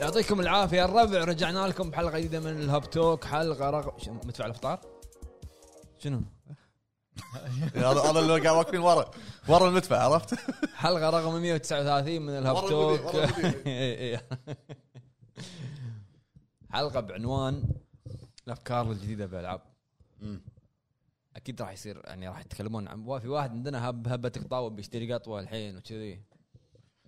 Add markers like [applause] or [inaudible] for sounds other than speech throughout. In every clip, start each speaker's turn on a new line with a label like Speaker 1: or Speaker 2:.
Speaker 1: يعطيكم العافيه الربع رجعنا لكم بحلقه جديده من الهاب توك حلقه رقم شنو، مدفع الافطار شنو
Speaker 2: إيه، هذا هذا اللي قاعد واقفين ورا ورا المدفع عرفت؟
Speaker 1: حلقه رقم 139 من الهاب
Speaker 2: ورا المدير،
Speaker 1: توك إيه،
Speaker 2: ورا
Speaker 1: [laughs]
Speaker 2: المدير.
Speaker 1: إي، إي. حلقه بعنوان الافكار الجديده بالالعاب اكيد راح يصير يعني راح يتكلمون عن في واحد عندنا هب هبتك طاوب بيشتري قطوه الحين وكذي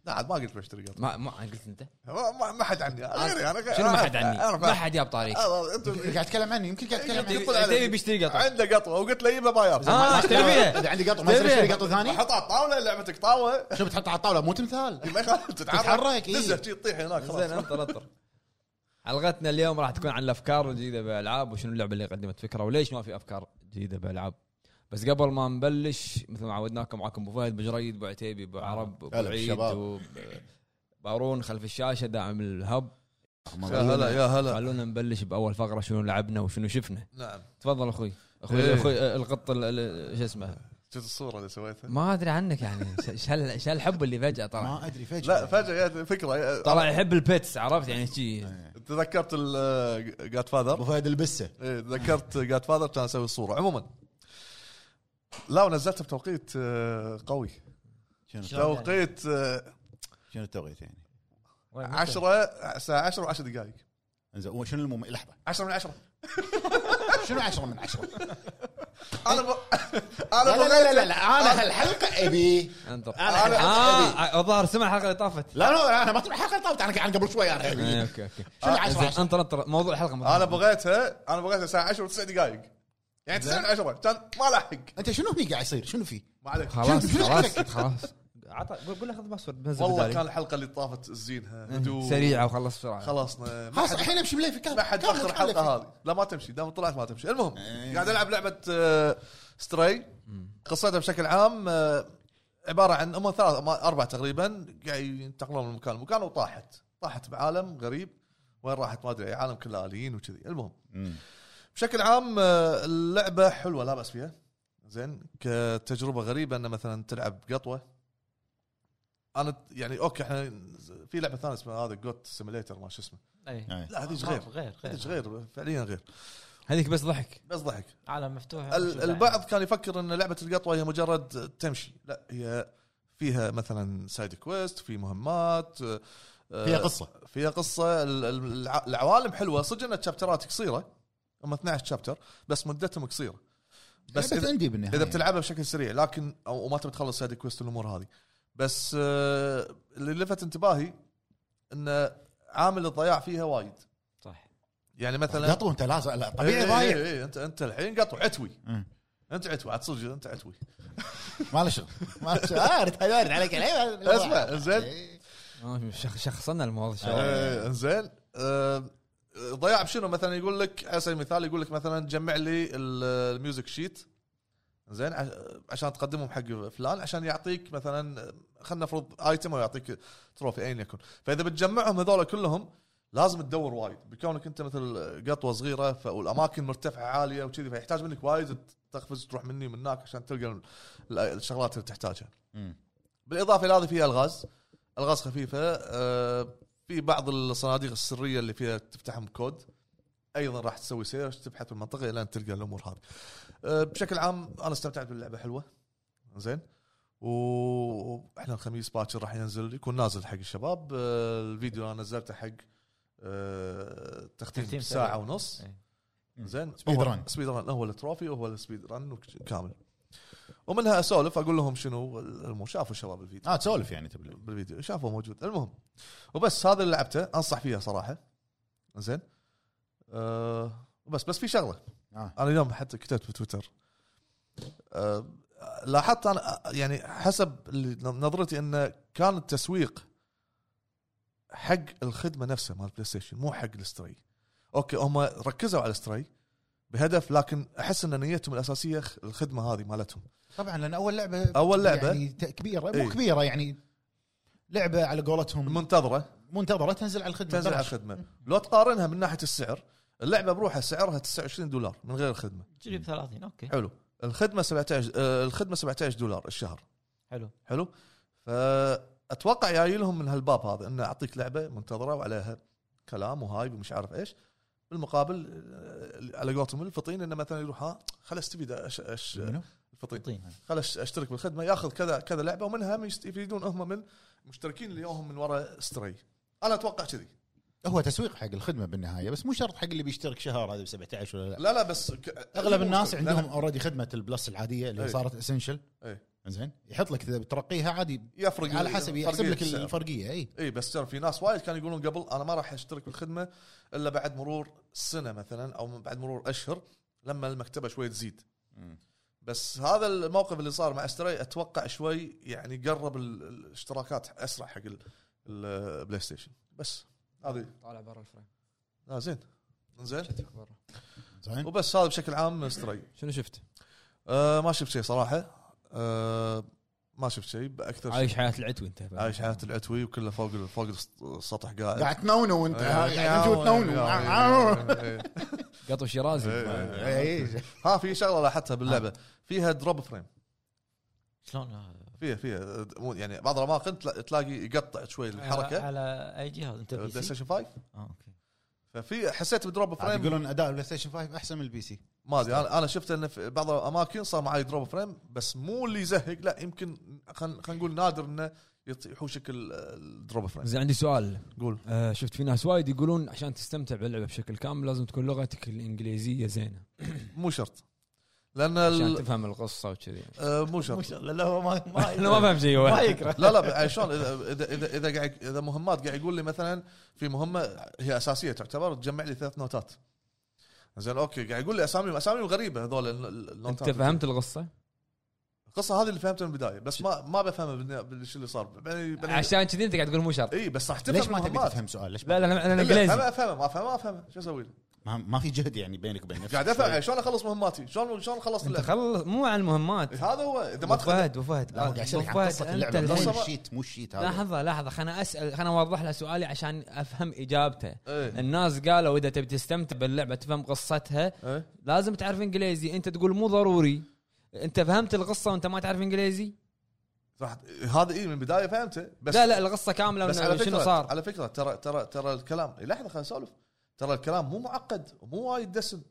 Speaker 2: لا عاد ما قلت بشتري قطع
Speaker 1: ما ما قلت انت
Speaker 2: ما- ما ما حد عني أنا غيري انا غيري
Speaker 1: شنو ما
Speaker 2: أنا-
Speaker 1: حد عني
Speaker 2: أنا-
Speaker 1: ما حد جاب طاريك
Speaker 2: أنا- أنت-
Speaker 3: قاعد اتكلم عنه يمكن قاعد اتكلم عنه
Speaker 2: يقول
Speaker 1: تبي-
Speaker 2: علي.
Speaker 1: تبي بيشتري قطوة.
Speaker 2: عنده قطوه وقلت له يبه باياب
Speaker 1: آه،
Speaker 3: ما
Speaker 1: اشتري فيها.
Speaker 3: اذا عندي قطو ما يصير
Speaker 1: اشتري فيها.
Speaker 3: اشتري قطو ثاني
Speaker 2: حطها على الطاوله لعبتك طاوله
Speaker 3: شو بتحطها على الطاوله مو تمثال
Speaker 1: [laughs]
Speaker 2: ما يخالف تتحرك
Speaker 3: تتحرك، إي.
Speaker 2: نزه شي تطيح هناك
Speaker 1: إيه. زين
Speaker 2: خلاص
Speaker 1: انطر انطر حلقتنا اليوم راح تكون عن الافكار الجديده بالالعاب وشنو اللعبه اللي قدمت فكره وليش ما في افكار جديده بالالعاب بس قبل ما نبلش مثل ما عودناكم معاكم ابو فهد ابو جريد ابو عتيبي ابو عرب ابو
Speaker 2: هلا
Speaker 1: عيد
Speaker 2: بالشباب.
Speaker 1: وبارون خلف الشاشه داعم الهب
Speaker 2: يا هلا يا هلا
Speaker 1: خلونا نبلش باول فقره شنو لعبنا وشنو شفنا
Speaker 2: نعم
Speaker 1: تفضل اخوي اخوي
Speaker 2: إيه.
Speaker 1: اخوي آه، القط ال- ال- شو اسمه
Speaker 2: شفت الصوره اللي سويتها
Speaker 1: ما ادري عنك يعني ايش هال- ايش هالحب اللي فجاه طلع
Speaker 3: ما ادري فجاه
Speaker 2: لا فجاه جت فكره
Speaker 1: طلع يحب البيتس عرفت يعني شي
Speaker 2: إيه. تذكرت جاد
Speaker 3: ابو
Speaker 2: فاذر
Speaker 3: فهد البسه
Speaker 2: تذكرت جاد فاذر كان اسوي الصوره عموما لا ونزلتها بتوقيت آه، قوي
Speaker 3: شنو
Speaker 1: شلون؟
Speaker 2: توقيت آه،
Speaker 3: شنو التوقيت يعني؟
Speaker 2: 10 الساعه 10 و10 دقائق
Speaker 3: إيه. انزين هو شنو المهم لحظه
Speaker 2: 10 من 10
Speaker 3: [laughs] شنو 10 من 10 لا
Speaker 2: انا [laughs] ب... انا
Speaker 3: لا لا, لا,
Speaker 2: بغيت-
Speaker 3: لا انا هالحلقه ابي
Speaker 1: انطر
Speaker 3: انا هالحلقه ابي
Speaker 1: اه آه، الظاهر سمع الحلقه اللي طافت
Speaker 3: لا لا انا ما تبي حلقه طابت انا قاعد قبل شوي انا ابي
Speaker 2: يعني
Speaker 1: إيه، اوكي اوكي
Speaker 3: شنو 10
Speaker 1: زين،
Speaker 3: 10
Speaker 1: انطر انطر موضوع الحلقه موضوع
Speaker 2: انا
Speaker 1: الحلقة.
Speaker 2: بغيتها انا بغيتها الساعه 10 و9 دقائق يعني 9 من 10 كان ما لحق
Speaker 3: انت شنو هني قاعد يصير شنو في؟
Speaker 2: ما عليك
Speaker 1: خلاص
Speaker 3: شنو- شنو
Speaker 1: خلاص
Speaker 3: مشكلتك؟
Speaker 1: خلاص عطى قول- قول له خذ باسورد بنزل
Speaker 2: والله
Speaker 1: بدالي.
Speaker 2: كان الحلقه اللي طافت
Speaker 1: إيه،
Speaker 2: زينها هدوء
Speaker 1: سريعه وخلص بسرعه
Speaker 2: خلصنا ما
Speaker 3: خلاص
Speaker 2: حد
Speaker 3: الحين امشي بليفي كمل
Speaker 2: ما حد
Speaker 3: كمل، إيه.
Speaker 2: اخر
Speaker 3: كمل.
Speaker 2: الحلقه هذه لا ما تمشي دام طلعت ما تمشي المهم قاعد العب لعبه آه، ستري قصتها بشكل عام آه، عباره عن هم ثلاث هم اربع تقريبا قاعد ينتقلون من مكان لمكان وطاحت طاحت بعالم غريب وين راحت ما ادري عالم كله اليين وكذي المهم
Speaker 3: مم.
Speaker 2: بشكل عام آه، اللعبه حلوه لا باس فيها زين كتجربه غريبه ان مثلا تلعب قطوه انا ت- يعني اوكي احنا في لعبه ثانيه اسمها هذا جوت سيميليتر ما شو اسمه
Speaker 4: إيه.
Speaker 3: إيه.
Speaker 2: لا
Speaker 1: آه،
Speaker 2: هذيك
Speaker 4: ما-
Speaker 2: غير
Speaker 4: غير
Speaker 2: هذيك
Speaker 4: غير
Speaker 2: غير فعليا غير
Speaker 1: هذيك بس ضحك
Speaker 2: بس ضحك
Speaker 4: عالم مفتوح
Speaker 2: ال- البعض كان يفكر ان لعبه القطوه هي مجرد تمشي لا هي فيها مثلا سايد كويست في مهمات آه،
Speaker 3: فيها قصه
Speaker 2: فيها قصه ال- ال- الع- العوالم حلوه صدق ان الشابترات قصيره هم 12 شابتر بس مدتهم قصيره بس
Speaker 3: بس إيه.
Speaker 2: اذا,
Speaker 3: عندي بالنهايه
Speaker 2: إذا بتلعبها بشكل سريع لكن او وما تبي تخلص سايد كويست والامور هذه بس آه، اللي لفت انتباهي ان عامل الضياع فيها وايد
Speaker 4: صح
Speaker 2: يعني مثلا
Speaker 3: قطو انت لازم لا
Speaker 2: إيه،
Speaker 3: طبيعي
Speaker 2: إيه،
Speaker 3: ضايع
Speaker 2: إيه، انت انت الحين قطو عتوي
Speaker 3: مم.
Speaker 2: انت عتوي عاد صدق انت عتوي
Speaker 3: ما له شغل ما له شغل ارد ارد
Speaker 2: [laughs]
Speaker 3: عليك الحين
Speaker 2: اسمع
Speaker 3: إيه.
Speaker 2: زين
Speaker 1: آه، شخ- شخصنا الموضوع
Speaker 2: آه، انزين آه، ضياع بشنو مثلا يقول لك على سبيل المثال يقول لك مثلا جمع لي ال- الميوزك شيت زين عش- عشان تقدمهم حق فلان عشان يعطيك مثلا خلينا نفرض ايتم او يعطيك تروفي ايا يكن فاذا بتجمعهم هذول كلهم لازم تدور وايد بكونك انت مثل قطوه صغيره ف- والاماكن مرتفعه عاليه وكذي فيحتاج منك وايد تقفز تروح مني ومناك عشان تلقى ال- ال- الشغلات اللي تحتاجها بالاضافه الى هذه فيها الغاز الغاز خفيفه آه، في بعض الصناديق السريه اللي فيها تفتحهم كود ايضا راح تسوي سيرش تبحث بالمنطقه الى ان تلقى الامور هذه آه، بشكل عام انا استمتعت باللعبه حلوه زين واحنا الخميس باكر راح ينزل يكون نازل حق الشباب آه، الفيديو انا نزلته حق آه، تختيم
Speaker 4: تختيم
Speaker 2: ساعه
Speaker 4: سريع.
Speaker 2: ونص
Speaker 4: إيه.
Speaker 2: زين
Speaker 3: سبيد
Speaker 2: هو-
Speaker 3: ران.
Speaker 2: سبيد ران هو التروفي وهو السبيد ران كامل ومنها اسولف اقول لهم شنو الامور شافوا الشباب الفيديو
Speaker 3: اه تسولف يعني تبي
Speaker 2: بالفيديو شافه موجود المهم وبس هذا اللي لعبته انصح فيها صراحه زين أه بس بس في شغله
Speaker 3: آه.
Speaker 2: انا اليوم حتى كتبت بتويتر أه لاحظت انا يعني حسب اللي نظرتي انه كان التسويق حق الخدمه نفسها مال بلاي ستيشن مو حق الاستري اوكي هم ركزوا على الاستري بهدف لكن اخس ان نيتهم الاساسيه خ- الخدمه هذه مالتهم
Speaker 3: طبعا لان اول لعبه
Speaker 2: أول لعبة.
Speaker 3: يعني ت- كبيره
Speaker 2: إيه.
Speaker 3: مو كبيره يعني لعبه على قولتهم
Speaker 2: منتظره
Speaker 3: منتظره تنزل على الخدمه
Speaker 2: تنزل على
Speaker 3: بلاش.
Speaker 2: الخدمه لو تقارنها من ناحيه السعر اللعبه بروحها سعرها 29 دولار من غير الخدمه
Speaker 4: تجيب 30 اوكي
Speaker 2: حلو الخدمه 17 آه، الخدمه 17 دولار الشهر
Speaker 4: حلو
Speaker 2: حلو فاتوقع جاي لهم من هالباب هذا انه اعطيك لعبه منتظره وعليها كلام وهايب ومش عارف ايش بالمقابل آه، على قولتهم الفطين انه مثلا يروح ها خل استفيد أش أش
Speaker 3: منو؟
Speaker 2: الفطين
Speaker 3: طين هذا.
Speaker 2: خل أش- اشترك بالخدمه ياخذ كذا كذا لعبه ومنها هم يستفيدون هم من مشتركين اللي يوهم من وراء ستري انا اتوقع كذي
Speaker 3: هو تسويق حق الخدمه بالنهايه بس مو شرط حق اللي بيشترك شهر هذا ب 17 ولا لا
Speaker 2: لا لا بس ك...
Speaker 3: اغلب الناس
Speaker 2: لا،
Speaker 3: عندهم
Speaker 2: لا، إيه.
Speaker 3: اوريدي خدمه البلس العاديه اللي
Speaker 2: أي.
Speaker 3: صارت اسنشل
Speaker 2: أي.
Speaker 3: زين يحط لك اذا بترقيها عادي
Speaker 2: يفرق
Speaker 3: على حسب يحسب لك إيه. الفرقيه اي
Speaker 2: اي بس ترى في ناس وايد كانوا يقولون قبل انا ما راح اشترك بالخدمه الا بعد مرور سنه مثلا او بعد مرور اشهر لما المكتبه شوي تزيد بس هذا الموقف اللي صار مع استري اتوقع شوي يعني قرب ال- الاشتراكات اسرع حق ال- البلاي ستيشن بس هذه
Speaker 1: طالع برا الفريم
Speaker 2: آه زين زين
Speaker 1: شتفك برا
Speaker 3: زين
Speaker 2: وبس هذا بشكل عام استري
Speaker 1: شنو شفت؟
Speaker 2: آه ما شفت شيء صراحه آه ما شفت شيء باكثر شيء.
Speaker 1: عايش حياه العتوي انت بعد.
Speaker 2: عايش حياه العتوي وكله فوق فوق السطح قاعد إيه.
Speaker 3: قاعد تنونو انت
Speaker 2: أيوة،
Speaker 3: ها، قاعد تجو تنونو آه.
Speaker 2: تنونو
Speaker 1: قطو شيرازي
Speaker 2: إيه،
Speaker 3: إيه.
Speaker 2: ها في شغله لاحظتها باللعبه فيها دروب فريم
Speaker 4: شلون آه. هذا؟
Speaker 2: فيها فيها مو- يعني بعض الاماكن تلا- تلاقي يقطع شوي الحركه
Speaker 4: على اي جهاز انت
Speaker 2: بلاي
Speaker 4: بي سي؟
Speaker 2: ستيشن 5
Speaker 4: اه اوكي
Speaker 2: ففي حسيت بدروب
Speaker 3: عاد
Speaker 2: فريم
Speaker 3: طيب، يقولون اداء البلاي ستيشن 5 احسن من البي سي
Speaker 2: ما ادري انا انا شفت انه في بعض الاماكن صار معي دروب فريم بس مو اللي يزهق لا يمكن خلينا نقول نادر انه يط- يحوشك ال- الدروب فريم
Speaker 1: زين عندي سؤال
Speaker 2: قول
Speaker 1: آه شفت في ناس وايد يقولون عشان تستمتع باللعبه بشكل كامل لازم تكون لغتك الانجليزيه زينه
Speaker 2: مو شرط لان
Speaker 1: عشان
Speaker 2: ال-
Speaker 1: تفهم القصه وكذي
Speaker 2: آه، مو شرط
Speaker 4: مو شرط، لا لا هو ما
Speaker 1: [laughs]
Speaker 4: ما
Speaker 1: انا ما فاهم شيء [laughs]
Speaker 4: ما
Speaker 1: هو.
Speaker 4: يكره
Speaker 2: لا لا يعني شلون اذا اذا اذا اذا قاعد اذا مهمات قاعد يقول لي مثلا في مهمه هي اساسيه تعتبر تجمع لي ثلاث نوتات زين اوكي قاعد يقول لي اسامي اسامي غريبه هذول ال- ال-
Speaker 1: انت
Speaker 2: النوتات
Speaker 1: فهمت القصه؟
Speaker 2: القصه هذه اللي فهمتها من البدايه بس ما ما بفهمها بالن- بالشيء اللي صار بعدين- بعدين-
Speaker 1: عشان كذي انت قاعد تقول مو شرط
Speaker 2: اي بس راح تفهم
Speaker 3: ليش ما تبي
Speaker 2: المهمات.
Speaker 3: تفهم سؤال ليش
Speaker 1: لا لا انا انا
Speaker 2: إلا
Speaker 1: انجليزي
Speaker 2: أفهمها- افهمها ما افهمها ما افهمها شو اسوي له؟
Speaker 3: ما, ما في جهد يعني بينك وبين نفسك
Speaker 2: قاعد افهم يعني شلون اخلص مهماتي؟ شلون شلون خلصت
Speaker 1: انت
Speaker 2: اللعبة؟ إيه،
Speaker 1: خلص مو عن المهمات
Speaker 2: هذا هو اذا
Speaker 1: ابو
Speaker 2: ما تخ...
Speaker 1: فهد ابو فهد
Speaker 3: لا هو قاعد يسالك عن
Speaker 1: أبو
Speaker 3: قصه
Speaker 1: فهد،
Speaker 3: اللعبه
Speaker 1: أنت
Speaker 3: مو
Speaker 2: الحين-
Speaker 3: الشيت مو الشيت هذا
Speaker 1: لحظه لحظه خلنا اسال خلنا اوضح له سؤالي عشان افهم اجابته
Speaker 2: إيه.
Speaker 1: الناس قالوا اذا تبي تستمتع باللعبه تفهم قصتها
Speaker 2: إيه.
Speaker 1: لازم تعرف انجليزي انت تقول مو ضروري انت فهمت القصه وانت ما تعرف انجليزي
Speaker 2: راح هذا اي من البدايه فهمته بس
Speaker 1: لا لا القصه كامله
Speaker 2: بس
Speaker 1: وإنه
Speaker 2: على
Speaker 1: شنو
Speaker 2: فكره
Speaker 1: صار
Speaker 2: على فكره ترى ترى ترى الكلام إي لحظه خلينا نسولف ترى الكلام مو معقد ومو وايد دسم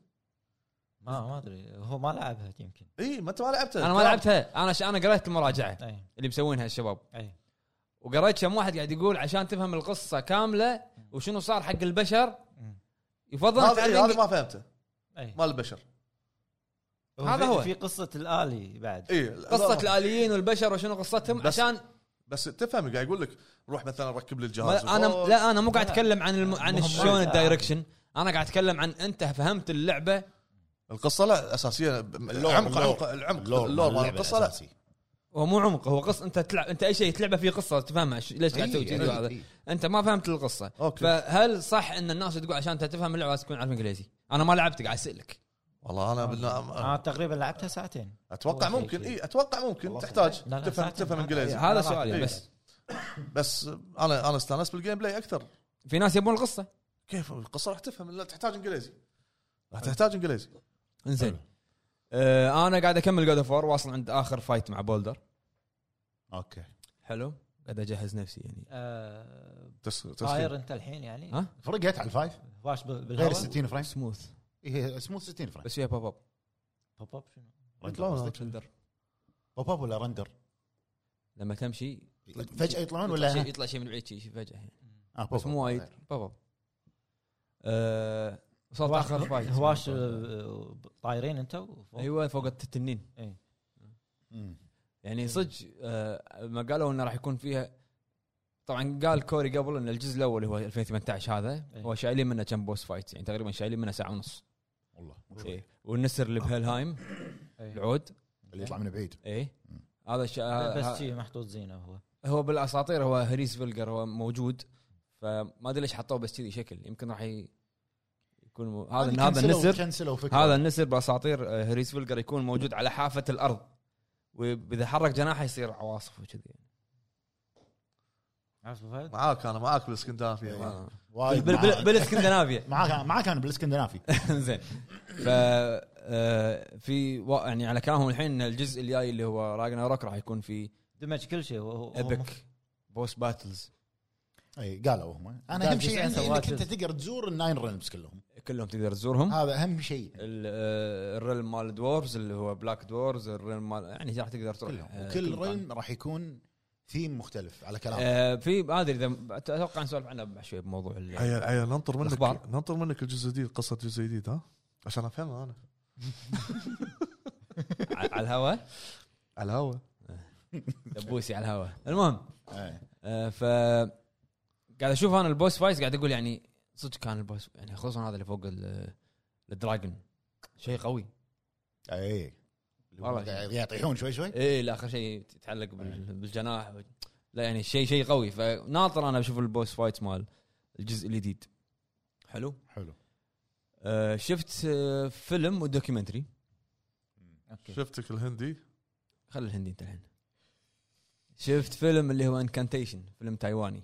Speaker 4: ما ما ادري هو ما لعبها يمكن
Speaker 2: اي إيه، ما انت ما لعبتها
Speaker 1: انا ما
Speaker 2: الكلام-
Speaker 1: لعبتها انا ش... انا قريت المراجعه
Speaker 4: اي
Speaker 1: اللي مسوينها الشباب
Speaker 4: اي
Speaker 1: وقريت كم واحد قاعد يقول عشان تفهم القصه كامله وشنو صار حق البشر
Speaker 4: مم.
Speaker 1: يفضل
Speaker 2: هذا إي،
Speaker 1: تعلم
Speaker 2: هذا ما فهمته
Speaker 4: اي
Speaker 2: مال البشر
Speaker 1: هذا
Speaker 4: في-
Speaker 1: هو.
Speaker 4: في قصه الالي بعد
Speaker 2: اي
Speaker 1: قصه الاليين والبشر وشنو قصتهم
Speaker 2: بس-
Speaker 1: عشان
Speaker 2: بس تفهم قاعد يقول لك روح مثلا ركب لي الجهاز
Speaker 1: ما انا
Speaker 2: وفوق.
Speaker 1: لا انا مو قاعد
Speaker 4: لا.
Speaker 1: اتكلم عن الم... عن
Speaker 4: مهمات.
Speaker 1: شلون
Speaker 4: لا.
Speaker 1: الدايركشن انا قاعد اتكلم عن انت فهمت اللعبه
Speaker 2: القصه لا اساسيه
Speaker 3: اللور،
Speaker 2: العمق عمق العمق اللور مال القصه لا
Speaker 1: هو مو عمق هو قص انت تلعب انت اي شيء تلعبه فيه قصه تفهمها ش... ليش قاعد
Speaker 4: إيه،
Speaker 3: إيه،
Speaker 1: تسوي كذي وهذا. انت ما فهمت القصه
Speaker 2: اوكي
Speaker 1: فهل صح ان الناس تقول عشان انت تفهم اللعبه لازم تكون عارف انجليزي انا ما لعبت قاعد اسالك
Speaker 2: والله انا
Speaker 1: آه،
Speaker 2: بالنا...
Speaker 4: انا تقريبا لعبتها ساعتين
Speaker 2: اتوقع
Speaker 4: أول شيء
Speaker 2: ممكن
Speaker 4: كذي.
Speaker 2: اي اتوقع ممكن
Speaker 3: والله
Speaker 2: تحتاج
Speaker 4: لا، لا،
Speaker 2: تفهم
Speaker 4: ساعتين.
Speaker 2: تفهم انجليزي
Speaker 4: لا،
Speaker 1: هذا
Speaker 4: راح
Speaker 1: سؤالي
Speaker 2: إيه.
Speaker 1: بس
Speaker 2: بس انا انا استانست بالجيم بلاي اكثر
Speaker 1: في ناس يبون القصه
Speaker 2: كيف القصه راح تفهم لا تحتاج انجليزي راح تحتاج انجليزي
Speaker 1: انزين آه انا قاعد اكمل جود اوف واصل عند اخر فايت مع بولدر
Speaker 3: اوكي
Speaker 1: حلو قاعد اجهز نفسي يعني
Speaker 4: آه،
Speaker 2: تس... تسخين.
Speaker 4: طاير انت الحين يعني
Speaker 1: ها؟
Speaker 3: فرقت على الفايف
Speaker 4: فاش بال-
Speaker 3: غير
Speaker 4: بالهواء
Speaker 3: 60 فريم
Speaker 1: سموث
Speaker 3: هي سموث 60 فريم
Speaker 1: بس فيها بوب اب
Speaker 4: بوب اب شنو؟
Speaker 3: رندر قصدك؟
Speaker 1: شلدر.
Speaker 3: بوب اب ولا رندر
Speaker 1: لما تمشي
Speaker 3: فجاه يطلعون
Speaker 1: يطلع شيء-
Speaker 3: ولا
Speaker 1: يطلع شيء من بعيد شيء فجاه يعني.
Speaker 3: آه، بوب
Speaker 1: بس
Speaker 3: أب.
Speaker 1: مو وايد بابا آه، وصلت
Speaker 4: هواش-
Speaker 1: اخر فايت
Speaker 4: هواش آه، طايرين انت وفوق.
Speaker 1: ايوه فوق التنين
Speaker 4: إيه.
Speaker 3: مم.
Speaker 1: يعني صدق آه، ما قالوا انه راح يكون فيها طبعا قال كوري قبل ان الجزء الاول هو 2018 هذا
Speaker 4: إيه.
Speaker 1: هو شايلين منه كم بوس فايت يعني تقريبا شايلين منه ساعه ونص
Speaker 3: والله
Speaker 1: إيه. والنسر اللي بهلهايم
Speaker 4: إيه.
Speaker 1: العود
Speaker 3: اللي يطلع من بعيد
Speaker 1: اي
Speaker 3: مم.
Speaker 1: هذا الش-
Speaker 4: بس
Speaker 1: ها-
Speaker 4: شي محطوط زينه هو
Speaker 1: هو بالاساطير هو هريس فيلجر هو موجود فما ادري ليش حطوه بس كذي شكل يمكن راح ي- يكون مو- هذا هذا
Speaker 3: كنسلوا-
Speaker 1: النسر
Speaker 3: كنسلوا فكره
Speaker 1: هذا النسر باساطير آه، هريس فيلجر يكون موجود على حافه الارض واذا حرك جناحه يصير عواصف وكذي
Speaker 4: عرفت أبو فهد؟
Speaker 2: معاك انا معاك بالاسكندنافيه
Speaker 1: آه. بال-
Speaker 3: وايد
Speaker 1: بال- بال-
Speaker 3: معاك.
Speaker 1: بالاسكندنافيا
Speaker 3: معاك معاك انا بالاسكندنافي
Speaker 1: [laughs] زين ف آه، في وا- يعني على كلامهم الحين إن الجزء الجاي اللي هو راجنا روك راح يكون فيه
Speaker 4: دمج كل شيء هو- هو- هو
Speaker 1: ايبك بوس باتلز
Speaker 3: اي إيه، قالوا هم انا
Speaker 4: قال
Speaker 3: اهم شيء
Speaker 4: جزئين
Speaker 3: عندي
Speaker 4: سوات
Speaker 3: انك انت
Speaker 4: جزء.
Speaker 3: تقدر تزور الناين ريلمز كلهم
Speaker 1: كلهم تقدر تزورهم
Speaker 3: هذا اهم شيء
Speaker 1: ال- آه، الريل مال دورز اللي هو بلاك دورز الريل مال يعني راح تقدر تروح
Speaker 3: كلهم
Speaker 1: آه،
Speaker 3: وكل
Speaker 1: مكان.
Speaker 3: ريلم راح يكون ثيم مختلف على كلامك
Speaker 1: آه، في ما ادري اذا اتوقع نسولف عنه شوي بموضوع ال-
Speaker 2: عيال عيال إيه. ننطر منك
Speaker 1: الأخبار.
Speaker 2: ننطر منك الجزء الجديد قصه جزء جديد ها عشان افهمها انا
Speaker 1: على على الهواء آه،
Speaker 2: على الهواء
Speaker 1: دبوسي على الهواء المهم
Speaker 3: إيه.
Speaker 1: آه، ف قاعد اشوف انا البوس فايز قاعد اقول يعني صدق كان البوس يعني خصوصا هذا اللي فوق ال- الدراجون شيء قوي
Speaker 3: اي
Speaker 1: والله.
Speaker 3: إيه. قاعد يطيحون شوي شوي
Speaker 1: ايه لا اخر شيء تتعلق بال- بالجناح لا يعني شيء شيء قوي فناطر انا بشوف البوس فايت مال الجزء الجديد حلو
Speaker 3: حلو
Speaker 1: آه، شفت آه، فيلم ودوكيومنتري
Speaker 4: اوكي
Speaker 2: شفتك الهندي
Speaker 1: خلي الهندي انت الحين شفت فيلم اللي هو انكانتيشن فيلم تايواني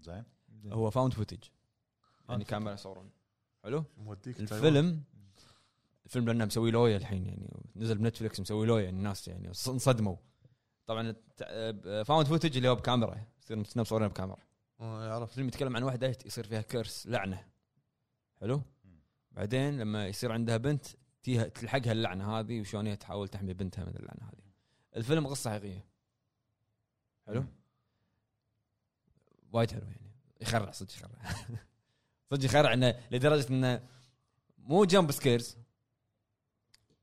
Speaker 3: زين
Speaker 1: هو فاوند فوتج يعني
Speaker 4: footage.
Speaker 1: كاميرا يصورون حلو
Speaker 2: موديك تايوان.
Speaker 1: الفيلم الفيلم لانه مسوي لويا الحين يعني نزل بنتفلكس مسوي لويا يعني الناس يعني انص- انصدموا آه، طبعا فاوند فوتج اللي هو بكاميرا يصير نفسنا مصورين بكاميرا
Speaker 2: آه، يعرف
Speaker 1: الفيلم يتكلم عن واحده يصير فيها كيرس لعنه حلو بعدين لما يصير عندها بنت تيها تلحقها اللعنه هذه وشلون هي تحاول تحمي بنتها من اللعنه هذه الفيلم قصه حقيقيه حلو وايد حلو يعني يخرع صدق يخرع [laughs] صدق يخرع انه لدرجه انه مو جمب سكيرز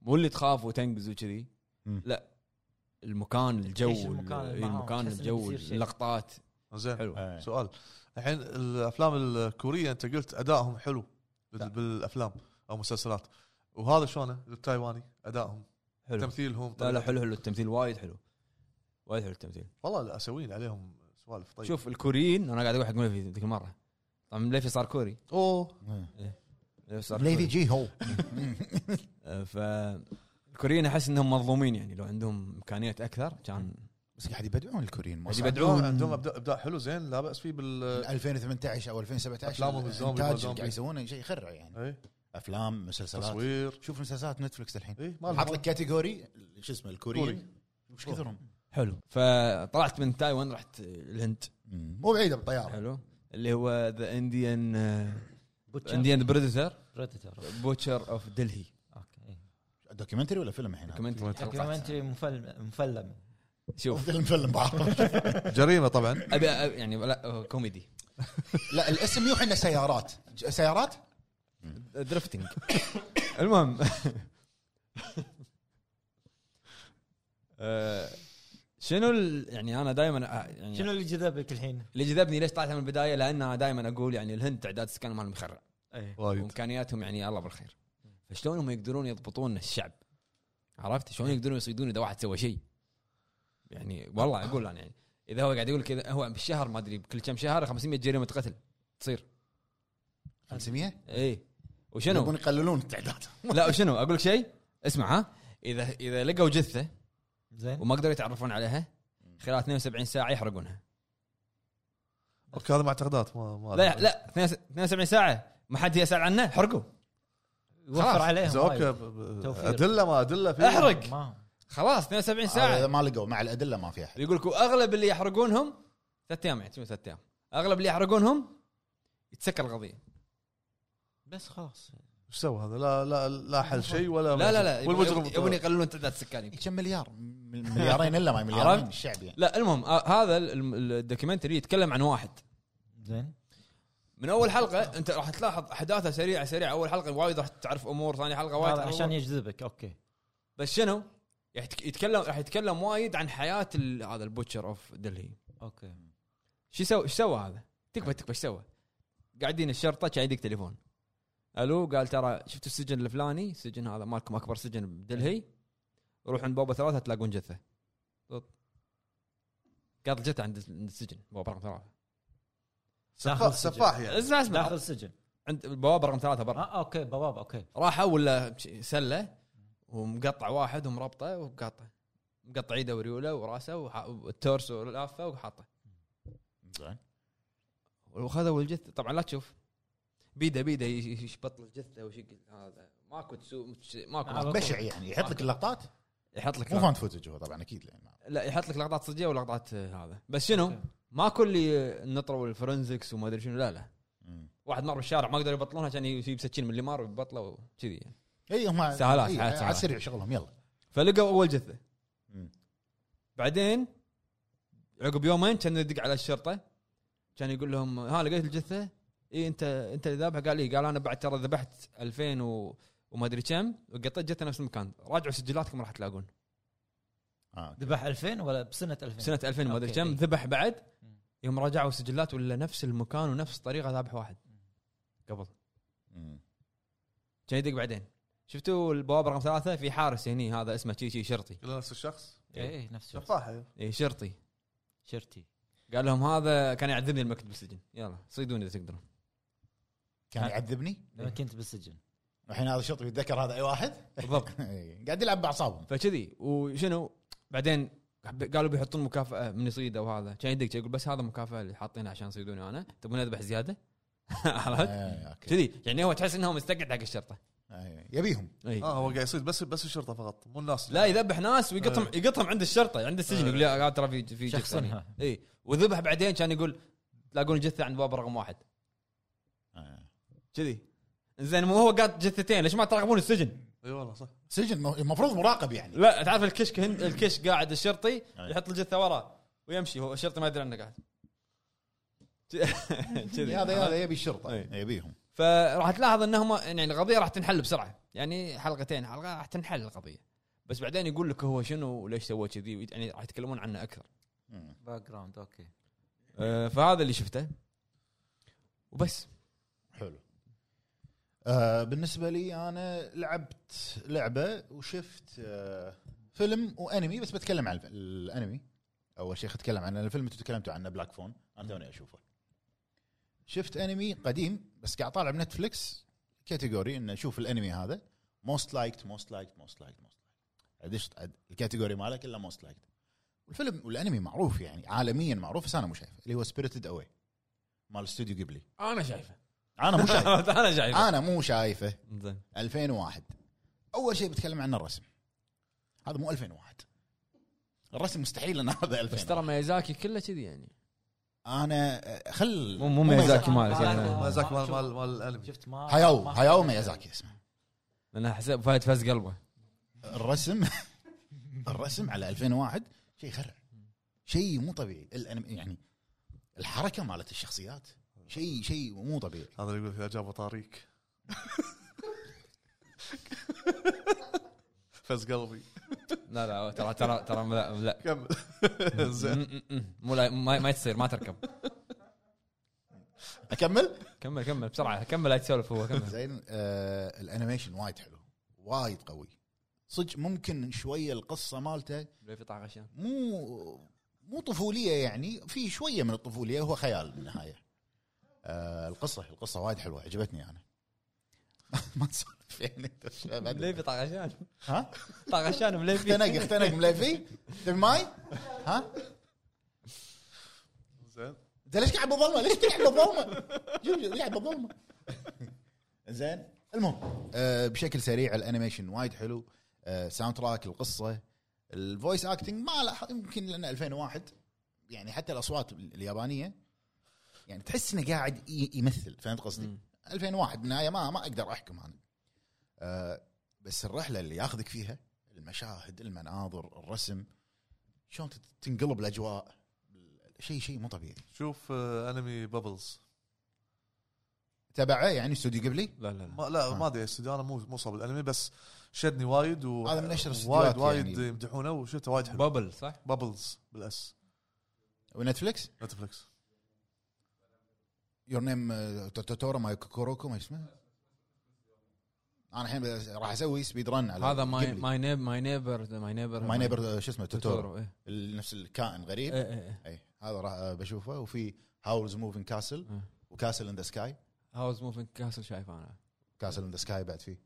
Speaker 1: مو اللي تخاف وتنقز وكذي
Speaker 3: مم.
Speaker 1: لا المكان
Speaker 4: تعيش
Speaker 1: الجو
Speaker 4: المكان
Speaker 1: إي،
Speaker 4: معاهم،
Speaker 1: المكان
Speaker 4: تحس إنه
Speaker 1: الجو
Speaker 4: بيصير شيء. آه.
Speaker 1: اللقطات
Speaker 2: زين
Speaker 1: حلو
Speaker 3: إيه.
Speaker 2: سؤال الحين الافلام الكوريه انت قلت ادائهم حلو
Speaker 1: نعم.
Speaker 2: بال- بالافلام او مسلسلات وهذا شلونه التايواني ادائهم
Speaker 1: حلو
Speaker 2: تمثيلهم طيب.
Speaker 1: لا لا حلو حلو التمثيل وايد حلو وايد حلو التمثيل
Speaker 2: والله الاسيويين عليهم سوالف طيب
Speaker 1: طيب. شوف الكوريين انا قاعد اقول حق مليفي ذيك المره طبعا مليفي صار كوري
Speaker 2: اوه
Speaker 1: يعني
Speaker 3: إيه.
Speaker 1: مليفي صار
Speaker 3: ليفي
Speaker 1: كوري.
Speaker 3: جي هو
Speaker 1: آه، ف الكوريين احس انهم مظلومين يعني لو عندهم امكانيات اكثر كان
Speaker 3: بس قاعد يبدعون الكوريين ما
Speaker 1: قاعد
Speaker 3: صار.
Speaker 1: يبدعون.
Speaker 2: عندهم عندهم ابداع إبداع حلو زين لا باس فيه بال
Speaker 3: 2018 او 2017
Speaker 2: أفلامهم الزومبي
Speaker 3: الإنتاج
Speaker 2: ما
Speaker 3: اللي
Speaker 2: زومبي.
Speaker 3: قاعد يسوونه شيء يخرع يعني
Speaker 1: نعم.
Speaker 2: اي
Speaker 3: افلام مسلسلات
Speaker 2: إيه، تصوير
Speaker 3: شوف مسلسلات نتفلكس الحين
Speaker 2: اي ما
Speaker 3: حاط
Speaker 2: لهم.
Speaker 3: لك كاتيجوري شو اسمه
Speaker 2: كوري.
Speaker 3: الكوريين وش كثرهم
Speaker 1: حلو فطلعت من تايوان رحت الهند
Speaker 3: مو بعيده بالطياره
Speaker 1: حلو اللي هو ذا انديان
Speaker 4: بوتشر
Speaker 1: انديان بريدتر
Speaker 4: بريدتر
Speaker 1: بوتشر اوف دلهي
Speaker 4: اوكي إيه.
Speaker 3: دوكيومنتري ولا فيلم الحين هذا؟
Speaker 4: دوكيومنتري مفلم مفلم
Speaker 1: شوف
Speaker 3: [laughs] فيلم فيلم بعرف
Speaker 2: جريمه طبعا
Speaker 1: ابي أبي- يعني لا آه، كوميدي
Speaker 3: [laughs] لا الاسم يوحي انه سيارات ج- سيارات
Speaker 1: درفتنج المهم آه، شنو ال- يعني انا دائما يعني
Speaker 4: شنو اللي جذبك الحين؟
Speaker 1: اللي جذبني ليش طلعت من البدايه لان انا دائما اقول يعني الهند تعداد السكان مالهم يخرع
Speaker 2: وايد
Speaker 1: وامكانياتهم يعني الله بالخير فشلون هم يقدرون يضبطون الشعب عرفت شلون يقدرون يصيدون اذا واحد سوى شيء يعني والله اقول انا يعني اذا هو قاعد يقول كذا هو بالشهر ما ادري كل كم شهر 500 جريمه قتل تصير
Speaker 3: 500
Speaker 1: اي
Speaker 3: يبون
Speaker 1: وشنو
Speaker 3: يقللون التعداد
Speaker 1: لا وشنو اقول لك شيء اسمع ها اذا اذا لقوا جثه
Speaker 4: زين
Speaker 1: وما قدروا يتعرفون عليها خلال 72 ساعه يحرقونها
Speaker 2: اوكي هذا معتقدات ما ما
Speaker 1: لا لا 72 ساعه ما حد يسال عنه حرقوا
Speaker 4: وفر عليهم
Speaker 2: إذا اوكي
Speaker 4: وايد.
Speaker 2: ب- ب-
Speaker 4: توفير.
Speaker 2: ادله ما ادله في
Speaker 1: احرق
Speaker 4: ما
Speaker 1: خلاص 72
Speaker 3: هذا
Speaker 1: ساعه
Speaker 3: ما لقوا مع الادله ما في احد
Speaker 1: يقول لك واغلب اللي يحرقونهم ثلاث ايام يعني شنو ثلاث ايام اغلب اللي يحرقونهم يتسكر القضيه
Speaker 4: بس خلاص
Speaker 2: ايش سوى هذا لا لا لا حل شيء ولا
Speaker 1: لا لا لا
Speaker 2: والمجرم
Speaker 1: يبون- يبون يقللون تعداد السكان
Speaker 3: إيه، كم مليار م- [laughs] مليارين الا ما مليارين
Speaker 1: عرفت؟
Speaker 3: الشعب يعني
Speaker 1: لا المهم آه، هذا ال- ال- الدوكيومنتري يتكلم عن واحد
Speaker 4: زين
Speaker 1: من اول حلقه انت راح تلاحظ احداثها سريعه سريعه اول حلقه وايد راح تعرف امور ثاني حلقه وايد
Speaker 4: هذا
Speaker 1: تعرف
Speaker 4: عشان
Speaker 1: أمور.
Speaker 4: يجذبك اوكي
Speaker 1: بس شنو؟ يحت- يتكلم راح يتكلم وايد عن حياه ال- هذا البوتشر اوف دلهي
Speaker 4: اوكي
Speaker 1: شو سوى ايش سوى هذا؟ تكفى تكفى ايش سوى؟ قاعدين الشرطه كان يدق تليفون الو قال ترى شفتوا السجن الفلاني السجن هذا مالكم اكبر سجن بدلهي روحوا عند بوابه ثلاثه تلاقون جثه طب. قال جثه عند عند السجن بوابه رقم ثلاثه
Speaker 2: سفاح- سفاح يعني
Speaker 1: اسمع اسمع
Speaker 4: داخل سجن
Speaker 1: عند البوابه رقم ثلاثه برا
Speaker 4: اه اوكي بوابه اوكي
Speaker 1: راحوا ولا ش- سله ومقطع واحد ومربطه ومقطع مقطع ايده وريوله وراسه وح- والتورس ولافه وحاطه
Speaker 3: زين
Speaker 1: وخذوا الجثه طبعا لا تشوف بيده بيده يش- يشبط الجثه وشكل هذا ماكو تسو
Speaker 4: على
Speaker 1: ماكو
Speaker 4: طول.
Speaker 3: بشع يعني يحط لك اللقطات
Speaker 1: يحط لك
Speaker 3: مو
Speaker 1: لقطة.
Speaker 3: فان فوتج هو طبعا اكيد لأن-
Speaker 1: لا يحط لك لقطات صجيه ولقطات آه، هذا بس شنو؟
Speaker 4: أوكي.
Speaker 1: ماكو اللي النطره والفرنزكس وما ادري شنو لا لا
Speaker 3: مم.
Speaker 1: واحد مر بالشارع ما قدروا يبطلونها كان يجيب سكين من اللي مار ويبطله وكذي يعني.
Speaker 3: اي إيه، هم
Speaker 1: سهالات،
Speaker 3: إي،
Speaker 1: سهالات،
Speaker 3: على
Speaker 1: سهالات.
Speaker 3: السريع شغلهم يلا
Speaker 1: فلقوا اول جثه
Speaker 3: مم.
Speaker 1: بعدين عقب يومين كان يدق على الشرطه كان يقول لهم ها لقيت "إيه، الجثه اي انت انت اللي ذابحها قال لي قال انا بعد ترى ذبحت 2000 و... وما ادري كم وقطيت جثه نفس المكان راجعوا سجلاتكم راح تلاقون
Speaker 3: آه.
Speaker 4: ذبح 2000 ولا بسنه 2000
Speaker 1: سنه 2000 ما ادري
Speaker 4: أوكي. إيه.
Speaker 1: كم ذبح بعد
Speaker 4: مم.
Speaker 1: يوم راجعوا سجلات ولا نفس المكان ونفس الطريقه ذابح واحد قبل
Speaker 3: مم.
Speaker 1: كان يدق بعدين شفتوا البوابه رقم ثلاثه في حارس هني هذا اسمه شي شي شرطي
Speaker 2: كله نفس الشخص يعني.
Speaker 4: اي إيه، نفس الشخص.
Speaker 2: شفاحه
Speaker 1: اي شرطي
Speaker 4: شرتي
Speaker 1: قال لهم هذا كان يعذبني المكتب بالسجن يلا صيدوني اذا تقدرون
Speaker 3: كان يعذبني
Speaker 4: لما كنت بالسجن
Speaker 3: الحين هذا شرطي يتذكر هذا اي واحد
Speaker 1: بالضبط
Speaker 3: [laughs] إي، قاعد يلعب باعصابهم
Speaker 1: فكذي وشنو بعدين قالوا بيحطون مكافاه من يصيده وهذا كان يدق يقول بس هذا مكافاه اللي حاطينها عشان يصيدوني انا تبون اذبح زياده [laughs] عرفت؟
Speaker 3: إي، اوكي
Speaker 1: كذي يعني هو تحس انه هو مستقعد حق الشرطه
Speaker 3: إي، إيه، يبيهم
Speaker 1: اي
Speaker 2: اه هو قاعد يصيد بس بس الشرطه فقط مو الناس
Speaker 1: إيه. لا يذبح ناس ويقطهم
Speaker 2: آه.
Speaker 1: يقطهم عند الشرطه عند السجن
Speaker 2: آه.
Speaker 1: يقول يا قاعد ترى في في جثة هنا.
Speaker 4: شخصنها
Speaker 1: اي وذبح بعدين كان يقول تلاقون جثه عند باب رقم واحد
Speaker 3: آه.
Speaker 1: كذي زين مو هو قاط جثتين ليش ما تراقبون السجن؟
Speaker 2: اي والله صح
Speaker 3: سجن مو- المفروض مراقب يعني
Speaker 1: لا تعرف الكشك هن... الكش قاعد الشرطي
Speaker 3: أي.
Speaker 1: يحط الجثه وراه ويمشي هو الشرطي ما يدري انه قاعد [laughs] كذي
Speaker 3: هذا هذا يبي الشرطه
Speaker 1: إي.
Speaker 3: يبيهم
Speaker 1: فراح تلاحظ انهم يعني القضيه راح تنحل بسرعه يعني حلقتين حلقه راح تنحل القضيه بس بعدين يقول لك هو شنو وليش سوى كذي يعني راح يتكلمون عنه اكثر
Speaker 3: مم.
Speaker 4: باك جراوند اوكي
Speaker 1: آه، فهذا اللي شفته وبس
Speaker 3: حلو آه بالنسبه لي انا لعبت لعبه وشفت آه فيلم وانمي بس بتكلم عن الف- الانمي اول شيء خليني اتكلم عن الفيلم انتم تكلمتوا عنه بلاك فون انا توني اشوفه شفت انمي قديم بس قاعد طالع بنتفلكس كاتيجوري انه شوف الانمي هذا موست لايكت موست لايكت موست لايكت موست ادش عد- الكاتيجوري ماله كله موست لايكت والفيلم والانمي معروف يعني عالميا معروف بس انا مو شايفه اللي هو سبيريتد اواي مال استوديو جيبلي
Speaker 1: انا [laughs] شايفه
Speaker 3: انا مو شايفه
Speaker 1: انا شايفه
Speaker 3: انا مو شايفه
Speaker 1: زين
Speaker 3: 2001 اول شيء بتكلم عن الرسم هذا مو 2001 الرسم مستحيل ان هذا
Speaker 1: بس ترى
Speaker 3: 2000
Speaker 1: ميازاكي كله كذي يعني
Speaker 3: انا آه، خل
Speaker 1: مو- مو ميازاكي مالك
Speaker 2: ما
Speaker 1: يعني.
Speaker 2: زاك مال مال مال الانمي
Speaker 4: شفت ما
Speaker 3: هاياو
Speaker 4: ما-
Speaker 3: هاياو ميازاكي اسمه
Speaker 1: لان حسب فايت فاز قلبه
Speaker 3: الرسم الرسم على 2001 شيء يخرع شيء مو طبيعي الأنم- يعني الحركه مالت الشخصيات شيء شيء مو طبيعي
Speaker 2: هذا اللي يقول اذا جابوا طريق [laughs] فز قلبي
Speaker 1: لا لا ترى ترى ترى لا لا
Speaker 2: كمل زين
Speaker 1: م- م- م. مو لا ما, ما تصير ما تركب
Speaker 3: اكمل
Speaker 1: كمل كمل بسرعه كمل لا تسولف هو كمل
Speaker 3: زين آه الانيميشن وايد حلو وايد قوي صدق ممكن شويه القصه مالته
Speaker 1: لو في طاقه شيء
Speaker 3: مو مو طفوليه يعني في شويه من الطفوليه هو خيال بالنهايه آه القصه القصه وايد حلوه عجبتني انا [laughs] ما تسولف يعني أنت شو بعد-
Speaker 1: مليفي طاغشان
Speaker 3: ها
Speaker 1: طاغشان
Speaker 3: اختنق
Speaker 1: مليفي
Speaker 3: اختنق ملفي تبي ماي ها
Speaker 2: زين
Speaker 3: انت ليش قاعد بالظلمه ليش تلعب بالظلمه شوف شوف، لعب بالظلمه زين المهم آه بشكل سريع الانيميشن وايد حلو آه ساوند تراك القصه الفويس اكتنج ما لاحظ يمكن لان 2001 يعني حتى الاصوات اليابانيه يعني تحس انه قاعد ي- يمثل فهمت قصدي؟
Speaker 1: مم.
Speaker 3: 2001 بالنهايه ما ما اقدر احكم انا آه بس الرحله اللي ياخذك فيها المشاهد المناظر الرسم شلون تت- تنقلب الاجواء شيء شيء مو طبيعي
Speaker 2: شوف آه، انمي بابلز
Speaker 3: تبعه يعني استوديو قبلي
Speaker 1: لا لا لا
Speaker 2: ما لا
Speaker 3: آه.
Speaker 2: ما ادري استوديو انا مو مو صاب الانمي بس شدني وايد و
Speaker 3: هذا من أشهر
Speaker 2: وايد
Speaker 3: الاستديوهات
Speaker 2: وايد
Speaker 3: يعني.
Speaker 2: يمدحونه وشفته وايد حلو
Speaker 1: بابل صح؟
Speaker 2: بابلز بالاس
Speaker 3: ونتفلكس
Speaker 2: نتفلكس
Speaker 3: يور نيم توتورا ماي كوروكو ما اسمه انا الحين بس- راح اسوي سبيد رن على
Speaker 1: هذا ماي ماي نيب ماي نيبر ماي نيبر
Speaker 3: ماي نيبر uh, شو اسمه توتورو
Speaker 1: توتورو إيه.
Speaker 3: ال- نفس الكائن غريب
Speaker 1: إيه، إيه، إيه.
Speaker 3: اي هذا راح آه، بشوفه وفي هاولز موفين كاسل
Speaker 1: آه.
Speaker 3: وكاسل ان ذا سكاي
Speaker 1: هاوس موفينج كاسل شايف انا
Speaker 3: كاسل ان ذا سكاي بعد فيه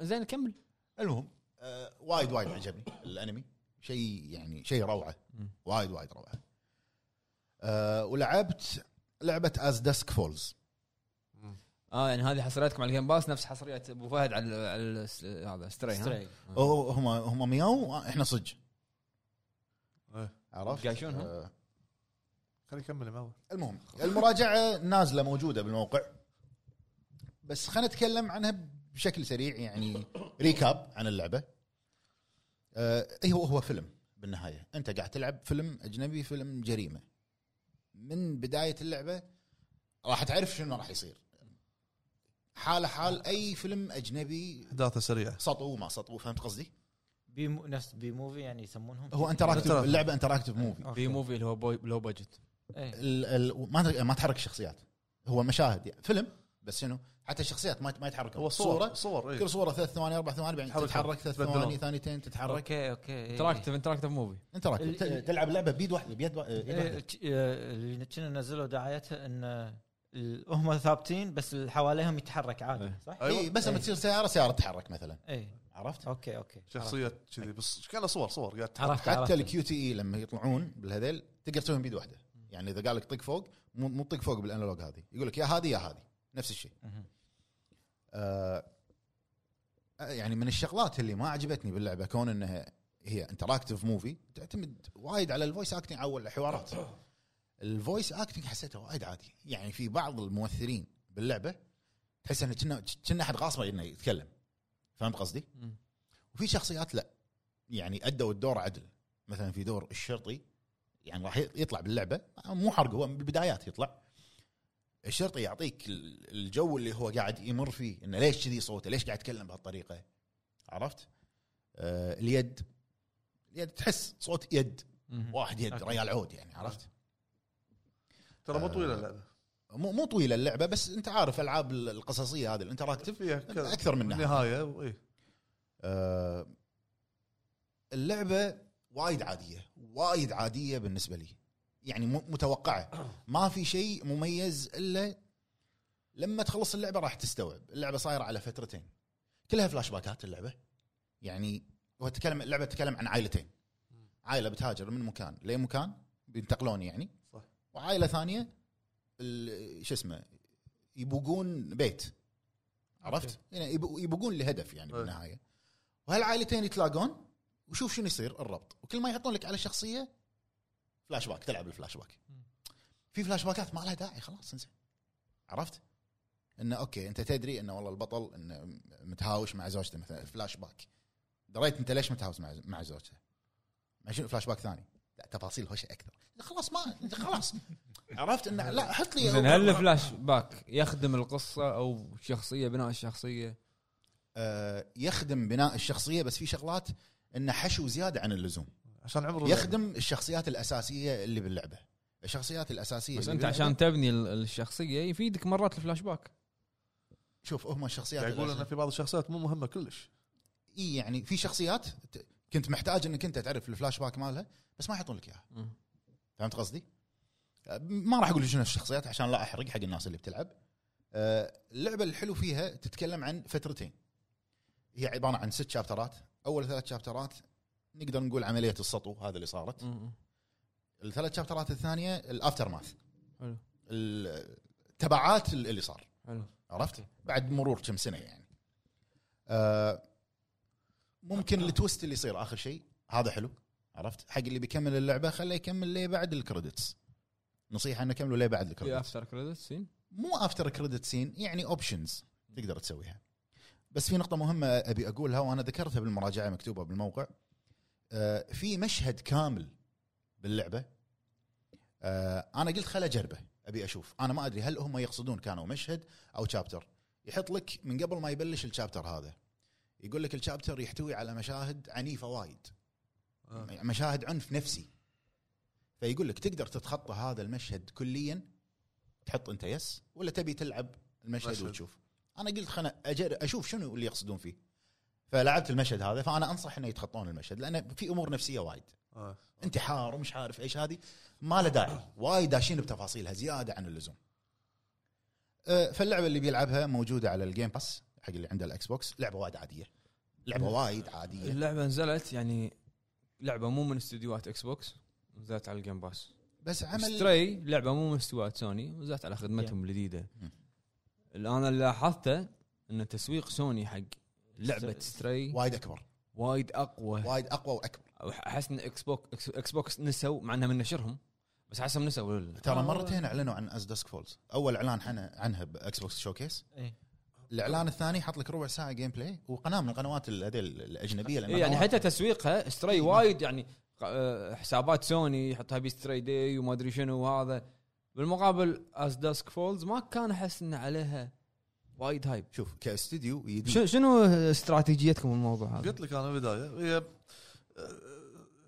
Speaker 1: زين كمل
Speaker 3: المهم آه وايد وايد عجبني الانمي شيء يعني شيء روعه
Speaker 1: مم.
Speaker 3: وايد وايد روعه آه ولعبت لعبه از داسك فولز
Speaker 1: اه يعني هذه حصرياتكم على الجيم باس نفس حصريه ابو فهد على على الس- هذا ستري ها
Speaker 4: ستريك
Speaker 3: هم هم مياو آه، احنا صج
Speaker 2: إيه.
Speaker 3: عرفت
Speaker 1: يتقاشون هم؟
Speaker 3: آه،
Speaker 2: خليه يكمل الموضوع
Speaker 3: المهم المراجعه نازله موجوده بالموقع بس خلينا نتكلم عنها بشكل سريع يعني ريكاب عن اللعبه آه إيه هو هو فيلم بالنهايه انت قاعد تلعب فيلم اجنبي فيلم جريمه من بدايه اللعبه راح تعرف شنو راح يصير حاله حال اي فيلم اجنبي
Speaker 2: احداثه سريعه
Speaker 3: سطو ما سطو فهمت قصدي
Speaker 4: بي مو- نفس بي موفي يعني يسمونهم
Speaker 3: هو انتراكتيف
Speaker 2: Interactive.
Speaker 3: اللعبه انتراكتيف موفي
Speaker 4: أوكي.
Speaker 1: في موفي اللي هو بوي- لو بجت
Speaker 4: إيه.
Speaker 3: ال ال ما تر- ما تحرك الشخصيات هو مشاهد يعني فيلم بس شنو حتى الشخصيات ما ما يتحركون
Speaker 2: هو صور صور إيه. اي
Speaker 3: كل صوره ثلاث ثواني اربع ثواني بعدين
Speaker 2: تحرك.
Speaker 3: تتحرك ثلاث
Speaker 2: تبدلون.
Speaker 3: ثواني ثانيتين تتحرك
Speaker 4: اوكي اوكي إيه.
Speaker 1: انتراكتف انتراكتف موفي
Speaker 3: انت راكب
Speaker 4: ال-
Speaker 3: تل- تلعب لعبه بيد واحده بيد وا- إيد
Speaker 4: إيه،
Speaker 3: واحده
Speaker 4: ت- آه، اللي كنا نزلوا دعايتها ان آه، ال- هم ثابتين بس اللي حواليهم يتحرك عادي
Speaker 1: إيه.
Speaker 4: صح؟
Speaker 2: أيوة.
Speaker 3: اي بس لما
Speaker 4: إيه.
Speaker 3: تصير سياره سياره تتحرك مثلا
Speaker 4: اي
Speaker 3: عرفت؟
Speaker 4: اوكي اوكي
Speaker 2: شخصيه كذي بس كلها صور صور قاعد تحرك
Speaker 4: عرفت
Speaker 3: حتى الكيو تي اي لما يطلعون بالهذيل تقدر تسويهم بيد واحده يعني اذا قال لك طق فوق مو مو طق فوق بالانالوج هذه يقول لك يا هذه يا هذه نفس الشيء
Speaker 4: مهم.
Speaker 3: آه يعني من الشغلات اللي ما عجبتني باللعبه كون انها هي انتراكتيف موفي تعتمد وايد على الفويس اكتنج او الحوارات الفويس اكتنج حسيته وايد عادي يعني في بعض الممثلين باللعبه تحس انه كنا كنا احد غاصبه انه يتكلم فهمت قصدي؟
Speaker 1: مم.
Speaker 3: وفي شخصيات لا يعني ادوا الدور عدل مثلا في دور الشرطي يعني راح يطلع باللعبه مو حرق هو بالبدايات يطلع الشرطي يعطيك ال- الجو اللي هو قاعد يمر فيه انه ليش كذي صوته ليش قاعد يتكلم بهالطريقه عرفت آه اليد اليد تحس صوت يد
Speaker 1: مم.
Speaker 3: واحد يد
Speaker 4: أوكي.
Speaker 3: ريال عود يعني عرفت
Speaker 2: ترى مو طويله اللعبه
Speaker 3: مو مو طويله اللعبه بس انت عارف العاب ال- القصصيه هذه الانتراكتيف
Speaker 2: فيها كذا
Speaker 3: اكثر منها
Speaker 2: نهايه واي
Speaker 3: آه، اللعبه وايد عاديه وايد عاديه بالنسبه لي يعني م- متوقعه ما في شيء مميز الا لما تخلص اللعبه راح تستوعب اللعبه صايره على فترتين كلها فلاش باكات اللعبه يعني هو تتكلم اللعبه تتكلم عن عائلتين عائله بتهاجر من مكان لمكان بينتقلون يعني
Speaker 2: صح.
Speaker 3: وعائله ثانيه ال- شو اسمه يبوقون بيت عرفت؟ يعني يبو- يبوقون لهدف يعني
Speaker 2: أي.
Speaker 3: بالنهايه وهالعائلتين يتلاقون وشوف شنو يصير الربط وكل ما يحطون لك على شخصيه فلاش باك تلعب الفلاش باك في فلاش باكات ما لها داعي خلاص انزين عرفت؟ انه اوكي انت تدري انه والله البطل انه متهاوش مع زوجته مثلا فلاش باك دريت انت ليش متهاوش مع مع زوجته؟ مع شنو فلاش باك ثاني؟ لا تفاصيل هوشه اكثر خلاص ما خلاص عرفت انه لا حط لي
Speaker 1: زين هل الفلاش باك يخدم القصه او شخصيه بناء الشخصيه
Speaker 3: آه، يخدم بناء الشخصيه بس في شغلات انه حشو زياده عن اللزوم
Speaker 2: عشان عمره
Speaker 3: يخدم الشخصيات الاساسيه اللي باللعبه الشخصيات الاساسيه
Speaker 1: بس
Speaker 3: اللي
Speaker 1: انت
Speaker 3: باللعبة-
Speaker 1: عشان تبني ال- الشخصيه يفيدك مرات الفلاش باك
Speaker 3: شوف هم الشخصيات
Speaker 2: قاعد يعني يقول ان
Speaker 3: الأساسية.
Speaker 2: في بعض الشخصيات مو مهمه كلش
Speaker 3: اي يعني في شخصيات ت- كنت محتاج انك انت تعرف الفلاش باك مالها بس ما يحطون لك اياها فهمت قصدي؟ آه، ما راح اقول شنو الشخصيات عشان لا احرق حق الناس اللي بتلعب. آه، اللعبه الحلو فيها تتكلم عن فترتين. هي عباره عن ست شابترات، اول ثلاث شابترات نقدر نقول عمليه السطو هذا اللي صارت.
Speaker 1: مم.
Speaker 3: الثلاث شابترات الثانيه الافتر ماث.
Speaker 1: حلو
Speaker 3: ال- تبعات اللي صار،
Speaker 1: حلو
Speaker 3: عرفت؟ بعد مرور كم سنه يعني. آه، ممكن التويست اللي يصير اخر شيء هذا حلو عرفت؟ حق اللي بيكمل اللعبه خليه يكمل ليه بعد الكريدتس. نصيحه انه كملوا ليه بعد
Speaker 1: في
Speaker 3: الكريدتس.
Speaker 1: افتر كريدت سين
Speaker 3: مو افتر كريدت سين يعني اوبشنز تقدر تسويها بس في نقطه مهمه ابي اقولها وانا ذكرتها بالمراجعه مكتوبه بالموقع آه، في مشهد كامل باللعبه آه، انا قلت خل اجربه ابي اشوف انا ما ادري هل هم يقصدون كانوا مشهد او شابتر يحط لك من قبل ما يبلش الشابتر هذا يقول لك الشابتر يحتوي على مشاهد عنيفه وايد
Speaker 2: آه.
Speaker 3: مشاهد عنف نفسي فيقول لك تقدر تتخطى هذا المشهد كليا تحط انت يس ولا تبي تلعب المشهد
Speaker 2: مشهد.
Speaker 3: وتشوف انا قلت خلنا أجر اشوف شنو اللي يقصدون فيه فلعبت المشهد هذا فانا انصح انه يتخطون المشهد لان في امور نفسيه وايد
Speaker 2: آه.
Speaker 3: انتحار ومش عارف ايش هذه ما له داعي وايد داشين بتفاصيلها زياده عن اللزوم أه، فاللعبه اللي بيلعبها موجوده على الجيم باس حق اللي عنده الاكس بوكس لعبه وايد عاديه لعبه وايد عاديه
Speaker 1: اللعبه نزلت يعني لعبه مو من استديوهات اكس بوكس نزلت على الجيم باس
Speaker 3: بس عمل
Speaker 1: ستري لعبه مو من استديوهات سوني نزلت على خدمتهم الجديده
Speaker 3: مم.
Speaker 1: الان اللي لاحظته ان تسويق سوني حق لعبه ستري
Speaker 3: وايد اكبر
Speaker 1: وايد اقوى
Speaker 3: وايد اقوى واكبر
Speaker 1: احس ان اكس بوكس اكس بوكس نسوا مع انها من نشرهم بس حسب نسوا ولا لا.
Speaker 3: ترى مرتين اعلنوا عن از دسك فولز اول اعلان عنها عنها باكس بوكس شوكيس
Speaker 4: إيه.
Speaker 3: الاعلان الثاني حط لك ربع ساعه جيم بلاي وقناه من القنوات ال- هذي ال- الاجنبيه لأن
Speaker 1: إيه يعني
Speaker 3: أنا-
Speaker 1: حتى تسويقها
Speaker 3: إيه،
Speaker 1: ستري
Speaker 3: نعم.
Speaker 1: وايد يعني آه، حسابات سوني يحطها بستري داي وما ادري شنو وهذا بالمقابل از داسك فولز ما كان احس ان عليها وايد هايب
Speaker 3: شوف كاستديو يدي
Speaker 1: شنو- شنو استراتيجيتكم بالموضوع هذا؟
Speaker 2: قلت لك انا بالبدايه هي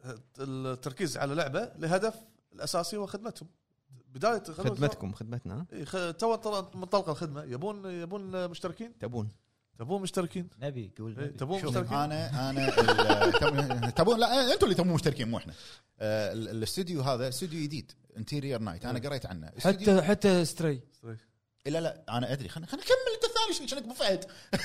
Speaker 2: آه، التركيز على لعبه لهدف الاساسي هو خدمتهم بدايه الخدمة-
Speaker 1: خدمتكم
Speaker 3: آه.
Speaker 1: خدمتنا ها؟
Speaker 2: إي، خ- تو انطل- منطلقه الخدمه يبون يبون مشتركين
Speaker 1: تبون
Speaker 2: تبون مشتركين
Speaker 4: نبي قول
Speaker 3: إيه،
Speaker 2: إي،
Speaker 4: نبي.
Speaker 2: تبون
Speaker 3: شوف
Speaker 2: مشتركين
Speaker 3: انا انا ال- تبون- [laughs] تبون لا انتم اللي تبون مشتركين مو احنا آه، ال- الاستوديو هذا استوديو جديد انتيريور نايت انا قريت عنه استوديو-
Speaker 1: حتى حتى ستري
Speaker 3: لا لا انا ادري خلنا خلنا نكمل انت الثاني شنو- شنك ابو فهد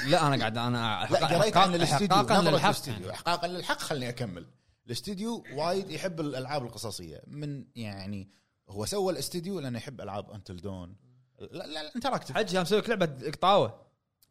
Speaker 1: لا انا قاعد انا
Speaker 3: لا قريت عن الاستديو
Speaker 1: احقاقا
Speaker 3: نظرة
Speaker 1: للحق
Speaker 3: الاستديو احقاقا للحق خلني اكمل الاستديو وايد يحب الالعاب القصصيه من يعني هو سوى الاستديو لانه يحب العاب انتل دون لا لا انتراكتف
Speaker 1: حج مسوي لك لعبه قطاوه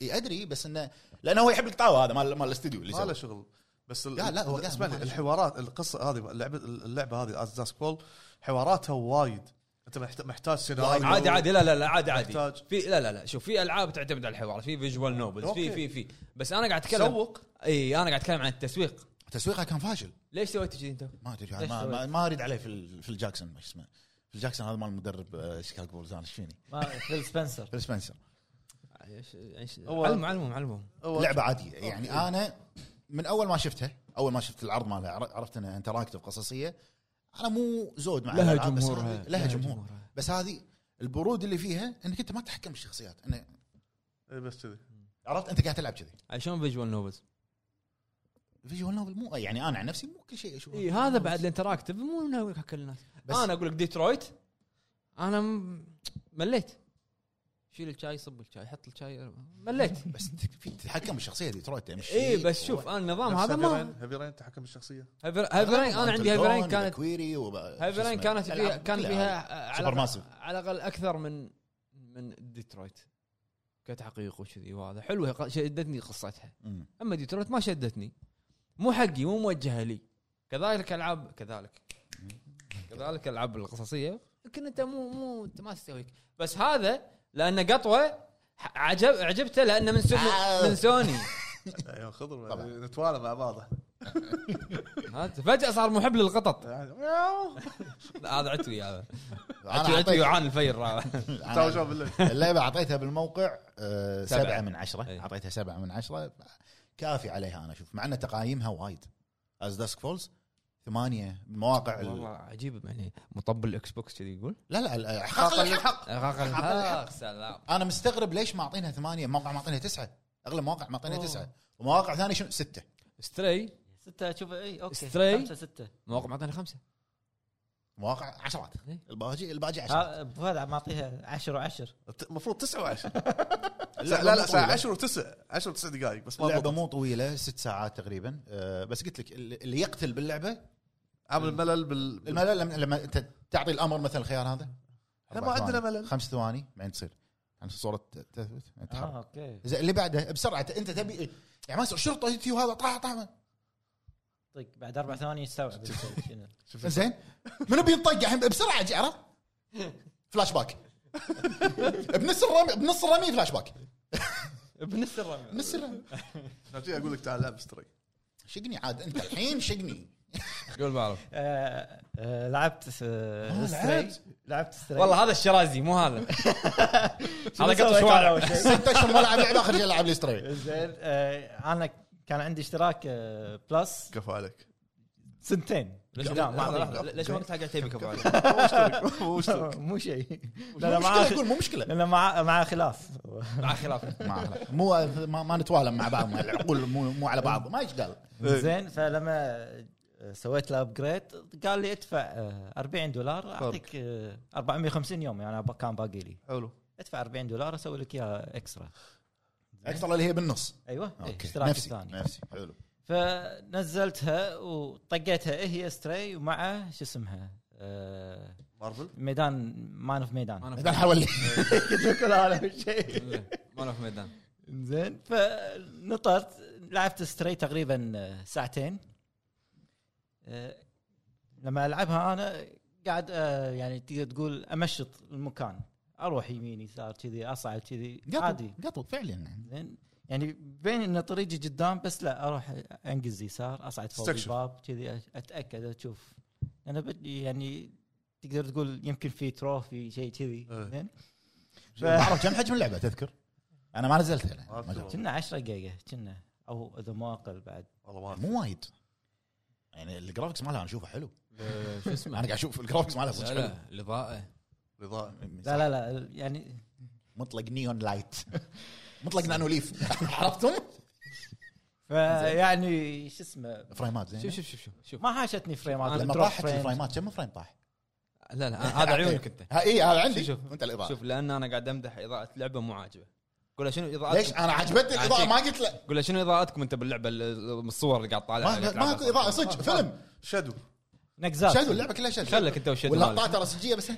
Speaker 3: ادري بس انه لانه هو يحب القطاوه هذا مال مال الاستديو اللي
Speaker 2: ما له
Speaker 3: سوى
Speaker 2: شغل بس
Speaker 3: لا، لا، هو قاعد
Speaker 2: اسمعني
Speaker 3: ما له شغل.
Speaker 2: الحوارات القصه هذه اللعبه اللعبه هذه از داسك بول حواراتها وايد انت محت- محتاج سيناريو
Speaker 1: عادي عادي لا لا لا عادي عادي
Speaker 2: محتاج.
Speaker 1: في لا لا لا شوف في العاب تعتمد على الحوار في فيجوال نوبلز في في
Speaker 2: أوكي.
Speaker 1: في بس انا قاعد اتكلم
Speaker 2: سوق
Speaker 1: اي انا قاعد اتكلم عن التسويق
Speaker 3: تسويقها كان فاشل
Speaker 1: ليش سويت كذي انت؟
Speaker 3: ما ادري
Speaker 4: ليش
Speaker 3: ما,
Speaker 4: سويت؟
Speaker 3: ما, ما اريد عليه في ال- في الجاكسون ما اسمه في الجاكسون هذا مال المدرب آه، شيكاغو بولز انا ايش فيني
Speaker 4: ما فيل سبنسر
Speaker 3: فيل سبنسر
Speaker 2: هو-
Speaker 1: علمهم علمهم علمهم
Speaker 2: هو-
Speaker 3: لعبه عاديه يعني انا من اول ما شفتها اول ما شفت العرض مالها عر- عرفت انها انتراكتيف قصصيه انا مو زود مع
Speaker 1: لها
Speaker 3: الألعاب، بس
Speaker 1: جمهورها.
Speaker 3: هذه- لها
Speaker 1: لها
Speaker 3: جمهور
Speaker 1: جمهورها.
Speaker 3: بس هذه البرود اللي فيها انك انت ما تتحكم بالشخصيات انا
Speaker 2: إي، إيه، بس كذي
Speaker 3: عرفت انت قاعد تلعب كذي
Speaker 1: شلون فيجوال نوبلز؟
Speaker 3: فيجوال نوفل مو يعني انا عن نفسي مو كل شيء اشوفه
Speaker 1: اي هذا بعد الانتراكتيف مو من كل الناس
Speaker 3: بس-
Speaker 1: انا اقول لك ديترويت انا م- مليت شيل الشاي صب الشاي حط الشاي مليت
Speaker 3: بس ت- في تتحكم بالشخصيه ديترويت مش
Speaker 1: اي بس شوف انا النظام هذا ما
Speaker 2: هيفي رين تحكم بالشخصيه
Speaker 1: هيفر- هيفرين انا عندي هيفرين كانت
Speaker 3: كويري وب...
Speaker 1: هايبرين كانت فيها كان فيها
Speaker 3: سوبر
Speaker 1: على
Speaker 3: ماسف
Speaker 1: على الاقل اكثر من من ديترويت كتحقيق وكذي وهذا حلوه ق- شدتني قصتها اما ديترويت ما شدتني مو حقي مو موجهه لي كذلك العاب كذلك كذلك العاب القصصيه يمكن انت مو مو انت ما تستويك بس هذا لانه قطوه ح- عجب عجبته لانه من سون من سوني
Speaker 2: ايوه خضر
Speaker 3: طبعاً.
Speaker 2: نتوالى مع بعض
Speaker 1: هذا فجاه صار محب للقطط
Speaker 2: يعني، مياو.
Speaker 1: لا، هذا عتوي هذا عتوي
Speaker 3: انا
Speaker 1: عتوي
Speaker 3: أعطيت-
Speaker 1: يعان الفير هذا.
Speaker 2: تعالوا
Speaker 3: أنا [laughs]
Speaker 2: شوف بالله
Speaker 3: اللعبه اعطيتها بالموقع آه،
Speaker 1: سبعة. إيه.
Speaker 3: سبعة من عشرة
Speaker 1: أي.
Speaker 3: اعطيتها سبعة من عشرة كافي عليها انا اشوف مع ان تقايمها وايد از داسك فولز ثمانية مواقع ال...
Speaker 1: والله عجيب يعني مطبل الاكس بوكس كذي يقول
Speaker 3: لا لا ال- حقا للحق
Speaker 1: [laughs] اغاق الحق سلام
Speaker 3: انا مستغرب ليش ما اعطينها ثمانية موقع ما اعطينها تسعة اغلب مواقع ما اعطينها
Speaker 1: أوه.
Speaker 3: تسعة ومواقع ثانية شنو ستة
Speaker 1: ستري
Speaker 4: ستة شوف اي اوكي
Speaker 1: ستري.
Speaker 4: خمسة ستة
Speaker 1: مواقع معطينا خمسه
Speaker 3: مواقع عشرات
Speaker 1: أي.
Speaker 3: الباجي الباجي عشرات
Speaker 4: ها، ابو فهد معطيها 10 و10
Speaker 2: المفروض 9 و10
Speaker 3: اللعبة
Speaker 2: لا لا
Speaker 3: مو
Speaker 2: ساعه
Speaker 3: طويلة.
Speaker 2: 10 و9 10 و9 دقائق بس ما
Speaker 3: اللعبة
Speaker 2: ضبط.
Speaker 3: مو طويلة ست ساعات تقريبا أه بس قلت لك اللي اللي يقتل باللعبة
Speaker 2: عامل ملل بال بال-
Speaker 3: الملل لما- لما انت تعطي الامر مثلا الخيار هذا
Speaker 2: احنا ما
Speaker 3: أربع
Speaker 2: عندنا
Speaker 3: ثواني.
Speaker 2: ملل
Speaker 3: خمس ثواني بعدين تصير عن صوره ت- تثبت بعدين تتحرك.
Speaker 4: اه
Speaker 2: آه.
Speaker 4: اوكي
Speaker 3: زين اللي بعده بسرعه انت تبي يعني ما يصير شرطه يجي وهذا طاح طاح
Speaker 4: طيب بعد اربع ثواني يستوعب [laughs] شنو.
Speaker 3: زين منو بينطق الحين بسرعه جي عرفت فلاش باك [laughs] بنص الرمي بنص الرمي فلاش باك
Speaker 1: بنفس الرمي
Speaker 3: بنص الرمي
Speaker 2: عشان كذي اقول لك تعال العب ستري
Speaker 3: شقني عاد انت الحين شقني
Speaker 1: قول بعرف
Speaker 4: آه، آه، لعبت آه،
Speaker 3: آه،
Speaker 4: ستري
Speaker 3: لعبت.
Speaker 4: لعبت ستري
Speaker 1: والله هذا الشرازي مو هذا
Speaker 3: [laughs]
Speaker 1: هذا
Speaker 4: شنو
Speaker 1: قط
Speaker 4: سويت أنا
Speaker 1: شوارع
Speaker 4: أول شيء؟
Speaker 3: ست اشهر ما لعب لعبه اخر شيء لعب لي ستري
Speaker 4: زين آه، انا كان عندي اشتراك آه، بلس
Speaker 2: كفو عليك
Speaker 4: سنتين
Speaker 1: ليش
Speaker 4: لا، ما
Speaker 1: لحظة،
Speaker 4: أعطيك.
Speaker 1: لحظة، ليش ما قلت حق عتيبي
Speaker 3: [laughs]
Speaker 1: كفو
Speaker 2: مو مشترك مو مشترك
Speaker 4: [laughs] مو شيء لا
Speaker 3: مو مشكله
Speaker 4: لا معاه
Speaker 3: يقول مو مشكله
Speaker 4: لان مع مع خلاف
Speaker 1: مع
Speaker 3: [laughs]
Speaker 1: خلاف
Speaker 3: ما أحلى. مو ما, ما نتوالم مع بعض ما العقول مو مو على بعض ما ايش قال
Speaker 4: زين فلما سويت له ابجريد قال لي ادفع آه، 40 دولار اعطيك آه، 450 يوم يعني أنا كان باقي لي
Speaker 2: حلو
Speaker 4: ادفع 40 دولار اسوي لك اياها اكسترا
Speaker 3: اكثر اللي هي بالنص
Speaker 4: ايوه إيه،
Speaker 3: اوكي
Speaker 4: اشتراك
Speaker 3: نفسي نعم.
Speaker 4: الثاني
Speaker 3: نفسي حلو
Speaker 4: فنزلتها وطقيتها إيه هي ستري ومع شو اسمها آه،
Speaker 2: مارفل
Speaker 4: ميدان مان اوف
Speaker 1: [laughs]
Speaker 4: ميدان
Speaker 1: انا
Speaker 3: اذا حولي
Speaker 4: قلت لكم هذا الشيء
Speaker 1: ما انا في ميدان
Speaker 4: زين فنطرت لعبت آه، ستري آه، تقريبا ساعتين أه، لما العبها انا قاعد آه، يعني تقدر تقول امشط المكان اروح يمين يسار كذي اصعد كذي عادي
Speaker 3: قطو قطو فعلا يعني
Speaker 4: زين يعني بين ان طريقي قدام بس لا اروح انقز يسار اصعد فوق
Speaker 2: استكشف.
Speaker 4: الباب كذي اتاكد اشوف انا بدي يعني تقدر تقول يمكن في تروفي شيء كذي
Speaker 2: إيه.
Speaker 4: زين ف-
Speaker 3: ما اعرف كم حجم اللعبه تذكر انا ما نزلتها يعني.
Speaker 2: ما
Speaker 3: ما
Speaker 2: أذكر.
Speaker 3: جربت.
Speaker 4: كنا 10 جيجا كنا او اذا ما اقل بعد
Speaker 2: والله ما أدري.
Speaker 3: مو وايد يعني الجرافكس مالها انا اشوفه حلو
Speaker 1: آه، شو
Speaker 3: انا
Speaker 1: اسمه
Speaker 3: قاعد اشوف الجرافكس مالها
Speaker 1: لا
Speaker 3: [laughs] صدق حلو
Speaker 1: لا الاضاءه
Speaker 2: الإضاءة.
Speaker 4: لا لا لا يعني
Speaker 3: مطلق نيون لايت [laughs] مطلق نانو ليف [laughs] عرفتم؟
Speaker 4: فيعني يعني شو اسمه
Speaker 3: فريمات زين
Speaker 1: شوف شوف شوف شوف شوف
Speaker 4: ما حاشتني فريمات
Speaker 3: لما
Speaker 4: drop
Speaker 3: طاحت
Speaker 4: frame.
Speaker 3: الفريمات كم فريم طاح؟
Speaker 1: لا لا هذا عيونك
Speaker 3: [laughs]
Speaker 1: انت
Speaker 3: ها اي هذا عندي
Speaker 1: شوف
Speaker 3: شوف
Speaker 1: شوف.
Speaker 3: انت الاضاءه شوف
Speaker 1: شوف لان انا قاعد امدح اضاءه لعبه مو عاجبه قول له شنو اضاءتكم
Speaker 3: ليش انا عجبتني الاضاءه
Speaker 1: عجيب.
Speaker 3: ما قلت لا
Speaker 1: قول له شنو اضاءتكم انت باللعبه ال- الصور اللي قاعد طالع
Speaker 3: ما ماكو اضاءه صدق آه، فيلم
Speaker 2: شادو
Speaker 4: نكزات
Speaker 3: شادو اللعبه كلها شادو
Speaker 1: خلك انت وشد مالك
Speaker 3: واللقطات رسجيه بس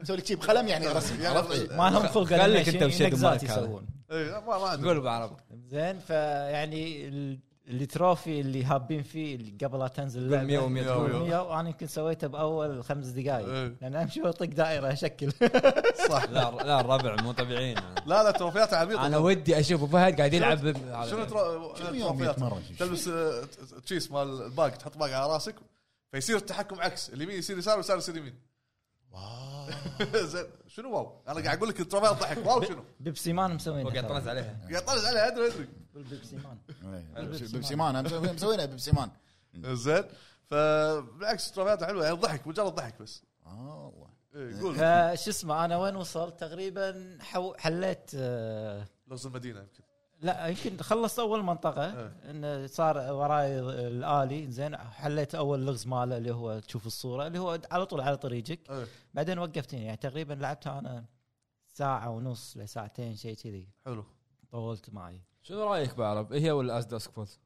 Speaker 3: مسوي لك شي بقلم يعني رسم عرفت؟
Speaker 4: ما لهم خلق
Speaker 1: خليك
Speaker 4: animation،
Speaker 1: أنت بشيء
Speaker 4: نكزات
Speaker 1: دماغك هذا.
Speaker 4: يسوون
Speaker 2: اي إيه، لا، ما ما ادري
Speaker 1: قول بعربي
Speaker 4: زين فيعني ال- التروفي اللي هابين فيه اللي قبل لا تنزل
Speaker 1: قول 100
Speaker 4: اللعبه
Speaker 1: و100
Speaker 2: مية ومية.
Speaker 1: تقول.
Speaker 4: 100 وانا يمكن سويته باول خمس
Speaker 2: إيه.
Speaker 4: دقائق لان امشي واطق دائره اشكل
Speaker 2: صح
Speaker 1: لا لا الربع مو طبيعيين
Speaker 2: لا لا تروفيات عبيطه
Speaker 1: انا ودي اشوف أبو فهد قاعد يلعب
Speaker 2: شنو
Speaker 1: شنو
Speaker 2: ترو-
Speaker 3: شنو يوم
Speaker 2: تروفيات
Speaker 3: يتمرن؟
Speaker 2: تلبس آه، ت- ت- تشيس مال الباق تحط باق على راسك فيصير التحكم عكس اليمين يصير يسار واليسار يصير يمين [laughs] زين شنو واو؟ انا قاعد اقول لك التروفيات ضحك واو
Speaker 3: [laughs]
Speaker 2: شنو؟
Speaker 4: [laughs] بيبسي مان مسوينه
Speaker 1: وقاعد طنز
Speaker 4: ترى.
Speaker 1: عليها
Speaker 2: قاعد طالع عليها ادري ادري
Speaker 4: بالبيبسي مان
Speaker 3: ببسيمان إيه. أنا مسوي- مسوينها ببسيمان
Speaker 2: زين فبالعكس تروفيات حلوه يعني ضحك مجرد ضحك بس
Speaker 3: آه، والله.
Speaker 2: إيه، قول
Speaker 4: فشو اسمه انا وين وصلت تقريبا حو حليت آه،
Speaker 2: لغز المدينه يمكن
Speaker 4: لا يمكن خلصت اول منطقه
Speaker 2: إيه.
Speaker 4: انه صار وراي الالي زين حليت اول لغز ماله اللي هو تشوف الصوره اللي هو على طول على طريقك
Speaker 2: إيه،
Speaker 4: بعدين وقفت هنا، يعني تقريبا لعبتها انا ساعه ونص لساعتين شيء كذي
Speaker 2: حلو
Speaker 4: طولت معي
Speaker 1: شنو رايك بعرب هي ولا اس داسك فولز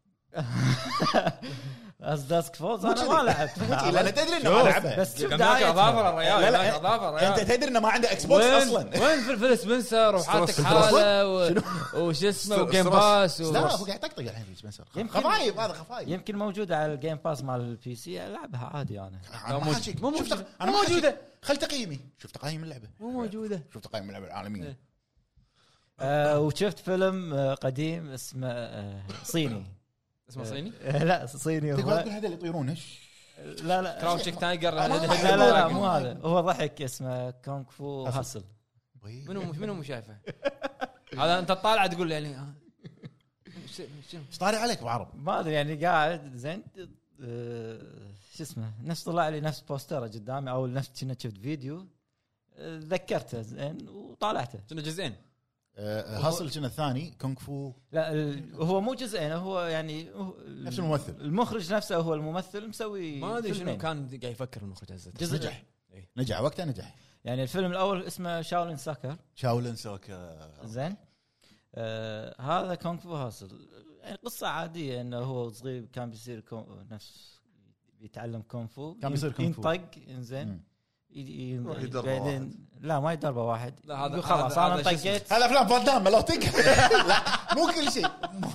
Speaker 4: از داسك فولز انا ما لعبت
Speaker 3: لان تدري انه ما لعبها
Speaker 4: بس شوف
Speaker 1: كان هناك اظافر
Speaker 4: دايتها
Speaker 1: الريال
Speaker 3: لا، لا.
Speaker 1: هناك اظافر
Speaker 3: انت
Speaker 1: الريال
Speaker 3: تدري انه ما عنده اكس بوكس
Speaker 1: وين
Speaker 3: اصلا
Speaker 1: وين في فيل سبنسر وحالتك
Speaker 2: ستروس.
Speaker 1: حاله و- وش اسمه
Speaker 2: ستروس.
Speaker 1: وجيم باس و-
Speaker 3: [laughs] لا هو قاعد يطقطق الحين في سبنسر
Speaker 4: يمكن-
Speaker 3: خفايف هذا خفايف
Speaker 4: يمكن موجوده على الجيم باس مال البي سي العبها عادي انا
Speaker 3: انا
Speaker 1: مو-
Speaker 3: ما حاجيك.
Speaker 1: مو
Speaker 3: شوف
Speaker 1: موجودة.
Speaker 3: تق- انا
Speaker 1: مو
Speaker 3: ما حاجيك.
Speaker 1: موجودة.
Speaker 3: خل تقييمي شوف تقييم اللعبه
Speaker 1: مو موجوده
Speaker 3: شوف تقييم اللعبه العالميه
Speaker 1: إيه.
Speaker 4: آه وشفت فيلم آه، قديم اسمه آه، صيني
Speaker 1: اسمه صيني
Speaker 4: آه، لا صيني
Speaker 3: تقول
Speaker 4: هو
Speaker 3: هذول اللي يطيرون ايش
Speaker 4: لا لا
Speaker 1: كراوتشينج تايجر
Speaker 3: لا،
Speaker 4: لا لا, لا مو هذا هو ضحك اسمه كونغ فو هاسل
Speaker 3: طيب.
Speaker 1: منو منو مو شايفه هذا انت تطالع تقول يعني آه. شنو- شنو
Speaker 3: ايش طالع عليك ابو عرب
Speaker 4: ما ادري يعني قاعد زين آه، شو اسمه نفس طلع لي نفس بوستره قدامي او نفس كنا شفت فيديو آه، ذكرته زين وطالعته
Speaker 1: شنو جزئين
Speaker 3: هاسل كنا الثاني كونغ فو
Speaker 4: لا ال- هو مو جزئين هو يعني هو-
Speaker 3: نفس الممثل
Speaker 4: المخرج نفسه هو الممثل مسوي
Speaker 1: ما ادري شنو
Speaker 4: فيلمين.
Speaker 1: كان قاعد يفكر المخرج هزه
Speaker 4: جزء
Speaker 3: نجح نجح وقتها نجح
Speaker 4: يعني الفيلم الاول اسمه شاولين ساكر
Speaker 3: شاولن سوك [laughs]
Speaker 4: زين آه هذا كونغ فو هاسل يعني قصه عاديه انه هو صغير كان بيصير كون نفس بيتعلم كونغ فو
Speaker 3: كان بيصير كونغ فو.
Speaker 4: ينطق انزين
Speaker 3: مم.
Speaker 4: ي- ي-
Speaker 2: يروح يدربه
Speaker 4: بعدين-
Speaker 2: واحد.
Speaker 4: لا ما يدربه واحد
Speaker 1: لا، هذا-
Speaker 4: يقول خلاص
Speaker 1: هذا-
Speaker 4: انا
Speaker 1: هذا شو [laughs]
Speaker 4: طقيت
Speaker 3: هذا افلام فان دام لو [laughs] تك لا مو كل شيء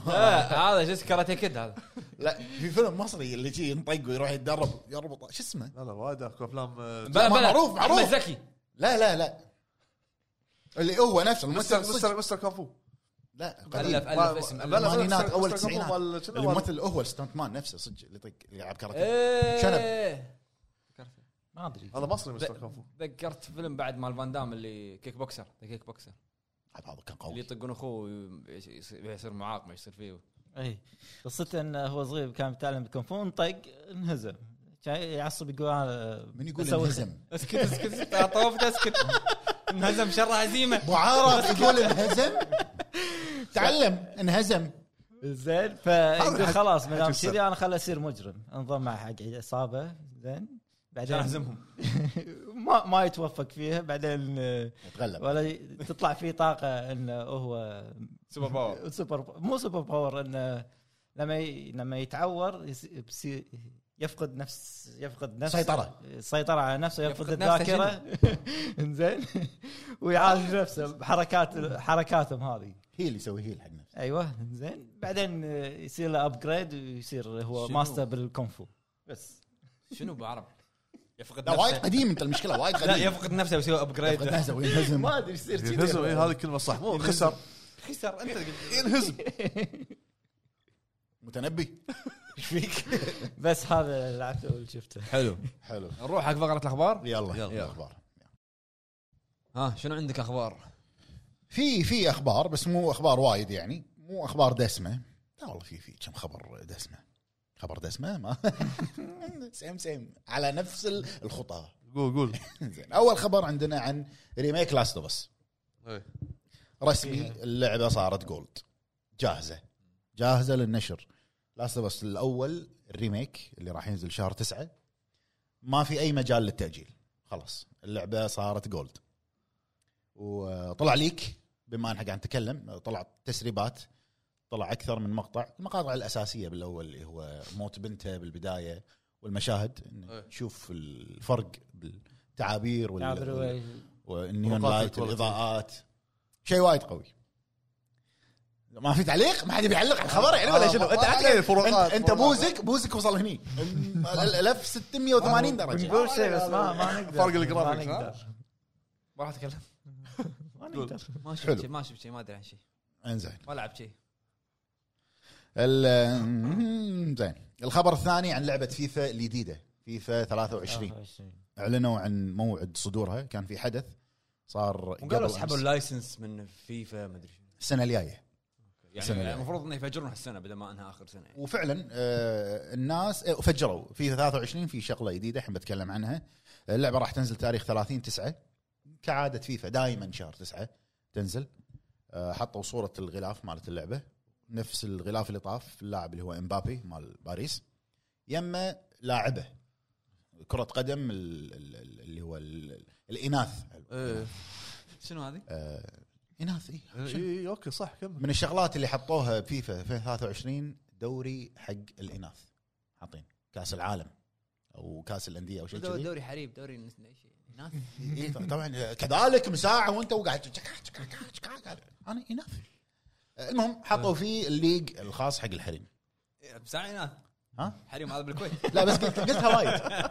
Speaker 1: لا هذا شو اسمه كاراتيه كيد هذا
Speaker 3: لا في فيلم مصري اللي شي ينطق ويروح يتدرب يربط شو اسمه
Speaker 2: لا لا وايد اكو افلام آه،
Speaker 1: بلا بلا
Speaker 3: معروف، معروف.
Speaker 1: احمد زكي
Speaker 3: لا لا لا اللي هو
Speaker 2: مستر
Speaker 3: نفسه الممثل صدق.
Speaker 2: مستر مستر كافو
Speaker 3: لا قديم.
Speaker 1: الف الف
Speaker 2: ما-
Speaker 1: اسم
Speaker 2: ما-
Speaker 1: ألف.
Speaker 2: لا، لا.
Speaker 3: الثمانينات
Speaker 2: مستر-
Speaker 3: اول
Speaker 2: مستر
Speaker 3: التسعينات
Speaker 2: كوفو مال شنو مال-
Speaker 3: الممثل هو الستانت مان نفسه صدق اللي يطق اللي يلعب كاراتيه
Speaker 1: إيه.
Speaker 4: ما ادري
Speaker 2: هذا مصري مستر كافو
Speaker 1: تذكرت فيلم بعد مال فان دام اللي كيك بوكسر ذا كيك بوكسر
Speaker 3: هذا كان
Speaker 1: اللي
Speaker 3: قوي
Speaker 1: يطقون اخوه ويش- يصير يصير معاق ما يصير فيه
Speaker 4: اي إيه. قصته انه هو صغير كان بيتعلم كونغ فو انطق انهزم كان يعصب يقول انا
Speaker 3: من يقول
Speaker 4: بسوي-
Speaker 3: انهزم
Speaker 1: [laughs] اسكت اسكت طوفت اسكت انهزم شر [laughs] هزيمه
Speaker 3: ابو عرب يقول انهزم تعلم انهزم
Speaker 1: [laughs]
Speaker 4: زين فيقول
Speaker 2: حق-
Speaker 4: خلاص
Speaker 2: حق
Speaker 4: ما دام
Speaker 2: السر.
Speaker 4: كذي انا خل اصير مجرم انضم مع حق عصابه زين
Speaker 1: عشان
Speaker 4: بعدين
Speaker 1: اهزمهم
Speaker 4: [laughs] ما ما يتوفق فيها بعدين آه،
Speaker 3: يتغلب
Speaker 4: ولا ي- تطلع فيه طاقه انه هو
Speaker 1: سوبر باور
Speaker 4: سوبر مو سوبر باور انه لما ي... لما يتعور يس... بسي... يفقد نفس يفقد نفسه
Speaker 3: سيطرة.
Speaker 4: سيطرة على نفسه يفقد,
Speaker 1: يفقد نفسه
Speaker 4: الذاكرة [laughs] انزين ويعالج نفسه بحركات حركاتهم هذه
Speaker 3: هيل يسوي هيل حق نفسه
Speaker 4: ايوه انزين بعدين آه، يصير له ابجريد ويصير هو
Speaker 1: شنو؟
Speaker 4: ماستر بالكونفو بس
Speaker 1: شنو بعرب يفقد
Speaker 3: لا وايد
Speaker 1: نفسه
Speaker 3: قديم انت المشكله وايد
Speaker 1: لا
Speaker 3: قديم
Speaker 1: يفقد نفسه ويسوي ابجريد
Speaker 3: ينهزم
Speaker 4: [laughs]
Speaker 3: ينهزم
Speaker 4: ما ادري ايش يصير كذي.
Speaker 2: ينهزم اي إيه، هذه الكلمه صح مو خسر
Speaker 1: خسر انت
Speaker 2: [laughs] ينهزم
Speaker 3: متنبي ايش فيك؟
Speaker 4: [laughs] بس هذا لعبته وشفته
Speaker 1: حلو
Speaker 3: حلو
Speaker 1: نروح حق فقره الاخبار
Speaker 3: يلا
Speaker 2: يلا.
Speaker 3: يلا اخبار
Speaker 1: ها شنو عندك اخبار؟
Speaker 3: في في اخبار بس مو اخبار وايد يعني مو اخبار دسمه لا والله في في كم خبر دسمه خبر دسمه ما [laughs] سيم سيم على نفس ال- الخطى
Speaker 2: قول قول
Speaker 3: [laughs] زين اول خبر عندنا عن ريميك لاست اوف اس
Speaker 2: إيه.
Speaker 3: رسمي اللعبه صارت جولد جاهزه جاهزه للنشر لاست اوف اس الاول الريميك اللي راح ينزل شهر تسعة ما في اي مجال للتاجيل خلاص اللعبه صارت جولد وطلع ليك بما ان احنا قاعد نتكلم طلع تسريبات طلع اكثر من مقطع المقاطع الاساسيه بالاول اللي هو موت بنته بالبدايه والمشاهد إن
Speaker 2: إيه.
Speaker 3: تشوف الفرق بالتعابير وال-
Speaker 4: تعبر
Speaker 3: وال-
Speaker 4: وي-
Speaker 3: والنيون
Speaker 2: طرقات
Speaker 3: لايت
Speaker 2: الكواليتي.
Speaker 3: والاضاءات شيء وايد قوي ما في تعليق ما حد يبي يعلق على الخبر يعني ولا شنو انت
Speaker 2: عليه الفروقات.
Speaker 3: أنت- انت بوزك بوزك وصل هني 1680 درجه
Speaker 4: بنقول شيء بس ما ما نقدر
Speaker 2: فرق الجرافيكس،
Speaker 4: ما
Speaker 2: ها؟
Speaker 4: نقدر.
Speaker 1: ما راح اتكلم
Speaker 4: ما نقدر
Speaker 1: ما شفت
Speaker 3: حلو.
Speaker 1: شيء ما شفت شيء ما ادري عن شيء
Speaker 3: انزين
Speaker 1: ما لعبت شيء
Speaker 3: ال- زين الخبر الثاني عن لعبه فيفا الجديده فيفا 23
Speaker 4: آه،
Speaker 3: اعلنوا عن موعد صدورها كان في حدث صار
Speaker 1: وقالوا
Speaker 3: قبل
Speaker 1: سحبوا
Speaker 3: أمس.
Speaker 1: اللايسنس من فيفا ما ادري شنو.
Speaker 3: السنه الجايه السنة
Speaker 1: يعني
Speaker 3: الجاية.
Speaker 1: المفروض انه يفجرون هالسنه بدل ما انها اخر سنه يعني.
Speaker 3: وفعلا آه، الناس آه، فجروا في 23 في شغله جديده الحين بتكلم عنها اللعبه راح تنزل تاريخ 30 9 كعاده فيفا دائما شهر 9 تنزل آه، حطوا صوره الغلاف مالت اللعبه نفس الغلاف اللي طاف اللاعب اللي هو امبابي مال باريس يما لاعبه كره قدم ال- ال- ال- اللي هو ال- الاناث
Speaker 2: إيه.
Speaker 1: شنو هذه؟
Speaker 3: آه، اناث اي
Speaker 2: اي اوكي إيه، صح كمل
Speaker 3: من الشغلات اللي حطوها بفيفا 2023 دوري حق الاناث حاطين كاس العالم او كاس الانديه او شيء كذي
Speaker 1: دوري حريب دوري شيء ناس
Speaker 3: إيه، طبعا كذلك مساعه وانت وقاعد تشكع- تشكع- تشكع- تشكع. انا اناث المهم حطوا فيه الليج الخاص حق الحريم
Speaker 1: بساعة ناس
Speaker 3: ها؟
Speaker 1: حريم هذا بالكويت
Speaker 3: لا بس قلت- قلتها وايد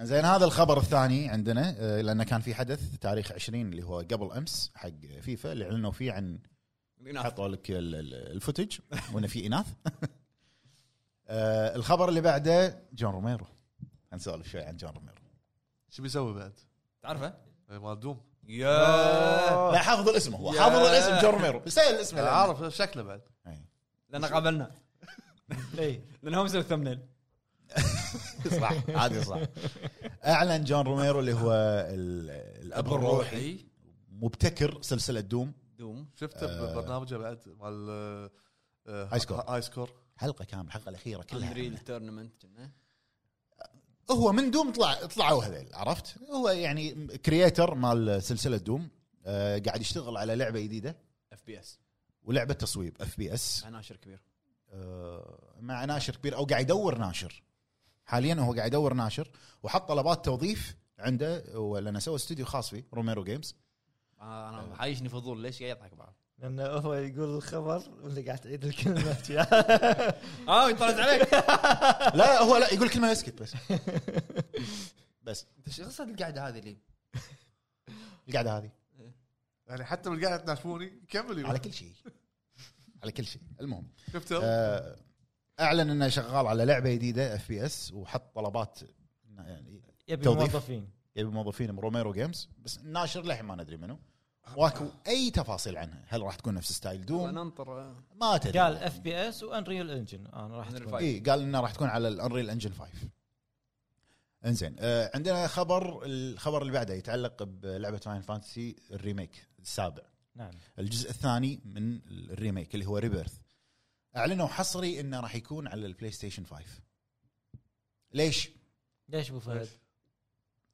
Speaker 3: زين هذا الخبر الثاني عندنا آه، لانه كان في حدث تاريخ 20 اللي هو قبل امس حق فيفا اللي اعلنوا فيه عن
Speaker 1: ناس.
Speaker 3: حطوا لك ال- ال- الفوتج وانه في اناث [laughs] آه، الخبر اللي بعده جون روميرو هنسولف شوي عن جون روميرو
Speaker 2: شو بيسوي بعد؟
Speaker 1: تعرفه؟
Speaker 2: إيه، مال دوم
Speaker 1: يا
Speaker 3: لا حافظ الاسم هو
Speaker 1: يا.
Speaker 3: حافظ الاسم جون روميرو [laughs] سهل الاسم
Speaker 2: أنا
Speaker 3: لأنه-
Speaker 2: عارف شكله بعد
Speaker 3: إيه.
Speaker 1: لان قابلنا
Speaker 4: اي
Speaker 1: لان هو مسوي الثمنيل
Speaker 3: [laughs] صح هذه صح اعلن جون روميرو اللي هو ال- الاب الروحي مبتكر سلسله دوم
Speaker 1: دوم
Speaker 2: شفته ببرنامجه بعد مال آه، آه،
Speaker 3: هاي سكور.
Speaker 2: هاي سكور
Speaker 3: حلقه كامله الحلقه الاخيره كلها
Speaker 1: اندريل تورنمنت كنا
Speaker 3: هو من دوم طلع طلعوا هذيل عرفت؟ هو يعني كرييتر مال سلسله دوم آه، قاعد يشتغل على لعبه جديده
Speaker 1: اف بي اس
Speaker 3: ولعبه تصويب اف بي اس
Speaker 1: عناشر كبير
Speaker 3: آه، مع ناشر كبير او قاعد يدور ناشر حاليا هو قاعد يدور ناشر وحط طلبات توظيف عنده ولنا سوى استوديو خاص فيه روميرو جيمز
Speaker 1: آه، انا عايشني فضول ليش قاعد يضحك بعض
Speaker 4: لانه هو يقول الخبر وانت قاعد تعيد الكلمه
Speaker 1: اه يطرد عليك
Speaker 3: لا هو لا يقول كلمه يسكت بس بس
Speaker 1: انت شو قصه القعده هذه اللي
Speaker 3: القعده هذه
Speaker 2: يعني حتى بالقاعد تناشفوني كمل يقول.
Speaker 3: على كل شيء على كل شيء المهم
Speaker 2: شفته
Speaker 3: آه، اعلن انه شغال على لعبه جديده اف بي اس وحط طلبات إنه يعني
Speaker 4: يبي
Speaker 3: توظيف.
Speaker 4: موظفين
Speaker 3: يبي موظفين من روميرو جيمز بس الناشر للحين ما ندري منو واكو اي تفاصيل عنها هل راح تكون نفس ستايل دوم
Speaker 1: ننطر آه.
Speaker 3: ما تدري
Speaker 4: قال اف بي اس وانريل انجن انا آه، راح
Speaker 1: Unreal
Speaker 4: تكون-
Speaker 1: five.
Speaker 3: اي إيه، قال انه راح تكون على الانريل انجن 5 انزين آه عندنا خبر الخبر اللي بعده يتعلق بلعبه فاين فانتسي الريميك السابع
Speaker 4: نعم
Speaker 3: الجزء الثاني من الريميك اللي هو ريبيرث اعلنوا حصري انه راح يكون على البلاي ستيشن 5 ليش؟
Speaker 4: ليش ابو فهد؟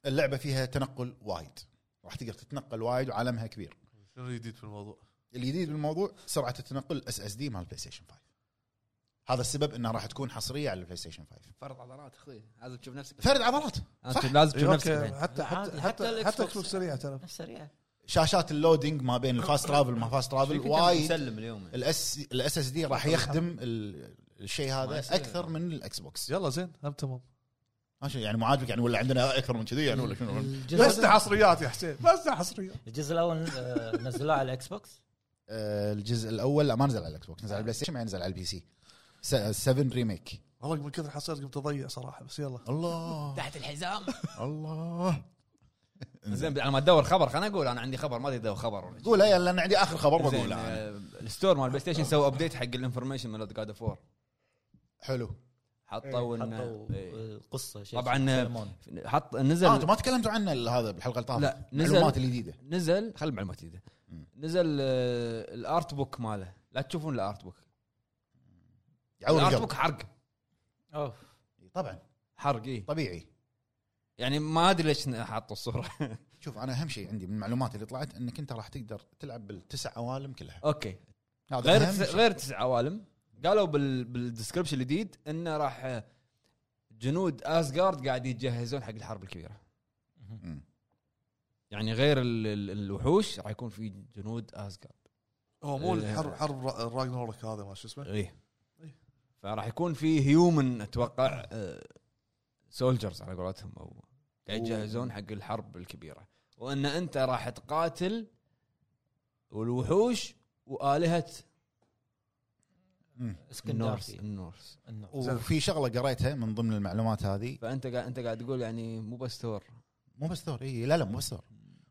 Speaker 3: اللعبه فيها تنقل وايد راح تقدر تتنقل وايد وعالمها كبير
Speaker 2: شنو جديد في الموضوع؟
Speaker 3: الجديد بالموضوع سرعه التنقل الاس اس دي مال البلاي ستيشن 5 هذا السبب انها راح تكون حصريه على البلاي ستيشن 5
Speaker 1: فرض عضلات اخوي لازم تشوف نفسك
Speaker 3: فرد عضلات صح.
Speaker 1: لازم
Speaker 2: إيه،
Speaker 1: تشوف
Speaker 2: أوكي،
Speaker 1: نفسك
Speaker 2: حتى
Speaker 4: عادي،
Speaker 2: حتى
Speaker 4: حتى
Speaker 2: حتى
Speaker 4: الإكس
Speaker 2: حتى
Speaker 4: بوكس.
Speaker 2: كلوب سريع ترى
Speaker 4: سريع
Speaker 3: شاشات اللودينج ما بين
Speaker 1: [coughs]
Speaker 3: الفاست ترافل ما فاست ترافل وايد
Speaker 1: مسلم اليوم يعني.
Speaker 3: الاس الاس اس دي راح يخدم ال- الشيء
Speaker 1: ما
Speaker 3: هذا
Speaker 1: يصير.
Speaker 3: اكثر من الاكس بوكس
Speaker 2: يلا زين هم تمام
Speaker 3: ماشي يعني مو عاجبك يعني ولا عندنا اكثر من كذي يعني ولا شنو
Speaker 2: بس
Speaker 4: الجزء
Speaker 2: حصريات يا حسين بس حصريات
Speaker 4: الجزء الاول آه، نزلوه على الاكس بوكس
Speaker 3: آه، الجزء الاول لا ما نزل على الاكس بوكس نزل على البلاي ستيشن ما نزل على البي سي 7 ريميك
Speaker 2: والله من كثر حصريات قمت اضيع صراحه بس يلا
Speaker 3: الله
Speaker 1: تحت الحزام
Speaker 3: الله
Speaker 1: زين على ما تدور خبر خليني اقول انا عندي خبر ما ادري تدور خبر ولا شي.
Speaker 3: قول يلا لان عندي اخر خبر
Speaker 1: زين،
Speaker 3: بقوله أنا.
Speaker 1: آه، الستور مال بلاي ستيشن سوى ابديت حق الانفورميشن مال جاد اوف وور
Speaker 3: حلو
Speaker 1: حطوا انه
Speaker 4: حطوا
Speaker 1: إيه.
Speaker 4: آه، قصه شيء
Speaker 1: طبعاً،
Speaker 4: اسمه
Speaker 1: آه،
Speaker 4: سليمون.
Speaker 1: حط
Speaker 3: اه انتم
Speaker 1: نزل
Speaker 3: ما تكلمتوا عنه ال- هذا بالحلقه اللي طافت
Speaker 1: لا، نزل.
Speaker 3: المعلومات الجديده
Speaker 1: نزل خل المعلومات جديده
Speaker 3: مم.
Speaker 1: نزل آه، الارت بوك ماله لا تشوفون الارت بوك
Speaker 3: يعور
Speaker 1: الارت
Speaker 3: القلب
Speaker 1: بوك حرق
Speaker 4: اوف
Speaker 3: طبعا
Speaker 1: حرق اي
Speaker 3: طبيعي
Speaker 1: يعني ما ادري ليش حطوا الصوره [laughs]
Speaker 3: شوف انا اهم شيء عندي من المعلومات اللي طلعت انك انت راح تقدر تلعب بالتسع عوالم كلها
Speaker 1: اوكي
Speaker 3: هذا
Speaker 1: غير
Speaker 3: أهم
Speaker 1: تسع
Speaker 3: شيء.
Speaker 1: غير تسع عوالم قالوا بال بالدسكربشن الجديد انه راح آه، جنود اسجارد قاعد يتجهزون حق الحرب الكبيره
Speaker 3: مم.
Speaker 1: يعني غير ال- ال- الوحوش راح يكون في جنود اسجارد
Speaker 2: هو مو
Speaker 1: ال-
Speaker 2: الحرب حرب راجنورك هذا ما شو اسمه
Speaker 1: ايه
Speaker 2: إيه.
Speaker 1: فراح يكون في هيومن اتوقع سولجرز على قولتهم او قاعد يجهزون حق الحرب الكبيره وان انت راح تقاتل والوحوش والهه
Speaker 3: مم.
Speaker 1: النورس
Speaker 4: اسكندرسي
Speaker 1: النورس
Speaker 4: النورس.
Speaker 3: وفي شغله قريتها من ضمن المعلومات هذه
Speaker 1: فانت قاعد انت قاعد تقول يعني مو بس ثور
Speaker 3: مو بس ثور اي لا لا مو بس ثور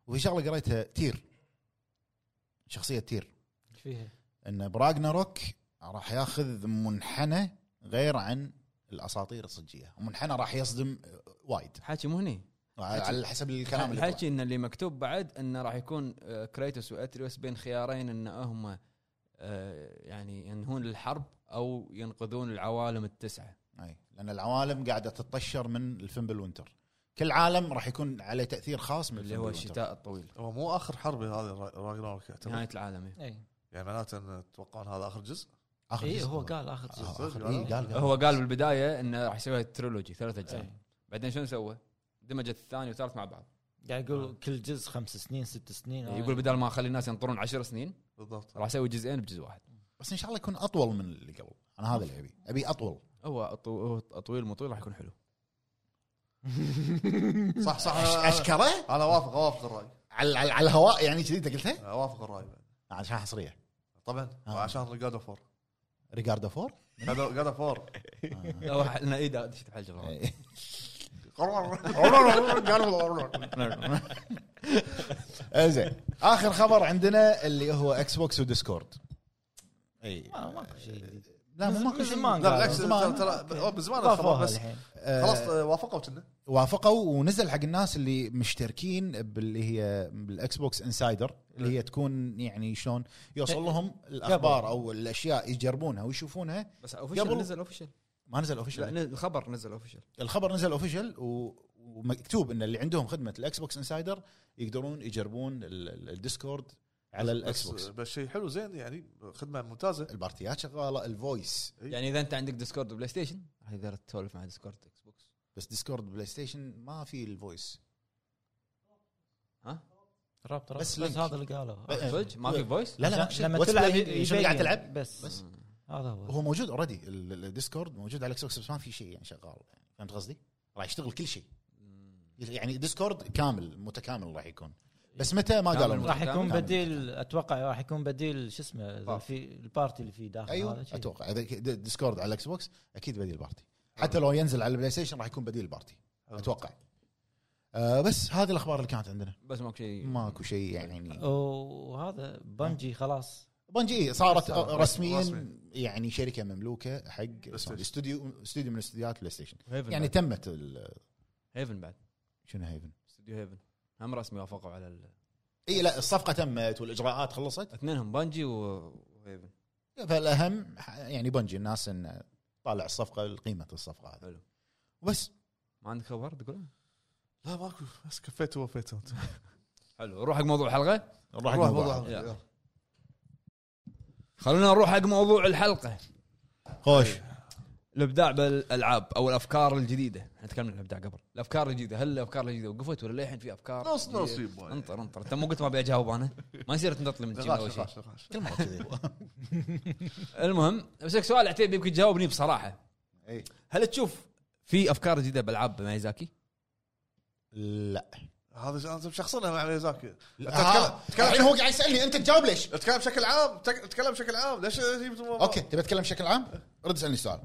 Speaker 3: وفي شغله قريتها تير شخصيه تير
Speaker 4: ايش فيها؟
Speaker 3: ان براغناروك راح ياخذ منحنى غير عن الاساطير الصجيه منحنى راح يصدم آه، وايد
Speaker 1: حكي مو هني
Speaker 3: على على حسب الكلام اللي
Speaker 1: الحكي ان اللي مكتوب بعد انه راح يكون آه، كريتوس واتريوس بين خيارين ان هم آه، يعني ينهون الحرب او ينقذون العوالم التسعه
Speaker 3: طلع. أي. لان العوالم قاعده تتطشر من الفنبل وينتر كل عالم راح يكون عليه تاثير خاص من
Speaker 1: اللي هو
Speaker 3: الفنبل وينتر.
Speaker 1: الشتاء الطويل
Speaker 2: هو مو اخر حرب هذا راجنورك
Speaker 1: نهايه
Speaker 2: يعتبر
Speaker 1: العالم إيه.
Speaker 4: اي
Speaker 2: يعني معناته ان تتوقعون هذا اخر جزء
Speaker 3: اخر
Speaker 4: إيه،
Speaker 3: جزء
Speaker 4: هو قال اخر
Speaker 3: آه،
Speaker 4: جزء.
Speaker 2: صدق
Speaker 3: آخر-
Speaker 2: قال؟
Speaker 3: إيه، قال
Speaker 1: هو قال بالبدايه انه راح يسوي تريلوجي ثلاث
Speaker 4: إي.
Speaker 1: اجزاء
Speaker 3: إيه.
Speaker 1: بعدين شنو سوى؟ دمج الثاني والثالث مع بعض
Speaker 4: قاعد
Speaker 3: آه.
Speaker 4: يقول كل جزء خمس سنين ست سنين
Speaker 3: إيه،
Speaker 1: يقول
Speaker 4: آه.
Speaker 1: بدل ما اخلي الناس ينطرون عشر سنين
Speaker 2: بالضبط
Speaker 1: راح اسوي جزئين بجزء واحد
Speaker 3: بس ان شاء الله يكون اطول من اللي قبل انا هذا اللي ابي ابي اطول
Speaker 1: هو أطو- هو طويل مو طويل راح يكون حلو
Speaker 2: صح صح
Speaker 3: أش-
Speaker 2: أنا-
Speaker 3: اشكره
Speaker 2: انا اوافق اوافق الراي
Speaker 3: على على- على الهواء يعني كذي انت قلتها
Speaker 2: أنا اوافق الراي بعد.
Speaker 3: عشان حصريه
Speaker 2: طبعا
Speaker 3: آه.
Speaker 2: عشان جاد اوف [laughs] وور
Speaker 3: ريجاردو فور
Speaker 2: جاد اوف وور
Speaker 1: [laughs] هو إيه، حلنا ايده شفت حلقه
Speaker 3: إيه.
Speaker 2: [laughs]
Speaker 3: زين اخر خبر عندنا اللي هو اكس بوكس وديسكورد اي
Speaker 4: ما- ماكو شيء جديد
Speaker 3: لا مو ماكو
Speaker 4: من
Speaker 3: شيء
Speaker 4: زمان
Speaker 2: لا
Speaker 4: قالوا.
Speaker 2: بالعكس ترى
Speaker 3: زمان.
Speaker 2: ترى هو من زمان
Speaker 4: ضافوها
Speaker 2: الخبر بس
Speaker 4: الحين
Speaker 3: آه،
Speaker 2: خلاص آه، وافقوا كنا
Speaker 3: وافقوا ونزل حق الناس اللي مشتركين باللي هي بالاكس بوكس انسايدر اللي هي تكون يعني شلون يوصل لهم الاخبار او الاشياء يجربونها ويشوفونها
Speaker 1: بس اوفشل
Speaker 3: قبل-
Speaker 1: نزل اوفشل
Speaker 3: ما نزل
Speaker 1: لا
Speaker 3: اوفيشال
Speaker 1: نزل- الخبر نزل اوفشل
Speaker 3: الخبر نزل اوفيشال ومكتوب ان اللي عندهم خدمه الاكس بوكس انسايدر يقدرون يجربون ال- ال- الديسكورد على الاكس
Speaker 2: بس-
Speaker 3: بوكس
Speaker 2: بس شيء حلو زين يعني خدمه ممتازه
Speaker 3: البارتيات شغاله الفويس
Speaker 1: يعني اذا انت عندك ديسكورد وبلاي ستيشن راح تقدر تسولف مع ديسكورد اكس بوكس
Speaker 3: بس ديسكورد بلاي ستيشن ما في الفويس
Speaker 1: ها
Speaker 4: رابط رابط
Speaker 3: بس
Speaker 4: بس,
Speaker 3: لينك.
Speaker 4: هذا اللي قالوه
Speaker 1: إيه. صدق ما في فويس
Speaker 3: لا لا
Speaker 4: عشان لما
Speaker 3: واتس
Speaker 4: تلعب
Speaker 3: بلاي- شنو قاعد
Speaker 4: يبين. يعني.
Speaker 3: تلعب
Speaker 4: بس, آه،
Speaker 3: بس.
Speaker 4: هذا هو
Speaker 3: هو موجود اوريدي الديسكورد موجود على الاكس بوكس بس ما في شيء يعني شغال يعني فهمت قصدي؟ راح يشتغل كل شيء يعني ديسكورد كامل متكامل راح يكون بس متى ما
Speaker 1: كامل
Speaker 3: قالوا
Speaker 1: متكامل.
Speaker 3: متى.
Speaker 4: راح يكون
Speaker 3: كامل.
Speaker 4: بديل اتوقع راح يكون بديل شو اسمه إذا
Speaker 1: بارتي.
Speaker 4: في البارتي اللي فيه داخل
Speaker 3: ايوه
Speaker 4: هذا شيء.
Speaker 3: اتوقع اذا ك- د- ديسكورد على الاكس بوكس اكيد بديل بارتي حتى لو ينزل على البلاي ستيشن راح يكون بديل بارتي اتوقع آه بس هذه الاخبار اللي كانت عندنا
Speaker 1: بس ماكو شيء
Speaker 3: ماكو شيء يعني
Speaker 4: وهذا
Speaker 3: آه.
Speaker 4: بنجي
Speaker 3: [laughs]
Speaker 4: خلاص
Speaker 3: بنجي صارت
Speaker 4: صار
Speaker 3: رسميا
Speaker 2: رسمي.
Speaker 3: يعني شركه مملوكه حق
Speaker 2: ستيشن.
Speaker 3: سوني. استوديو استوديو من استديوهات بلاي ستيشن
Speaker 1: هيفن
Speaker 3: يعني
Speaker 1: يعني
Speaker 3: تمت ال-
Speaker 1: هيفن بعد
Speaker 3: شنو هيفن
Speaker 1: استوديو هيفن هم رسمي وافقوا على ال-
Speaker 3: اي لا الصفقه تمت والاجراءات خلصت
Speaker 1: اثنينهم بانجي و- وهيفن
Speaker 3: فالاهم ح- يعني بنجي الناس ان طالع الصفقه قيمه الصفقه هذه
Speaker 1: حلو.
Speaker 3: وبس
Speaker 1: ما عندك خبر تقول
Speaker 2: لا ماكو بس كفيت ووفيت انت
Speaker 1: حلو نروح حق موضوع الحلقه
Speaker 2: روح
Speaker 3: نروح الموضوع.
Speaker 2: موضوع
Speaker 1: يلا.
Speaker 2: يلا.
Speaker 1: خلونا نروح حق موضوع الحلقه
Speaker 3: خوش
Speaker 1: الابداع بالالعاب او الافكار الجديده نتكلم عن الابداع قبل الافكار الجديده هل الافكار الجديده وقفت ولا للحين في افكار
Speaker 2: نص
Speaker 1: جديدة؟
Speaker 2: نص يبا.
Speaker 1: انطر انطر انت مو قلت ما ابي اجاوب انا ما يصير تنطلي
Speaker 2: [laughs]
Speaker 1: من الجيم اول
Speaker 2: نقاش
Speaker 1: شيء
Speaker 2: نقاش نقاش
Speaker 3: كل مره كذي
Speaker 1: المهم بسالك سؤال عتيبي يمكن تجاوبني بصراحه
Speaker 3: إي.
Speaker 1: هل تشوف في افكار جديده بالعاب مايزاكي
Speaker 3: لا
Speaker 2: هذا انا شخصنا مع ميزاكي أنت
Speaker 3: آه.
Speaker 2: تتكلم- تتكلم-
Speaker 3: الحين هو قاعد يسالني انت تجاوب ليش؟
Speaker 2: اتكلم بشكل عام تك- اتكلم بشكل عام ليش جبت الموضوع؟
Speaker 3: اوكي تبي اتكلم بشكل عام؟ رد اسالني سؤال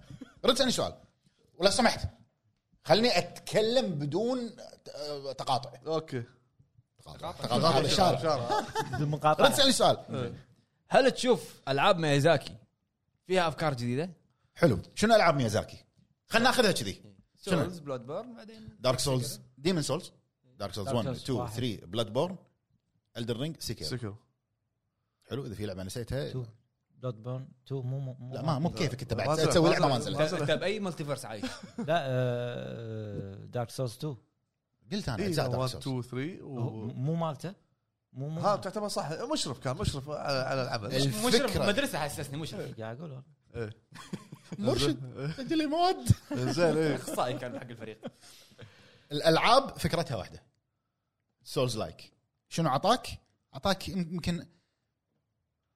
Speaker 3: رد اسالني سؤال ولو سمحت خلني اتكلم بدون آه، تقاطع
Speaker 2: اوكي
Speaker 3: تقاطع تقاطع إيه. هذا الشارع
Speaker 2: شارع
Speaker 3: رد
Speaker 4: بالمقاطعه
Speaker 3: اسالني سؤال
Speaker 1: هل تشوف العاب مايزاكي فيها افكار جديده؟
Speaker 3: حلو شنو العاب ميازاكي؟ خلينا ناخذها كذي شنو؟
Speaker 1: سولز بلاد بيرن بعدين
Speaker 3: دارك سولز ديمن سولز دارك سولز
Speaker 4: Dark
Speaker 3: 1
Speaker 4: Souls
Speaker 3: 2
Speaker 4: واحد.
Speaker 3: 3 بلاد بورن الدر رينج سيكير
Speaker 2: سكر
Speaker 3: حلو اذا في لعبه نسيتها
Speaker 4: تو. بلاد بورن 2 مو مو مو-
Speaker 3: لا ما مو بكيفك انت
Speaker 2: ما
Speaker 3: بعد
Speaker 2: نزلت،
Speaker 3: تسوي
Speaker 2: ما
Speaker 3: لعبه ما
Speaker 2: نزلت.
Speaker 3: نزلت
Speaker 1: انت أنت باي مالتيفيرس عايش؟
Speaker 4: لا دارك سولز 2
Speaker 3: قلت
Speaker 2: إيه،
Speaker 3: انا اجزاء دارك
Speaker 2: 1
Speaker 3: سولز
Speaker 2: 2 3
Speaker 4: هو
Speaker 2: و...
Speaker 4: مو مالته مو مو
Speaker 2: ها تعتبر صح مشرف كان مشرف على, على العمل
Speaker 1: مشرف
Speaker 3: الفكره
Speaker 1: مدرسه حسسني
Speaker 2: [laughs]
Speaker 1: مشرف
Speaker 4: قاعد اقول والله.
Speaker 2: إيه.
Speaker 3: مرشد سجل لي مواد
Speaker 2: زين ايه
Speaker 1: اخصائي كان حق الفريق
Speaker 3: الالعاب فكرتها واحده سولز لايك شنو عطاك؟ عطاك يمكن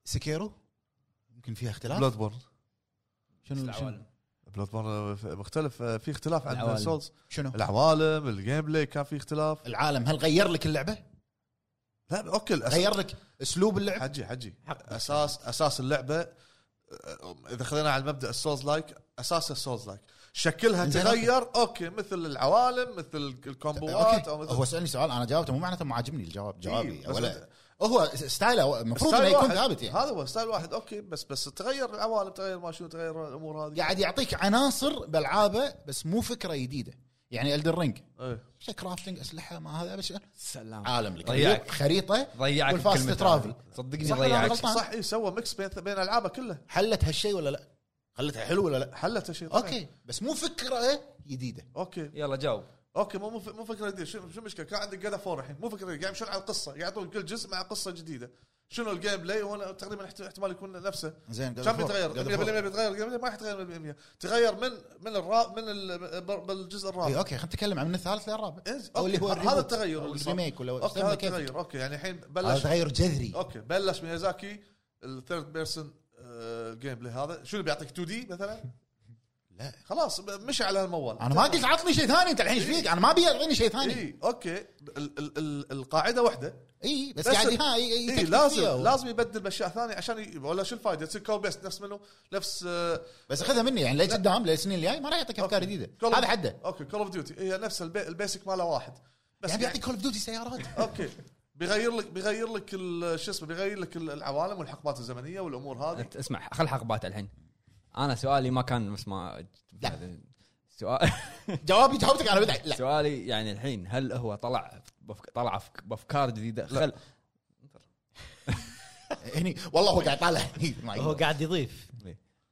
Speaker 3: سكيرو يمكن فيها اختلاف
Speaker 2: بلاد بورن
Speaker 3: شنو شنو,
Speaker 1: العوالم.
Speaker 2: بلاد بورن آه، مختلف في اختلاف عن
Speaker 1: العوالم.
Speaker 2: سولز
Speaker 3: شنو؟
Speaker 2: العوالم الجيم بلاي كان في اختلاف
Speaker 3: العالم هل غير لك اللعبه؟
Speaker 2: لا اوكي الأس...
Speaker 3: غير لك اسلوب اللعب؟
Speaker 2: حجي حجي
Speaker 4: حق.
Speaker 2: اساس اساس اللعبه أه، اذا خذينا على المبدا السولز لايك اساس السولز لايك شكلها
Speaker 3: إنزين،
Speaker 2: تغير اوكي مثل العوالم مثل الكومبوات
Speaker 3: اوكي
Speaker 2: او مثل
Speaker 3: هو سالني سؤال انا جاوبته مو معناته ما عاجبني الجواب جوابي
Speaker 2: إيه، بس
Speaker 3: ولا هو ستايله المفروض انه
Speaker 2: ستايل
Speaker 3: يكون
Speaker 2: واحد.
Speaker 3: ثابت يعني
Speaker 2: هذا هو ستايل واحد اوكي بس بس تغير العوالم تغير ما شو تغير الامور هذه
Speaker 3: قاعد يعطيك عناصر بالعابه بس مو فكره جديده يعني الدر رينج
Speaker 2: إيه.
Speaker 3: كرافتنج اسلحه ما هذا بس
Speaker 1: سلام
Speaker 3: عالم لك
Speaker 1: ضيعك.
Speaker 3: خريطه
Speaker 1: آه، ضيعك
Speaker 3: والفاست
Speaker 1: بكلمة
Speaker 3: ترافل.
Speaker 1: هذه. صدقني
Speaker 3: صح ولا أنا
Speaker 1: ضيعك
Speaker 3: غلطان؟
Speaker 2: صح اي سوى ميكس بين بين العابه كلها
Speaker 3: حلت هالشيء ولا لا؟ خلتها حلو ولا لا؟
Speaker 2: حلت شيء
Speaker 3: اوكي بس مو إيه، فكره جديده
Speaker 2: اوكي
Speaker 1: يلا جاوب
Speaker 2: اوكي مو مو ف- مو فكره جديده شو شو المشكله كان عندك جاد فور الحين مو يعني فكره جديدة. قاعد يمشون على القصه قاعد يعطون كل جزء مع قصه جديده شنو الجيم بلاي وانا تقريبا احت- احتمال يكون نفسه
Speaker 3: زين God
Speaker 2: كان
Speaker 3: of War-
Speaker 2: بيتغير 100%
Speaker 3: God of War.
Speaker 2: بيتغير الجيم بلاي ما راح يتغير 100% تغير من من الرا من ال- بر- بالجزء
Speaker 3: اي
Speaker 2: الرابع
Speaker 3: اوكي خلينا إيه، نتكلم عن من الثالث للرابع
Speaker 2: إنز-
Speaker 3: او اللي
Speaker 2: إيه،
Speaker 3: هو
Speaker 2: أوكي، هذا
Speaker 3: الريبوت
Speaker 2: التغير
Speaker 3: أو
Speaker 2: اللي صار.
Speaker 3: الريميك ولا
Speaker 2: اوكي
Speaker 3: استنى
Speaker 2: هذا
Speaker 3: كيف. آه،
Speaker 2: التغير اوكي يعني الحين
Speaker 3: هذا
Speaker 2: بلش
Speaker 3: تغير جذري
Speaker 2: اوكي بلش ميازاكي الثيرد بيرسون الجيم بلاي آه، هذا شنو اللي بيعطيك 2 دي مثلا؟
Speaker 3: لا.
Speaker 2: خلاص ب- مشي على هالموال
Speaker 3: انا ما قلت عطني شيء ثاني انت الحين ايش فيك؟ انا ما ابي اعطيني شيء ثاني
Speaker 2: اي اوكي إيه، ال- ال- ال- القاعده واحده
Speaker 3: اي إيه، بس
Speaker 2: بس-
Speaker 3: قاعد ها اي
Speaker 2: اي لازم لازم يبدل باشياء ثانيه عشان ي... ولا شو الفائده تصير كوبي بيست نفس منه نفس آه،
Speaker 3: بس خذها مني يعني لقدام للسنين الجاي ما راح يعطيك افكار
Speaker 2: أوكي.
Speaker 3: جديده
Speaker 2: Call of-
Speaker 3: هذا يعني حده
Speaker 2: اوكي كول اوف ديوتي هي نفس البي... البيسك ماله واحد بس
Speaker 3: يعني
Speaker 2: يعني
Speaker 3: بيعطيك كول اوف ديوتي سيارات
Speaker 2: اوكي بيغير لك بيغير لك ال- شو اسمه بيغير لك ال- العوالم والحقبات الزمنيه والامور هذه
Speaker 3: إيه.
Speaker 1: انت اسمع خل حقبات الحين انا سؤالي ما كان بس ما يعني
Speaker 3: لا.
Speaker 1: سؤال
Speaker 3: جوابي جاوبتك انا بدعي لا
Speaker 1: سؤالي يعني الحين هل هو طلع بفك... طلع بفك- بافكار جديده خل
Speaker 3: هني والله هو قاعد طالع [laughs] هني
Speaker 4: هو
Speaker 3: معي.
Speaker 4: قاعد يضيف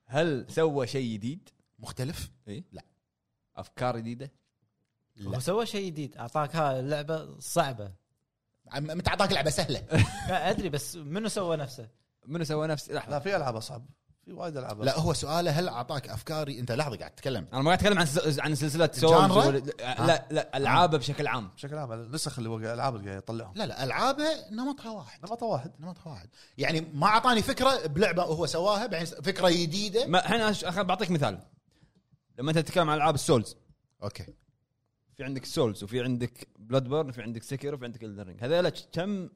Speaker 1: هل سوى شيء جديد؟
Speaker 3: مختلف
Speaker 1: اي
Speaker 3: لا.
Speaker 1: افكار جديده؟
Speaker 3: لا
Speaker 4: هو سوى شيء جديد اعطاك ها اللعبه صعبه
Speaker 3: عم- متى اعطاك لعبه سهله
Speaker 4: لا ادري بس منو سوى نفسه؟
Speaker 1: منو سوى نفس لحظه
Speaker 2: لا في العاب اصعب في وايد العاب
Speaker 3: لا هو سؤاله هل اعطاك افكاري انت لحظه قاعد تتكلم
Speaker 1: انا ما قاعد اتكلم عن سل- عن سلسله سولز
Speaker 3: جانرا؟
Speaker 1: ولا- لا لا العابه بشكل عام
Speaker 2: بشكل عام النسخ اللي هو قاعد- الالعاب اللي قاعد يطلعهم
Speaker 3: لا لا العابه نمطها واحد
Speaker 2: نمطه واحد
Speaker 3: نمطها واحد يعني ما اعطاني فكره بلعبه هو سواها بعدين فكره جديده
Speaker 1: ما الحين أش- أخ- بعطيك مثال لما انت تتكلم عن العاب السولز
Speaker 3: اوكي
Speaker 1: في عندك سولز وفي عندك بلاد بيرن وفي عندك سكر وفي عندك الدن رينج هذول كم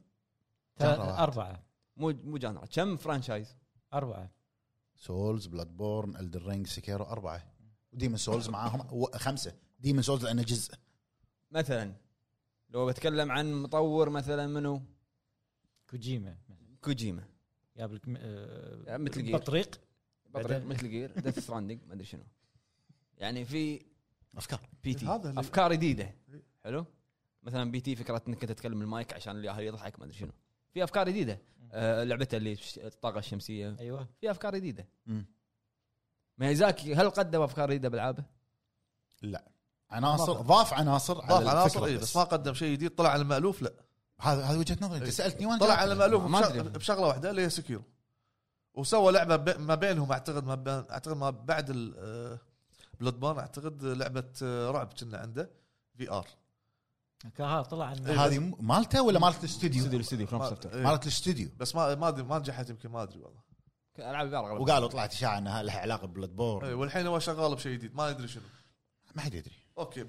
Speaker 2: جانرا واحد.
Speaker 4: اربعه
Speaker 1: مو مو جانرا كم فرانشايز
Speaker 4: اربعه
Speaker 3: سولز بلاد بورن الدر رينج سكيرو اربعه وديمن سولز معاهم و- خمسه ديمن سولز لانه جزء
Speaker 1: مثلا لو بتكلم عن مطور مثلا منو
Speaker 4: كوجيما
Speaker 1: كوجيما
Speaker 4: جاب لك آه،
Speaker 1: يا مثل جير.
Speaker 4: بطريق
Speaker 1: بطريق
Speaker 4: بعدين.
Speaker 1: مثل جير ديث ستراندنج ما ادري شنو يعني في
Speaker 3: افكار
Speaker 1: بي تي
Speaker 2: هذا اللي-
Speaker 1: افكار جديده حلو مثلا بي تي فكره انك انت تتكلم المايك عشان الاهل يضحك ما ادري شنو في افكار جديده آه لعبته اللي ش- الطاقه الشمسيه
Speaker 4: ايوه
Speaker 1: في افكار جديده
Speaker 3: مم.
Speaker 1: ميازاكي هل قدم افكار جديده بالعابه؟
Speaker 3: عناصر ضاف عناصر على
Speaker 2: ضاف عناصر
Speaker 3: الفكرة
Speaker 2: إيه، بس ما قدم شيء جديد طلع على المالوف لا
Speaker 3: هذا هذا وجهه نظري انت سالتني وانا
Speaker 2: طلع
Speaker 3: جاوبت.
Speaker 2: على مالوف
Speaker 1: ما
Speaker 2: بشغ-
Speaker 1: أدري.
Speaker 2: بشغله واحده اللي هي سكيرو وسوى لعبه ب- ما بينهم اعتقد ما بين اعتقد ما بعد آه، بلود بورن اعتقد لعبه آه، رعب كنا عنده في ار
Speaker 4: كان ها طلع عن
Speaker 2: إيه،
Speaker 3: هذه م- مالته ولا مالت
Speaker 1: استوديو
Speaker 3: الاستوديو؟ إيه.
Speaker 1: استوديو فروم سوفتوير
Speaker 3: مالت الاستوديو
Speaker 2: بس ما ما ادري ما نجحت يمكن ما ادري والله
Speaker 1: العاب البارة غالبا
Speaker 3: وقالوا طلعت اشاعه انها لها علاقه ببلاد بورن
Speaker 2: إيه، والحين هو شغال بشيء جديد ما ادري شنو
Speaker 3: ما حد يدري
Speaker 2: اوكي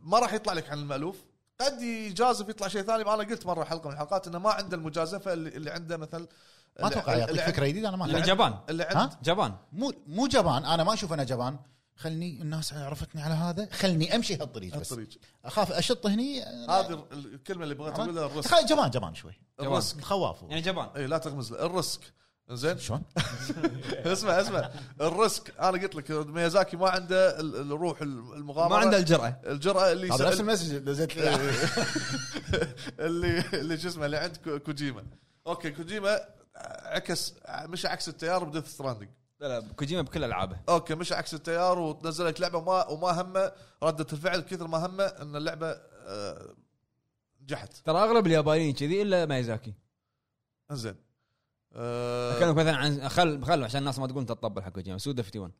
Speaker 2: ما راح يطلع لك عن المالوف قد يجازف يطلع شيء ثاني انا قلت مره حلقه من الحلقات انه ما عنده المجازفه اللي, اللي عنده مثل
Speaker 3: ما اتوقع يعطيك
Speaker 2: اللي,
Speaker 3: فكره جديده انا ما
Speaker 1: لا،
Speaker 3: أتوقع.
Speaker 1: جبان
Speaker 2: اللي عند
Speaker 3: ها
Speaker 1: جبان
Speaker 3: مو مو جبان انا ما اشوف انا جبان خلني الناس عرفتني على هذا خلني امشي هالطريق بس
Speaker 2: الطريق
Speaker 3: اخاف اشط هني
Speaker 2: هذه الكلمه اللي بغيت اقولها الرسك
Speaker 3: خل- جبان جبان شوي
Speaker 1: جوان.
Speaker 2: الرسك
Speaker 3: خواف
Speaker 1: يعني جبان
Speaker 2: اي لا تغمز له الرسك زين
Speaker 3: شلون؟
Speaker 2: [laughs] اسمع اسمع الرسك انا قلت لك ميازاكي ما عنده ال- الروح المغامره
Speaker 1: ما عنده الجرأه
Speaker 2: الجرأه اللي
Speaker 3: هذا نفس
Speaker 2: يسأل
Speaker 3: المسج نزلت
Speaker 2: [laughs] اللي اللي شو اسمه اللي عند كو- كوجيما اوكي كوجيما عكس مش عكس التيار بديث ستراندنج
Speaker 1: لا لا كوجيما بكل العابه
Speaker 2: اوكي مش عكس التيار وتنزل لك لعبه ما وما همه رده الفعل كثر ما همه ان اللعبه آه، نجحت
Speaker 1: ترى اغلب اليابانيين كذي الا مايزاكي
Speaker 2: انزين آه،
Speaker 1: اكلمك مثلا عن خل خل عشان الناس ما تقول انت تطبل حق كوجيما سودا 51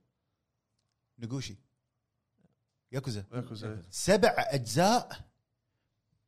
Speaker 3: نقوشي ياكوزا
Speaker 2: ياكوزا.
Speaker 3: سبع اجزاء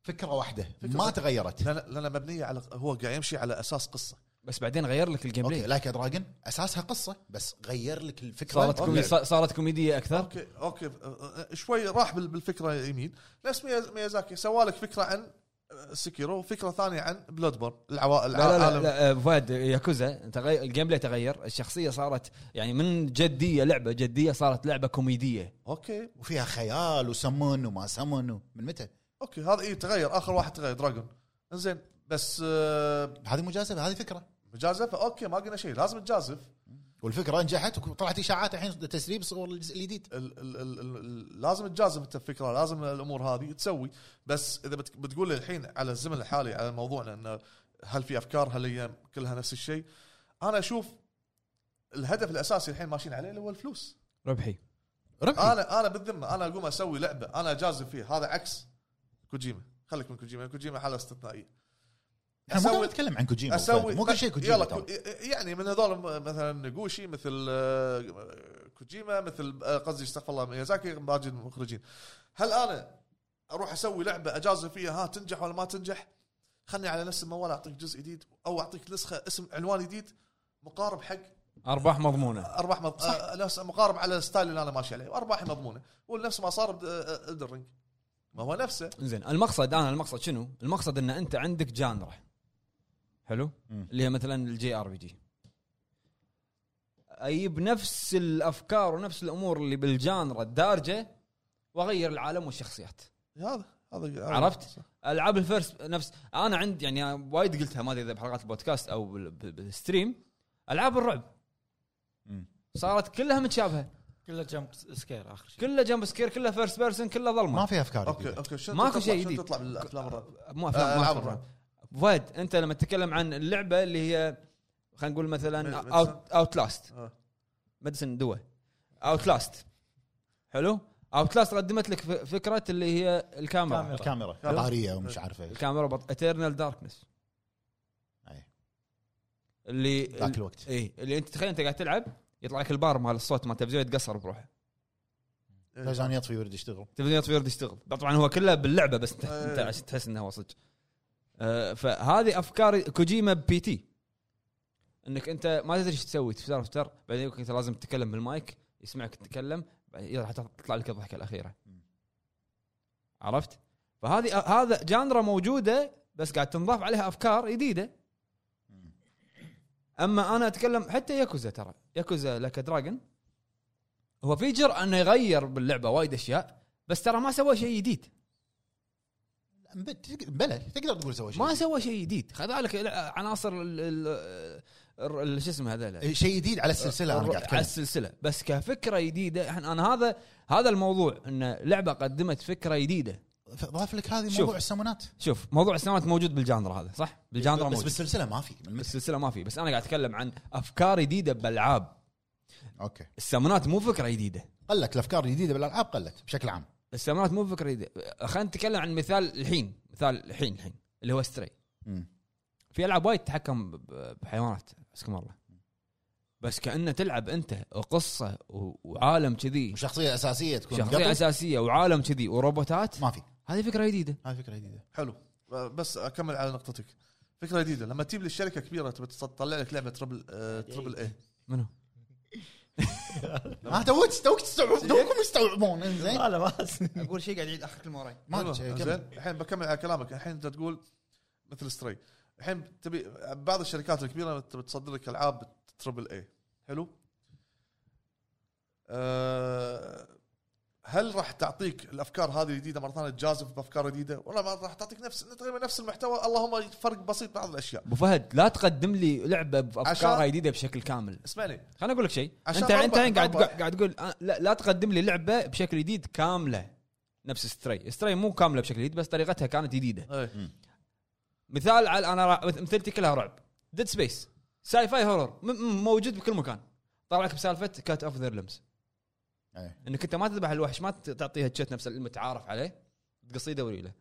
Speaker 3: فكره واحده ما تغيرت
Speaker 2: لان لان مبنيه على هو قاعد يمشي على اساس قصه
Speaker 1: بس بعدين غير لك الجيم
Speaker 3: اوكي
Speaker 1: بلاي
Speaker 3: لايك دراجون اساسها قصه بس غير لك الفكره
Speaker 1: صارت كومي...
Speaker 3: أوكي.
Speaker 1: صارت كوميديه اكثر
Speaker 2: اوكي اوكي آه، آه، شوي راح بال- بالفكره يمين نفس مياز- ميازاكي سوالك فكره عن آه، سكيرو وفكره ثانيه عن بلود بورن العوائل
Speaker 1: لا لا لا, لا أبو فهد ياكوزا تغير الجيم بلاي تغير الشخصيه صارت يعني من جديه لعبه جديه صارت لعبه كوميديه
Speaker 2: اوكي
Speaker 3: وفيها خيال وسمن وما سمن و- من متى؟
Speaker 2: اوكي هذا اي تغير اخر واحد تغير دراجون انزين بس آه،
Speaker 3: هذه مجازفه هذه فكره
Speaker 2: مجازفه اوكي ما قلنا شيء لازم تجازف
Speaker 3: والفكره نجحت وطلعت اشاعات الحين تسريب صور الجزء الجديد
Speaker 2: ال ال ال ال لازم تجازف انت الفكره لازم الامور هذه تسوي بس اذا بت- بتقول الحين على الزمن الحالي على موضوعنا انه هل في افكار هالايام كلها نفس الشيء انا اشوف الهدف الاساسي الحين ماشيين عليه اللي هو الفلوس
Speaker 1: ربحي آه.
Speaker 3: ربحي
Speaker 2: انا انا بالذمه انا اقوم اسوي لعبه انا اجازف فيها هذا عكس كوجيما خليك من كوجيما كوجيما حاله استثنائيه
Speaker 3: احنا مو قاعد
Speaker 2: أسوي-
Speaker 3: نتكلم عن كوجيما
Speaker 2: اسوي
Speaker 3: أسوي مو كل شيء كوجيما
Speaker 2: يلا
Speaker 3: ترى.
Speaker 2: كو- يعني من هذول مثلا نقوشي مثل آه، كوجيما مثل آه، قصدي استغفر الله ميازاكي باقي المخرجين هل انا اروح اسوي لعبه اجازف فيها ها تنجح ولا ما تنجح؟ خلني على نفس الموال اعطيك جزء جديد او اعطيك نسخه اسم عنوان جديد مقارب حق
Speaker 1: ارباح مضمونه
Speaker 2: ارباح مض... آه، نفس مقارب على الستايل اللي انا ماشي عليه وارباحي مضمونه ونفس ما صار آه، بالدرينج ما هو نفسه
Speaker 1: زين المقصد انا المقصد شنو؟ المقصد ان انت عندك جانرا حلو؟
Speaker 3: مم.
Speaker 1: اللي هي مثلا الجي ار بي جي اجيب نفس الافكار ونفس الامور اللي بالجانرا الدارجه واغير العالم والشخصيات
Speaker 2: هذا هذا
Speaker 1: عرفت؟ العاب الفيرست نفس انا عندي يعني وايد قلتها ما ادري اذا بحلقات البودكاست او بال- بال- بالستريم العاب الرعب
Speaker 3: مم.
Speaker 1: صارت كلها متشابهه
Speaker 4: كله جمب سكير اخر شيء
Speaker 1: كلها جمب سكير كلها فيرست بيرسون كلها
Speaker 3: ما
Speaker 1: ظلمه
Speaker 3: في افكار
Speaker 2: اوكي
Speaker 3: جديدة.
Speaker 2: اوكي شنو
Speaker 1: ماكو
Speaker 2: تطلع-
Speaker 1: شيء
Speaker 2: شنو
Speaker 1: جديد.
Speaker 2: تطلع بالافلام الرعب؟
Speaker 1: مو افلام
Speaker 2: آه،
Speaker 1: ما
Speaker 2: ألعاب
Speaker 1: أفلام.
Speaker 2: الرعب.
Speaker 1: فهد انت لما تتكلم عن اللعبه اللي هي خلينا نقول مثلا
Speaker 2: ميد-
Speaker 1: اوت اوت لاست
Speaker 2: آه.
Speaker 1: مدسن دوا اوت لاست حلو اوت لاست قدمت لك ف- فكره اللي هي الكاميرا
Speaker 4: كاميرا.
Speaker 3: الكاميرا
Speaker 2: كاميرا.
Speaker 3: طاريه ومش عارف ايش
Speaker 1: الكاميرا بط... اترنال داركنس
Speaker 3: أي.
Speaker 1: اللي
Speaker 3: ذاك الوقت
Speaker 1: اي اللي انت تخيل انت قاعد تلعب يطلع لك البار مال الصوت مال التلفزيون يتقصر بروحه
Speaker 3: لازم أنا يطفي ويرد يشتغل
Speaker 1: التلفزيون يطفي يرد يشتغل طبعا هو كله باللعبه بس انت,
Speaker 2: إيه.
Speaker 3: آه.
Speaker 1: انت عشان تحس انه هو صدق آه، فهذه افكار كوجيما بي تي انك انت ما تدري ايش تسوي تفتر تفتر بعدين يقولك انت لازم تتكلم بالمايك يسمعك تتكلم بعدين يلا حتى تطلع لك الضحكه الاخيره
Speaker 3: مم.
Speaker 1: عرفت؟ فهذه آه، هذا جانرا موجوده بس قاعد تنضاف عليها افكار جديده
Speaker 3: مم.
Speaker 1: اما انا اتكلم حتى ياكوزا ترى ياكوزا لك دراجون هو في جرأة انه يغير باللعبه وايد اشياء بس ترى ما سوى شيء جديد
Speaker 3: بل- تق- بلى تقدر تقول سوى شيء
Speaker 1: ما سوى شيء جديد خذلك عناصر ال- ال- ال- ال- شو اسمه هذول
Speaker 3: إيه، شيء جديد أه، على السلسله انا قاعد
Speaker 1: على
Speaker 3: اتكلم
Speaker 1: السلسله بس كفكره جديده إحنا- انا هذا هذا الموضوع ان لعبه قدمت فكره جديده
Speaker 3: ضاف لك هذه
Speaker 1: شوف.
Speaker 3: موضوع السمونات
Speaker 1: شوف موضوع السماوات موجود بالجانرا هذا صح بالجانرا
Speaker 3: بس
Speaker 1: موجود بس
Speaker 3: بالسلسله ما في من متى؟
Speaker 1: بالسلسله ما في بس انا قاعد اتكلم عن افكار جديده بالالعاب
Speaker 3: اوكي
Speaker 1: السمنات مو فكره جديده
Speaker 3: قلت الافكار الجديده بالالعاب قلت بشكل عام
Speaker 1: السماوات مو فكره جديده خلينا نتكلم عن مثال الحين مثال الحين الحين اللي هو ستري
Speaker 3: مم.
Speaker 1: في العاب وايد تتحكم ب- بحيوانات حسكم الله بس كانه تلعب انت قصه وعالم كذي
Speaker 3: وشخصيه اساسيه تكون
Speaker 1: شخصيه
Speaker 3: قطو،
Speaker 1: اساسيه وعالم كذي وروبوتات
Speaker 3: ما في
Speaker 1: هذه فكره جديده
Speaker 3: هذه فكره جديده
Speaker 2: حلو بس اكمل على نقطتك فكره
Speaker 3: إيه،
Speaker 2: جديده لما تجيب لي الشركه كبيره تبي تطلع لك لعبه تربل آه، تربل اي
Speaker 1: منو
Speaker 3: ها توك توك تستوعب توكم يستوعبون انزين
Speaker 4: لا لا ما أس-
Speaker 5: اقول شيء قاعد يعيد اخر كلمه وراي
Speaker 3: ما
Speaker 2: حلو،
Speaker 3: أدري شيء،
Speaker 2: زين
Speaker 3: كمل.
Speaker 2: الحين بكمل على كلامك الحين انت تقول مثل ستري الحين تبي بعض الشركات الكبيره بت- بتصدر لك العاب تربل اي حلو أه هل راح تعطيك الافكار هذه الجديده مره ثانيه تجازف بافكار جديده ولا ما راح تعطيك نفس تقريبا نفس المحتوى اللهم فرق بسيط بعض الاشياء
Speaker 1: ابو فهد لا تقدم لي لعبه بافكارها
Speaker 2: عشان-
Speaker 1: جديده بشكل كامل
Speaker 2: اسمعني
Speaker 1: خليني اقول لك شيء
Speaker 2: عشان
Speaker 1: انت انت
Speaker 2: أوضح-
Speaker 1: الحين قاعد
Speaker 2: أوضح.
Speaker 1: قاعد تقول آه، لا, لا تقدم لي لعبه بشكل جديد كامله نفس ستري ستري مو كامله بشكل جديد بس طريقتها كانت جديده
Speaker 2: ايه
Speaker 1: مثال على انا را- مث- مثلتي كلها رعب ديد سبيس ساي فاي هورر م- م- موجود بكل مكان طلع لك بسالفه كات اوف ذير لمس
Speaker 3: إيه.
Speaker 1: انك انت ما تذبح الوحش ما ت- تعطيه هتشت نفس المتعارف عليه تقص ايده وريله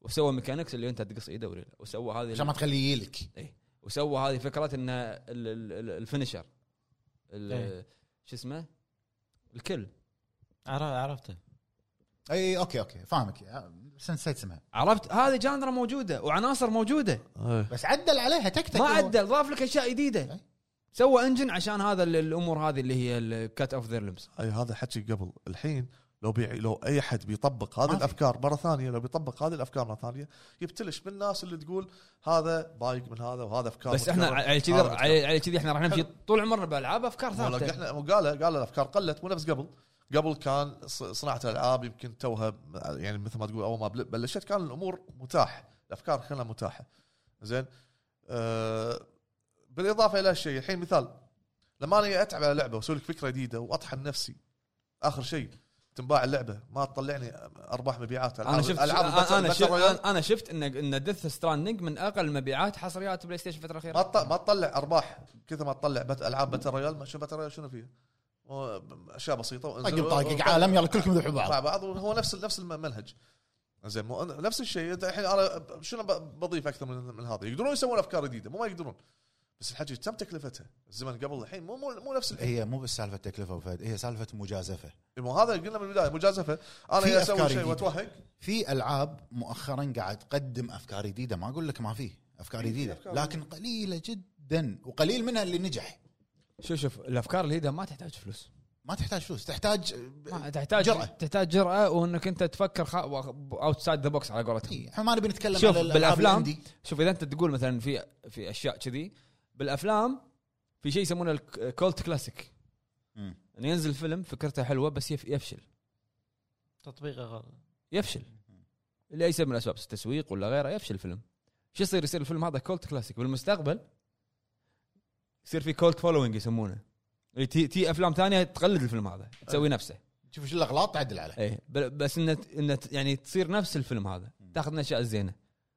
Speaker 1: وسوى ميكانكس اللي انت تقص ايده وريله وسوى هذه
Speaker 3: عشان ما تخليه يجيلك
Speaker 1: وسوى هذه فكره ان ال- ال- ال- الفينشر ال-
Speaker 4: إيه.
Speaker 1: شو اسمه الكل
Speaker 4: عرف- عرفته
Speaker 3: اي اوكي اوكي فاهمك آه، بس نسيت اسمها
Speaker 1: عرفت هذه جاندرا موجوده وعناصر موجوده
Speaker 2: إيه.
Speaker 3: بس عدل عليها تكتك
Speaker 1: ما عدل ضاف لك اشياء جديده
Speaker 3: أي.
Speaker 1: سوى انجن عشان هذا ال- الامور هذه اللي هي الكات اوف ذير لمس
Speaker 2: اي هذا حكي قبل الحين لو بيع لو اي حد بيطبق هذه
Speaker 3: في.
Speaker 2: الافكار مره ثانيه لو بيطبق هذه الافكار مره ثانيه يبتلش بالناس اللي تقول هذا بايق من هذا وهذا افكار
Speaker 1: بس احنا
Speaker 2: متكررة.
Speaker 1: على كذي
Speaker 2: هذا متكرر.
Speaker 1: على على كذي احنا راح نمشي طول عمرنا بالالعاب افكار
Speaker 2: مو لك
Speaker 1: ثابته
Speaker 2: احنا مو قال قال الافكار قلت مو نفس قبل قبل كان ص- صناعه الالعاب يمكن توها يعني مثل ما تقول اول ما بل- بلشت كان الامور متاح الافكار كلها متاحه زين آه بالاضافه الى شيء الحين مثال لما انا اتعب على لعبه واسوي لك فكره جديده واطحن نفسي اخر شيء تنباع اللعبه ما تطلعني ارباح مبيعات
Speaker 1: انا شفت
Speaker 2: الباتل-
Speaker 1: انا
Speaker 2: الباتل
Speaker 1: شفت
Speaker 2: رويال
Speaker 1: انا شفت ان ان ديث ستراندنج من اقل مبيعات حصريات بلاي ستيشن الفتره
Speaker 2: ما
Speaker 1: الاخيره
Speaker 2: تط- ما تطلع ارباح كثر ما تطلع بت- العاب باتل رويال ما شوف باتل رويال شنو فيها هو اشياء بسيطه
Speaker 3: طقم
Speaker 2: وانزلوا-
Speaker 3: طاقق عالم يلا كلكم ذبحوا
Speaker 2: مع
Speaker 3: بعض
Speaker 2: بعض وهو نفس نفس المنهج زين مو نفس الشيء انت الحين انا ب- شنو ب- بضيف اكثر من, من هذا يقدرون يسوون افكار جديده مو ما يقدرون بس الحكي كم تكلفتها؟ الزمن قبل الحين مو مو, مو نفس الحين
Speaker 3: طيب، هي مو بس سالفه تكلفه وفهد هي سالفه مجازفه
Speaker 2: مو هذا قلنا من البدايه مجازفه انا
Speaker 3: إيه. في
Speaker 2: يا
Speaker 3: أفكار
Speaker 2: اسوي شيء
Speaker 3: جديدة.
Speaker 2: واتوهق
Speaker 3: في العاب مؤخرا قاعد تقدم افكار جديده ما اقول لك ما في افكار جديده لكن قليله جدا وقليل منها اللي نجح
Speaker 1: شوف شوف الافكار الجديده ما تحتاج فلوس
Speaker 3: ما تحتاج فلوس تحتاج
Speaker 1: ما تحتاج
Speaker 3: إيه. جرأة.
Speaker 1: تحتاج جرأه وانك انت تفكر خ... اوتسايد ذا بوكس على قولتهم
Speaker 3: إيه، احنا ما نبي نتكلم
Speaker 1: شوف،
Speaker 3: على الألعاب
Speaker 1: بالأفلام-
Speaker 3: الإندي.
Speaker 1: شوف اذا انت تقول مثلا في في اشياء كذي بالافلام في شيء يسمونه الكولت كلاسيك
Speaker 3: مم.
Speaker 1: انه ينزل فيلم فكرته حلوه بس يف... يفشل
Speaker 4: تطبيقه غلط
Speaker 1: يفشل ليس من الاسباب التسويق ولا غيره يفشل الفيلم شو يصير يصير الفيلم هذا كولت كلاسيك بالمستقبل يصير في كولت فولوينج يسمونه اللي تي... تي افلام ثانيه تقلد الفيلم هذا تسوي نفسه
Speaker 3: شوف شو الاغلاط تعدل عليه
Speaker 1: ايه ب- بس انه انه يعني تصير نفس الفيلم هذا تاخذ من الاشياء الزينه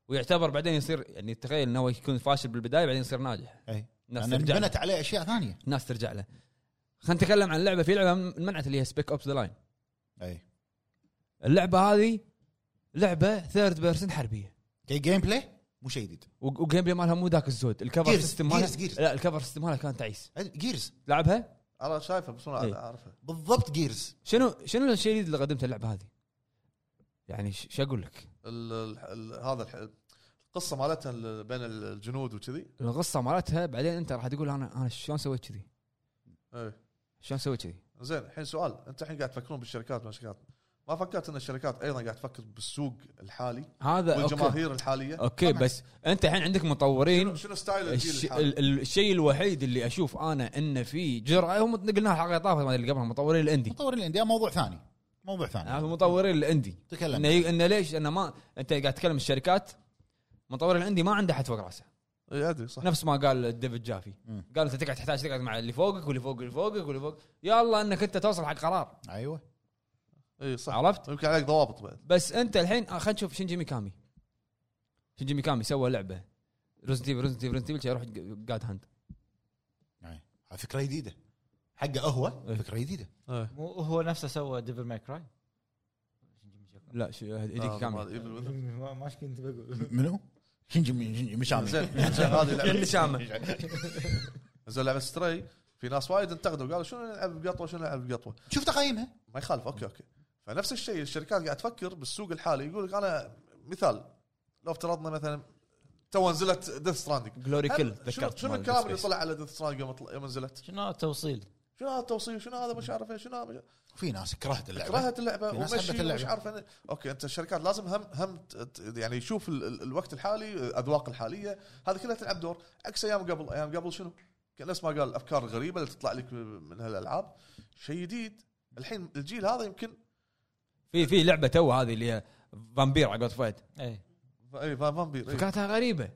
Speaker 1: ويعتبر بعدين يصير يعني تخيل انه هو يكون فاشل بالبدايه بعدين يصير ناجح
Speaker 3: اي
Speaker 1: الناس
Speaker 3: لان
Speaker 1: ترجع له.
Speaker 3: يعني بنت عليه اشياء ثانيه
Speaker 1: الناس ترجع له خلينا نتكلم عن لعبه في لعبه منعت اللي هي سبيك اوبس ذا لاين
Speaker 3: اي
Speaker 1: إيه. اللعبه هذه لعبه ثيرد بيرسون حربيه
Speaker 3: كي جيم بلاي مو شيء جديد
Speaker 1: و- وجيم بلاي مالها مو ذاك الزود الكفر
Speaker 3: Gears-
Speaker 1: سيستم مالها
Speaker 3: Gears- Gears.
Speaker 1: لا الكفر سيستم مالها كان تعيس
Speaker 3: جيرز
Speaker 1: لعبها
Speaker 2: انا شايفه بس
Speaker 1: إيه.
Speaker 2: انا اعرفه
Speaker 3: بالضبط جيرز
Speaker 1: شنو شنو الشيء الجديد اللي قدمته اللعبه هذه يعني ش- شو اقول لك
Speaker 2: ال- ال- ال- هذا الح- القصه مالتها ال- بين الجنود وكذي
Speaker 1: القصه مالتها بعدين انت راح تقول انا انا شلون سويت كذي
Speaker 2: إيه.
Speaker 1: شلون سويت كذي
Speaker 2: زين الحين سؤال انت الحين قاعد تفكرون بالشركات ما شركات ما فكرت ان الشركات ايضا قاعد تفكر بالسوق الحالي
Speaker 1: هذا أوكي.
Speaker 2: والجماهير الحاليه
Speaker 1: اوكي
Speaker 3: طبعاً.
Speaker 1: بس انت الحين عندك مطورين
Speaker 2: شنو- شنو ستايل الجيل
Speaker 1: الش...
Speaker 2: الحالي؟
Speaker 1: ال- ال- الشيء الوحيد اللي اشوف انا انه في جرأه هم قلنا الحلقه طافت ما ادري قبلها مطورين الاندي
Speaker 3: مطور الانديه موضوع ثاني موضوع
Speaker 1: آه،
Speaker 3: ثاني
Speaker 1: مطورين الاندي انه
Speaker 3: تكلم
Speaker 1: ي- انه ليش انه ما انت قاعد تتكلم الشركات مطور الاندي ما عنده حد فوق راسه
Speaker 2: اي ادري إيه، صح
Speaker 1: نفس ما قال ديفيد جافي
Speaker 3: مم.
Speaker 1: قال انت تقعد تحتاج تقعد مع اللي فوقك واللي فوقك واللي فوقك واللي فوق يلا انك انت توصل حق قرار
Speaker 3: ايوه
Speaker 2: اي إيه، صح
Speaker 1: عرفت
Speaker 2: يمكن عليك ضوابط بعد
Speaker 1: بس انت الحين آه، خلينا نشوف شنجي ميكامي شنجي ميكامي سوى لعبه ريزنت ايفل ريزنت ايفل ريزنت ايفل يروح جاد هاند
Speaker 3: أي. فكره جديده حقه هو
Speaker 1: إيه.
Speaker 3: فكره جديده
Speaker 4: مو هو نفسه سوى ديفل ماي كراي
Speaker 1: لا شو-
Speaker 2: آه،
Speaker 1: هذيك كامي
Speaker 2: كامل
Speaker 4: [laughs] ما ايش كنت بقول
Speaker 3: منو؟ شنجي شنجي مشامي
Speaker 2: زين زين هذه [laughs] لعبه
Speaker 1: شامه
Speaker 2: يعني. زين لعبه ستري في ناس وايد انتقدوا قالوا شنو نلعب بقطوه شنو نلعب بقطوه
Speaker 3: شوف تقييمها
Speaker 2: ما يخالف اوكي اوكي فنفس الشيء الشركات قاعد تفكر بالسوق الحالي يقول لك انا مثال لو افترضنا مثلا تو نزلت ديث ستراندنج
Speaker 1: جلوري كل
Speaker 2: شنو
Speaker 1: تذكرت
Speaker 2: شنو
Speaker 1: مال
Speaker 2: الكلام
Speaker 1: Dead
Speaker 2: اللي
Speaker 1: Space.
Speaker 2: طلع على ديث ستراندنج يوم طل- يوم نزلت؟
Speaker 4: شنو توصيل
Speaker 2: شنو هذا التوصيف شنو هذا مش عارف إيه، شنو هذا
Speaker 3: في ناس كرهت اللعبه
Speaker 2: كرهت اللعبه
Speaker 3: يعني في
Speaker 2: ومشي
Speaker 3: ناس حبت اللعبة.
Speaker 2: مش عارف أنا- اوكي انت الشركات لازم هم هم ت- ت- يعني يشوف ال- ال- الوقت الحالي الاذواق الحاليه هذه كلها تلعب دور عكس ايام قبل ايام قبل شنو؟ كان نفس ما قال افكار غريبه اللي تطلع لك من هالالعاب شيء جديد الحين الجيل هذا يمكن
Speaker 1: في في لعبه تو هذه اللي هي فامبير على قولة فهد
Speaker 2: إيه.
Speaker 4: اي
Speaker 2: اي فا- إيه، فامبير إي.
Speaker 1: فكرتها غريبه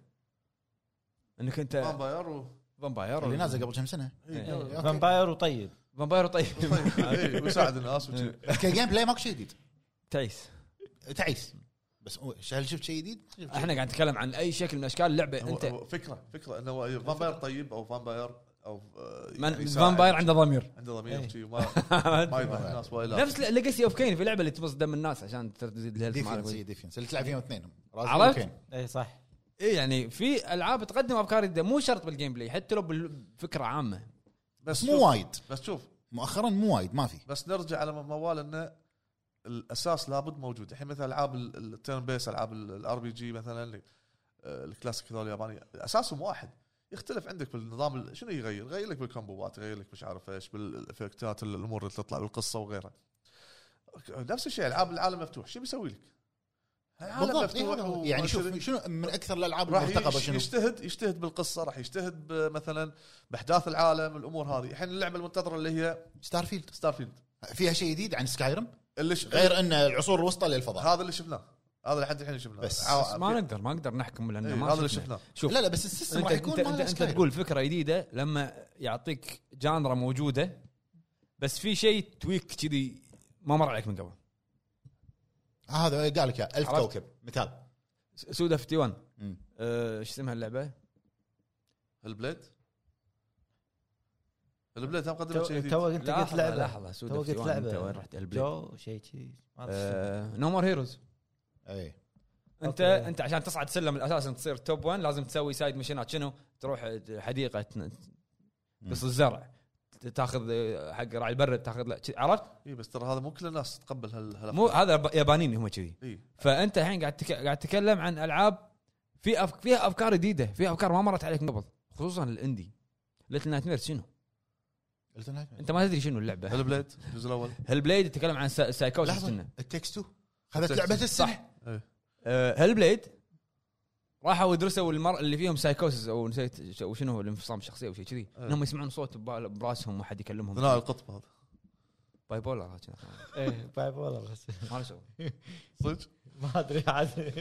Speaker 1: انك انت
Speaker 2: فامباير و- إيه،
Speaker 1: فامباير
Speaker 3: اللي نازل قبل كم سنه
Speaker 2: إي.
Speaker 1: إي.
Speaker 3: أوكي.
Speaker 4: فامباير وطيب
Speaker 1: فامباير
Speaker 2: [laughs]
Speaker 1: طيب
Speaker 2: إي، إيه، ويساعد الناس
Speaker 1: إيه.
Speaker 2: وشي.
Speaker 3: بس كجيم بلاي ماكو شيء جديد
Speaker 1: تعيس
Speaker 3: تعيس بس هو- هل شفت شيء جديد؟ شفت شيء
Speaker 1: احنا قاعد نتكلم عن اي شكل من اشكال اللعبه
Speaker 2: هو-
Speaker 1: انت
Speaker 2: هو فكره فكره انه هو فامباير طيب او فامباير او آه، يعني
Speaker 1: من
Speaker 2: يساعد.
Speaker 1: فامباير عنده ضمير
Speaker 2: عنده ضمير
Speaker 4: إي.
Speaker 2: وشي، وما
Speaker 1: [laughs]
Speaker 2: ما يذبح الناس وايد
Speaker 1: نفس ليجاسي اوف كين في لعبه اللي تمص دم الناس عشان تزيد الهيلث
Speaker 3: ديفنس
Speaker 1: مالك
Speaker 3: هي ديفنس اللي تلعب فيهم اثنين رازل
Speaker 1: عرفت؟
Speaker 3: وكين.
Speaker 4: اي إيه، صح
Speaker 1: اي يعني في العاب تقدم افكار جديده مو شرط بالجيم بلاي حتى لو بالفكره عامه
Speaker 2: بس
Speaker 3: بس
Speaker 2: شوف-
Speaker 3: مو وايد
Speaker 2: بس شوف
Speaker 3: مؤخرا مو وايد ما في
Speaker 2: بس نرجع على موال انه الاساس لابد موجود الحين مثلا العاب ال- التيرن بيس العاب الار بي جي مثلا اللي- آه، الكلاسيك هذول الياباني اساسهم واحد يختلف عندك بالنظام ال- شنو يغير؟ يغير لك بالكومبوات، يغير لك مش عارف ايش بالافكتات ال- الامور اللي تطلع بالقصه وغيرها. نفس الشيء العاب العالم مفتوح، شو بيسوي لك؟ العالم
Speaker 3: بالضبط إي
Speaker 2: مفتوح
Speaker 3: هذا هو.
Speaker 2: و-
Speaker 3: يعني شوف شنو من اكثر الالعاب
Speaker 2: راح
Speaker 3: المرتقبه
Speaker 2: يش-
Speaker 3: شنو
Speaker 2: يجتهد يجتهد بالقصه راح يجتهد ب- مثلا باحداث العالم الامور هذه، الحين اللعبه المنتظره اللي هي
Speaker 3: ستار فيلد
Speaker 2: ستار فيلد
Speaker 3: فيها شيء جديد عن سكايرم
Speaker 2: اللي ش-
Speaker 3: غير ان العصور الوسطى للفضاء
Speaker 2: هذا اللي شفناه هذا لحد الحين شفناه
Speaker 3: بس-
Speaker 1: طيب. بس ما نقدر ما نقدر نحكم
Speaker 2: إيه،
Speaker 1: لانه ما
Speaker 2: هذا اللي
Speaker 1: شفنا.
Speaker 2: شفناه
Speaker 1: شوف
Speaker 3: لا لا بس السيستم
Speaker 1: انت
Speaker 3: راح يكون
Speaker 1: انت, انت,
Speaker 3: مال
Speaker 1: انت
Speaker 3: سكايرم.
Speaker 1: تقول فكره جديده لما يعطيك جانرا موجوده بس في شيء تويك كذي ما مر عليك من قبل
Speaker 3: آه، هذا قال لك إياه، ألف
Speaker 1: عرفت.
Speaker 3: كوكب مثال
Speaker 1: س- سودا 51
Speaker 3: مم.
Speaker 1: أه، ايش اسمها اللعبه؟
Speaker 2: البليد البليد هم قدمت شيء
Speaker 4: تو
Speaker 2: جديد
Speaker 4: تو انت قلت
Speaker 1: لحظه
Speaker 4: لعبه
Speaker 1: لحظه سودا
Speaker 4: تو قلت
Speaker 1: 51 انت
Speaker 4: لعبه
Speaker 1: وين رحت آه، البليد؟
Speaker 4: جو شيء شيء
Speaker 2: آه.
Speaker 1: نو مور هيروز
Speaker 3: اي
Speaker 1: انت
Speaker 4: أوكي.
Speaker 1: انت عشان تصعد سلم الاساس انت تصير توب 1 لازم تسوي سايد مشينات شنو؟ تروح حديقه تن- تقص الزرع ت- تاخذ أه، حق راعي البرد تاخذ لا، عرفت؟
Speaker 2: اي إيه، بس ترى هذا مو كل الناس تتقبل هال
Speaker 1: مو هذا يب- يابانيين هم كذي
Speaker 4: إيه.
Speaker 2: اي
Speaker 1: فانت الحين قاعد تك... قاعد تتكلم عن العاب في أف... فيها افكار جديده فيها افكار ما مرت عليك من قبل خصوصا الاندي ليتل نايت ميرز شنو؟
Speaker 3: قلت لها-
Speaker 1: انت ما تدري شنو اللعبه
Speaker 2: البليد الجزء الاول
Speaker 1: هل بليد يتكلم عن سا... سايكوسس
Speaker 3: لحظه
Speaker 1: إنه.
Speaker 3: التكستو خذت لعبه السنه
Speaker 1: آه، هل بليد راحوا يدرسوا المر... اللي فيهم سايكوسس او نسيت ش- وشنو هو الانفصام الشخصيه او شيء كذي
Speaker 2: إيه.
Speaker 1: انهم يسمعون صوت ببال- براسهم وحد يكلمهم
Speaker 2: ثنائي القطب هذا
Speaker 1: باي بولر
Speaker 5: إيه،
Speaker 4: ايه باي والله بس
Speaker 1: ما له شغل
Speaker 2: صدق
Speaker 4: ما ادري [laughs] عاد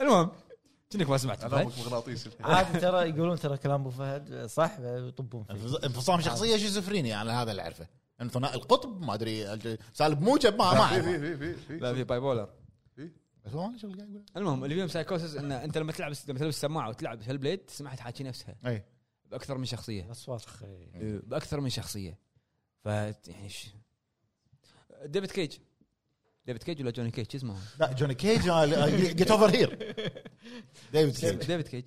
Speaker 1: المهم كأنك ما سمعت
Speaker 2: انا
Speaker 1: فهد.
Speaker 2: امك
Speaker 1: [laughs]
Speaker 2: مغناطيسي الحين.
Speaker 4: عاد ترى يقولون ترى كلام ابو فهد صح يطبون فيه
Speaker 3: انفصام شخصيه شيزوفرينيا انا هذا اللي اعرفه إن ثنائي القطب ما ادري الج- سالب موجب ما ما
Speaker 1: [laughs]
Speaker 2: في
Speaker 3: أعرف.
Speaker 2: في في في
Speaker 1: طيب. لا في باي بولر
Speaker 3: بس هو أنا شو اللي قاعد يقول
Speaker 1: المهم اللي فيهم سايكوسس ان انت لما تلعب لما تلبس السماعه وتلعب هيل بليد سمعت حاكي نفسها
Speaker 3: اي
Speaker 1: باكثر من
Speaker 5: إيه،
Speaker 1: شخصيه
Speaker 4: الاصوات خي
Speaker 1: باكثر من شخصيه ف يعني ش... ديفيد كيج ديفيد كيج ولا جوني كيج شو اسمه؟
Speaker 3: لا جوني كيج آه، جيت اوفر
Speaker 1: [laughs]
Speaker 3: هير ديفيد كيج
Speaker 1: ديفيد كيج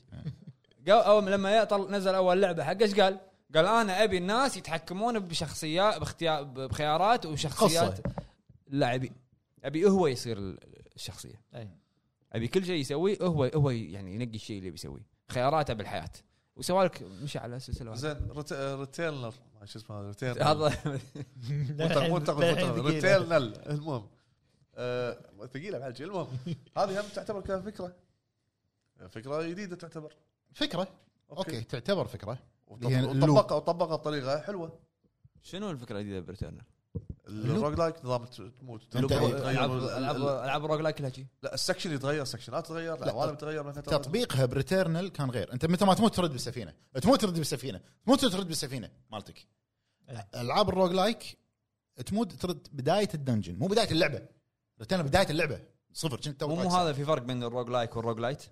Speaker 1: قال اول لما يا طل نزل اول لعبه حقه ايش قال؟ قال انا ابي الناس يتحكمون بشخصيات باختيار بخيارات وشخصيات اللاعبين ابي هو يصير الشخصيه
Speaker 4: اي
Speaker 5: إيه.
Speaker 1: ابي كل شيء يسويه هو هو يعني ينقي الشيء اللي بيسويه خياراته بالحياه وسوالك مشي على سلسله واحدة.
Speaker 2: زين ريت- ريتيلنر ما شو اسمه هذا ريتيلنر
Speaker 1: هذا
Speaker 2: مو منتقد
Speaker 4: [laughs]
Speaker 2: منتقد. ريتيلنر المهم آه، ثقيله بعد شي. المهم هذه هم تعتبر كفكره فكره جديده تعتبر
Speaker 3: فكره اوكي تعتبر فكره
Speaker 2: وطب-
Speaker 1: يعني
Speaker 3: هي
Speaker 2: وطبقها وطبقها بطريقه حلوه
Speaker 1: [laughs] شنو الفكره الجديده بريتيرنر؟
Speaker 2: الروج لايك نظام ت- تموت تلوب-
Speaker 3: أنت إيه.
Speaker 1: العاب
Speaker 2: تغير-
Speaker 1: العاب العاب الروج لايك كلها شي.
Speaker 2: لا السكشن يتغير سكشنات تتغير العوالم تتغير مثلا
Speaker 3: تطبيقها بريتيرنال كان غير انت متى ما تموت ترد بالسفينه تموت ترد بالسفينه تموت ترد بالسفينه مالتك
Speaker 4: إيه.
Speaker 3: العاب الروج لايك تموت ترد بدايه الدنجن مو بدايه اللعبه ريتيرنال بدايه اللعبه صفر كنت تو
Speaker 1: مو مو
Speaker 3: طايح
Speaker 1: هذا في فرق بين الروج لايك والروج لايت؟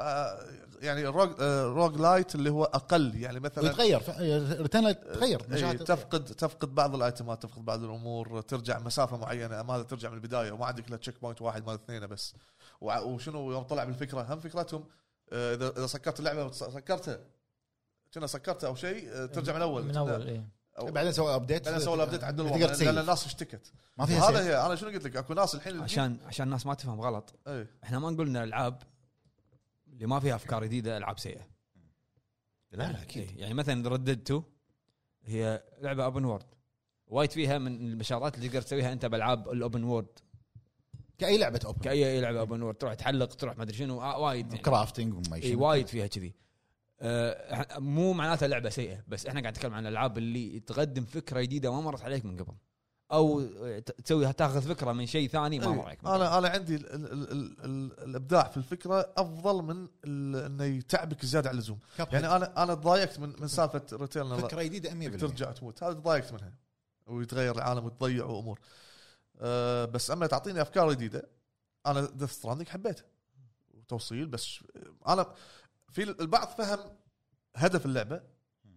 Speaker 2: آه، يعني الروج آه، روج لايت اللي هو اقل يعني مثلا
Speaker 3: ويتغير ف- ريتيرنال تغير
Speaker 2: إيه،
Speaker 3: مشاهد
Speaker 2: تفقد تفقد بعض الايتمات تفقد بعض الامور ترجع مسافه معينه اما هذا ترجع من البدايه وما عندك الا تشيك بوينت واحد مال اثنين بس وع- وشنو يوم طلع بالفكره هم فكرتهم آه، اذا اذا سكرت اللعبه وتس- سكرتها كنا سكرتها او شيء آه، ترجع من اول
Speaker 4: من إيه. اول اي
Speaker 2: أو-
Speaker 3: بعدين سوى ابديت
Speaker 2: بعدين سووا الابديت عدلوا
Speaker 3: تقدر
Speaker 2: الوضع، لان
Speaker 3: تسيف.
Speaker 2: الناس اشتكت
Speaker 3: ما فيها
Speaker 2: هذا
Speaker 3: سيف
Speaker 2: هي انا شنو قلت لك اكو ناس الحين
Speaker 1: عشان عشان الناس ما تفهم غلط
Speaker 2: اي
Speaker 1: احنا ما نقول ان الالعاب اللي ما فيها افكار جديده العاب سيئه
Speaker 3: لا لا اكيد
Speaker 1: إيه، يعني مثلا ردد 2 هي لعبه اوبن وورد وايد فيها من البشارات اللي تقدر تسويها انت بالعاب الاوبن وورد
Speaker 3: كاي لعبه اوبن
Speaker 1: كاي أي لعبه اوبن وورد تروح تعلق تروح ما ادري شنو آه، وايد يعني.
Speaker 3: كرافتنج وما
Speaker 2: إيه،
Speaker 1: اي
Speaker 3: شنو.
Speaker 1: وايد فيها كذي آه، إح- مو معناتها لعبه سيئه بس احنا قاعد نتكلم عن الالعاب اللي تقدم فكره جديده ما مرت عليك من قبل او ت- تسوي تاخذ فكره من شيء ثاني ما مر
Speaker 3: آه،
Speaker 1: عليك من قبل.
Speaker 2: انا انا إيه. عندي ال ال ال ال ال الابداع في الفكره افضل من ال- انه يتعبك زياده على اللزوم
Speaker 3: كاب
Speaker 2: يعني
Speaker 3: يعني
Speaker 2: انا انا تضايقت من من سالفه ريتيرن
Speaker 3: فكره جديده 100%
Speaker 2: ترجع تموت هذا تضايقت منها ويتغير العالم وتضيع وامور أه بس اما تعطيني افكار جديده انا ديث ستراندنج حبيته وتوصيل بس ش- انا في البعض فهم هدف اللعبه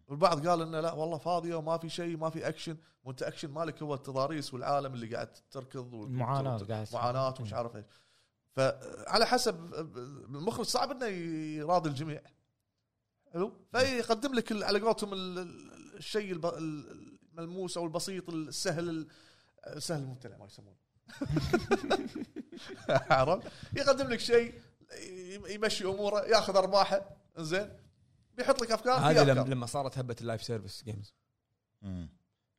Speaker 2: والبعض قال انه لا والله فاضيه وما في شيء ما في اكشن وانت اكشن مالك هو التضاريس والعالم اللي قاعد تركض وال-
Speaker 4: المعاناة
Speaker 2: وت-
Speaker 4: قاعد.
Speaker 2: معاناه ومش عارف ايش فعلى حسب المخرج صعب انه يراضي الجميع حلو فيقدم لك ال- على قولتهم ال- ال- الشيء الب- ال- الملموس او البسيط السهل ال- السهل الممتنع ما يسمونه [laughs] عرفت يقدم لك شيء يم- يمشي اموره ياخذ ارباحه زين بيحط لك
Speaker 3: آه،
Speaker 2: افكار في
Speaker 1: هذه لم-
Speaker 2: افكار
Speaker 1: لما صارت هبه اللايف سيرفيس جيمز
Speaker 3: مم.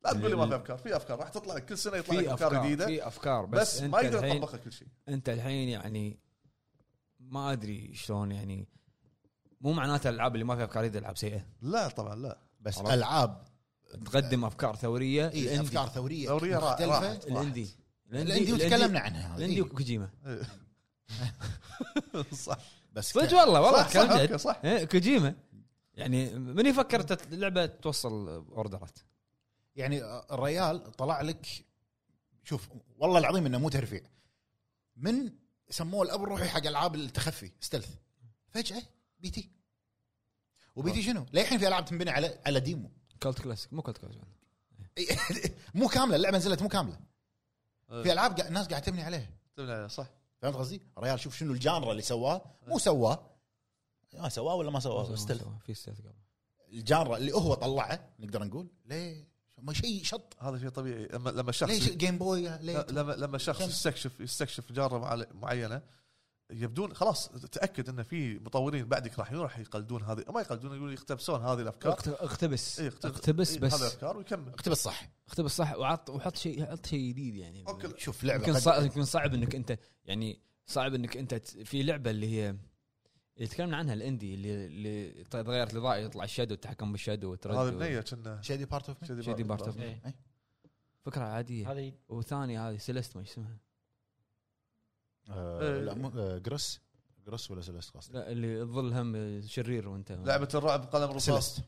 Speaker 2: لا تقول لي ما في افكار في افكار راح تطلع لك كل سنه يطلع لك
Speaker 1: في
Speaker 2: افكار
Speaker 1: افكار
Speaker 2: جديده
Speaker 1: في افكار
Speaker 2: بس,
Speaker 1: بس,
Speaker 2: بس
Speaker 1: انت
Speaker 2: ما يقدر
Speaker 1: الحين-
Speaker 2: يطبقها كل شيء
Speaker 1: انت الحين يعني ما ادري شلون يعني مو معناته الالعاب اللي ما فيها افكار جديده العاب سيئه
Speaker 2: لا طبعا لا [laughs]
Speaker 3: بس إيه،
Speaker 1: عرفت؟
Speaker 3: العاب
Speaker 1: تقدم افكار ثوريه
Speaker 3: اي
Speaker 1: الاندي.
Speaker 3: افكار ثوريه
Speaker 2: إيه، ثورية را-
Speaker 3: مختلفه
Speaker 2: راحت.
Speaker 1: الاندي
Speaker 3: الاندي وتكلمنا عنها إيه، هذه.
Speaker 2: إيه.
Speaker 1: الاندي
Speaker 3: إي.
Speaker 1: وكوجيما
Speaker 2: صح
Speaker 3: بس ك-
Speaker 1: صدق والله والله
Speaker 2: صح صح,
Speaker 1: تكلمت عن-
Speaker 2: أوكي، صح.
Speaker 1: إيه، كوجيما يعني من يفكر تت- لعبه توصل اوردرات
Speaker 3: يعني الريال طلع لك شوف والله العظيم انه مو ترفيع من سموه الاب الروحي حق العاب التخفي ستلث فجاه بي تي وبي تي شنو؟ للحين في العاب تنبني على على ديمو
Speaker 1: كولت كلاسيك مو كولت كلاسيك
Speaker 3: مو كامله اللعبه نزلت مو كامله
Speaker 2: إيه.
Speaker 3: في العاب قا- الناس قاعد تبني عليها
Speaker 2: تبني عليها، صح
Speaker 3: فهمت قصدي؟ الريال شوف شنو الجانرا اللي سواه مو سواه ما سواه ولا ما سواه ستلث
Speaker 1: في ستيلث قبل
Speaker 3: الجانرا اللي هو طلعه نقدر نقول ليه ما شيء شط
Speaker 2: هذا شيء طبيعي لما لما الشخص
Speaker 3: ليش جيم بوي ليه
Speaker 2: لا- لما لما شخص
Speaker 3: كم؟
Speaker 2: يستكشف يستكشف جاره معل- معينه يبدون خلاص تاكد ان في مطورين بعدك راح راح يقلدون هذه ما يقلدون يقول يقتبسون هذه الافكار
Speaker 1: اقت- اقتبس
Speaker 2: إيه، اقتبس-
Speaker 1: اقتبس
Speaker 2: إيه،
Speaker 1: بس
Speaker 2: هذه الافكار ويكمل
Speaker 3: اقتبس صح
Speaker 1: اقتبس صح وعط وحط شيء حط شيء جديد يعني
Speaker 2: اوكي
Speaker 3: شوف لعبه
Speaker 1: يمكن
Speaker 3: قد-
Speaker 1: صعب يمكن صعب انك انت يعني صعب انك انت ت- في لعبه اللي هي اللي تكلمنا عنها الاندي اللي اللي تغيرت الاضاءه يطلع الشادو التحكم بالشادو وترد
Speaker 2: هذه
Speaker 1: و-
Speaker 2: بنيه كنا
Speaker 3: شادي بارت اوف
Speaker 1: شادي بارت أوف
Speaker 4: إيه.
Speaker 1: فكره عاديه
Speaker 5: إيه.
Speaker 4: هذه
Speaker 1: وثانيه هذه سيليست ما إيش اسمها
Speaker 2: إيه.
Speaker 3: لا مو آه، جروس جروس ولا سيلست قصدي
Speaker 1: لا اللي الظل هم شرير وانت
Speaker 2: لعبه الرعب قلم رصاص
Speaker 3: سيلست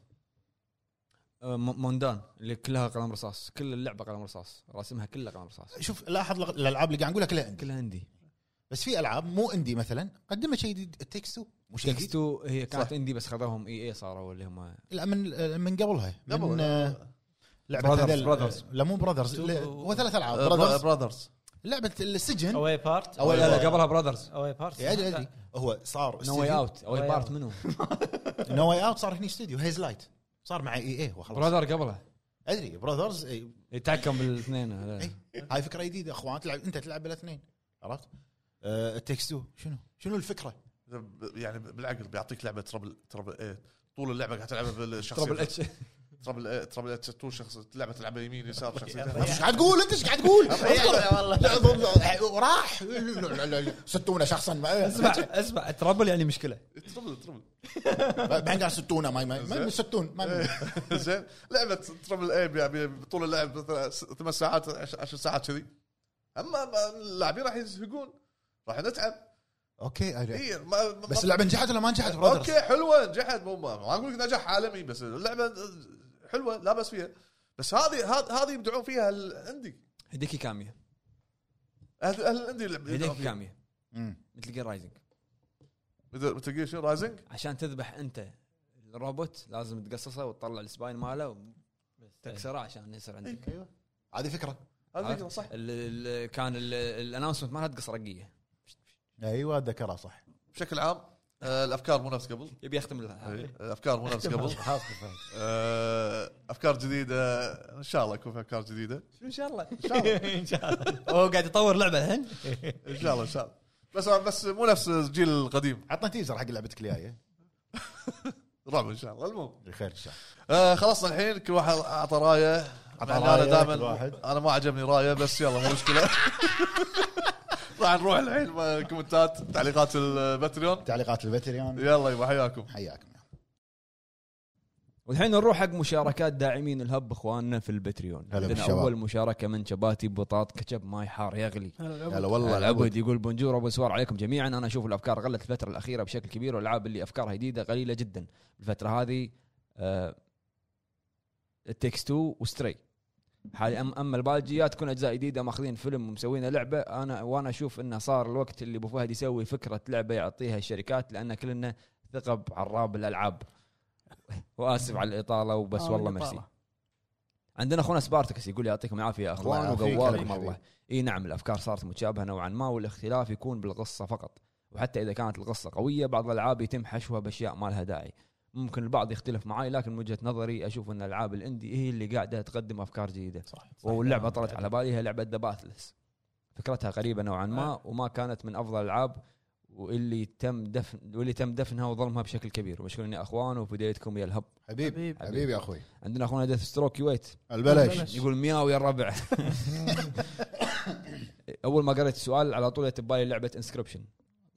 Speaker 1: آه، م- موندان اللي كلها قلم رصاص كل اللعبه قلم رصاص راسمها كلها قلم رصاص
Speaker 3: شوف لاحظ لغ- الالعاب اللي قاعد نقولها كلها اندي
Speaker 1: كلها اندي
Speaker 3: بس في العاب مو اندي مثلا قدمت شيء جديد تكستو مو شيء جديد
Speaker 1: تكستو هي كانت
Speaker 2: صح.
Speaker 1: اندي بس خذوهم اي اي صاروا اللي هم
Speaker 3: لا من آه، من قبلها من آه،
Speaker 2: قبل
Speaker 3: لعبه
Speaker 1: Brothers-
Speaker 3: هذيل-
Speaker 1: Brothers.
Speaker 3: لا مو براذرز هو ثلاث العاب
Speaker 2: آه،
Speaker 3: براذرز
Speaker 2: براذرز
Speaker 3: لعبه السجن
Speaker 4: اواي بارت
Speaker 3: أواي-
Speaker 1: لا لا قبلها براذرز
Speaker 4: اواي بارت
Speaker 3: إيه، ادري
Speaker 4: [laughs]
Speaker 3: ادري هو صار
Speaker 1: نو واي اوت
Speaker 4: No
Speaker 1: اول
Speaker 4: Way
Speaker 1: بارت
Speaker 4: Out.
Speaker 1: منهم
Speaker 3: نو واي اوت صار هني استوديو هيز لايت صار مع اي اي هو خلاص
Speaker 1: براذر قبلها
Speaker 3: ادري براذرز إيه،
Speaker 1: يتحكم بالاثنين
Speaker 3: [laughs]
Speaker 1: هذول.
Speaker 3: إيه. هاي فكره جديده اخوان تلعب انت تلعب بالاثنين عرفت؟ آه، التكستو شنو؟ شنو الفكره؟
Speaker 2: يعني بالعقل بيعطيك لعبه تربل تربل ايه طول اللعبه قاعد تلعبها بالشخصية
Speaker 1: تربل اتش
Speaker 2: تربل إيه، تربل إيه، طول شخص لعبه تلعبها يمين
Speaker 1: [laughs]
Speaker 2: يسار
Speaker 3: ايش
Speaker 2: شخصيتين
Speaker 3: قاعد تقول انت ايش قاعد تقول؟
Speaker 4: والله
Speaker 3: [laughs] لا، ضم- لا، [laughs] وراح لا، لا، لا، ستونه شخصا ما-
Speaker 1: اسمع
Speaker 2: [laughs]
Speaker 1: اسمع تربل يعني مشكله
Speaker 2: تربل تربل
Speaker 3: بعدين قال ستونه ما ما- ما- ستون ما-
Speaker 2: [laughs]
Speaker 3: ما
Speaker 2: زين لعبه تربل اي يعني طول اللعب مثلا س- ثمان ساعات عش- عشر ساعات كذي اما ما- اللاعبين راح يزهقون راح نتعب
Speaker 3: اوكي أوكي.
Speaker 2: إيه، ما- ما-
Speaker 3: بس
Speaker 2: ما-
Speaker 3: اللعبه نجحت ولا ما نجحت برادرز؟
Speaker 2: اوكي حلوه نجحت مو ما ما اقول لك نجاح عالمي بس اللعبه حلوه لا بس فيها بس هذه هذ- هذه يبدعون فيها الاندي
Speaker 1: هديكي كاميه
Speaker 2: اهل أهل الاندي يلعب- يبدعون
Speaker 1: هديكي
Speaker 2: فيها
Speaker 1: كاميه
Speaker 3: مم.
Speaker 1: مثل جير رايزنج
Speaker 2: مثل جير شنو رايزنج
Speaker 1: عشان تذبح انت الروبوت لازم تقصصه وتطلع السباين ماله وتكسره عشان يصير عندك
Speaker 3: أيوة. هذه فكره
Speaker 2: هذه فكره إيه، صح
Speaker 1: ال- ال- كان الانونسمنت مالها تقص رقيه
Speaker 3: ايوه اتذكرها صح
Speaker 2: بشكل عام آه، الافكار مو نفس قبل
Speaker 1: يبي يختم لها
Speaker 2: إيه، الافكار مو
Speaker 3: [laughs]
Speaker 2: نفس قبل
Speaker 3: خلاص فهمت.
Speaker 4: [laughs]
Speaker 2: آه، افكار جديده ان شاء الله يكون في افكار جديده
Speaker 1: ان شاء الله
Speaker 2: ان
Speaker 1: [laughs]
Speaker 2: شاء الله
Speaker 4: ان شاء الله
Speaker 1: هو قاعد يطور لعبه الحين
Speaker 2: ان شاء الله ان شاء الله بس بس مو نفس الجيل القديم
Speaker 3: عطنا تيزر حق لعبتك الجايه
Speaker 2: رعب ان شاء الله المهم
Speaker 3: بالخير ان شاء الله
Speaker 2: آه خلصنا الحين كل واحد اعطى رايه
Speaker 3: أعطى
Speaker 2: يعني
Speaker 3: راية
Speaker 2: انا دائما
Speaker 3: كل واحد.
Speaker 2: انا ما عجبني رايه بس يلا مو مشكله [laughs] راح نروح الحين مع كومنتات تعليقات الباتريون
Speaker 3: تعليقات البتريون
Speaker 2: يلا يبا حياكم
Speaker 3: حياكم
Speaker 1: والحين نروح حق مشاركات داعمين الهب اخواننا في البتريون
Speaker 3: هلا
Speaker 1: عندنا
Speaker 3: بالشباب.
Speaker 1: اول مشاركه من شباتي بطاط كتشب ماي حار يغلي
Speaker 3: هلا والله
Speaker 1: العبد يقول بونجور ابو سوار عليكم جميعا انا اشوف الافكار غلت الفتره الاخيره بشكل كبير والالعاب اللي افكارها جديده قليله جدا الفتره هذه آه، تكس 2 وستري حالي أم اما الباجيات تكون اجزاء جديده ماخذين فيلم ومسوينها لعبه انا وانا اشوف انه صار الوقت اللي ابو فهد يسوي فكره لعبه يعطيها الشركات لان كلنا ثقب عراب الالعاب واسف على الاطاله وبس
Speaker 5: آه،
Speaker 1: والله
Speaker 5: والإطالة.
Speaker 1: ميرسي عندنا اخونا سبارتكس يقول يعطيكم العافيه يا اخوان
Speaker 3: الله يعافيك
Speaker 1: وقواكم
Speaker 3: حبيبي.
Speaker 1: الله اي نعم الافكار صارت متشابهه نوعا ما والاختلاف يكون بالقصه فقط وحتى اذا كانت القصه قويه بعض الالعاب يتم حشوها باشياء ما لها داعي ممكن البعض يختلف معي لكن من وجهه نظري اشوف ان الالعاب الاندي هي اللي قاعده تقدم افكار جديده
Speaker 5: صح
Speaker 1: واللعبه طلعت
Speaker 3: آه.
Speaker 1: على بالي هي لعبه ذا باتلس فكرتها غريبه نوعا
Speaker 3: آه.
Speaker 1: ما وما كانت من افضل الالعاب واللي تم دفن واللي تم دفنها وظلمها بشكل كبير مشكور يا اخوان وبدايتكم يا الهب
Speaker 3: حبيبي
Speaker 5: حبيبي
Speaker 3: حبيبي يا اخوي
Speaker 1: عندنا اخونا ديث ستروك يويت
Speaker 3: البلاش
Speaker 1: يقول مياو يا الربع اول ما قريت السؤال على طول جت ببالي لعبه انسكربشن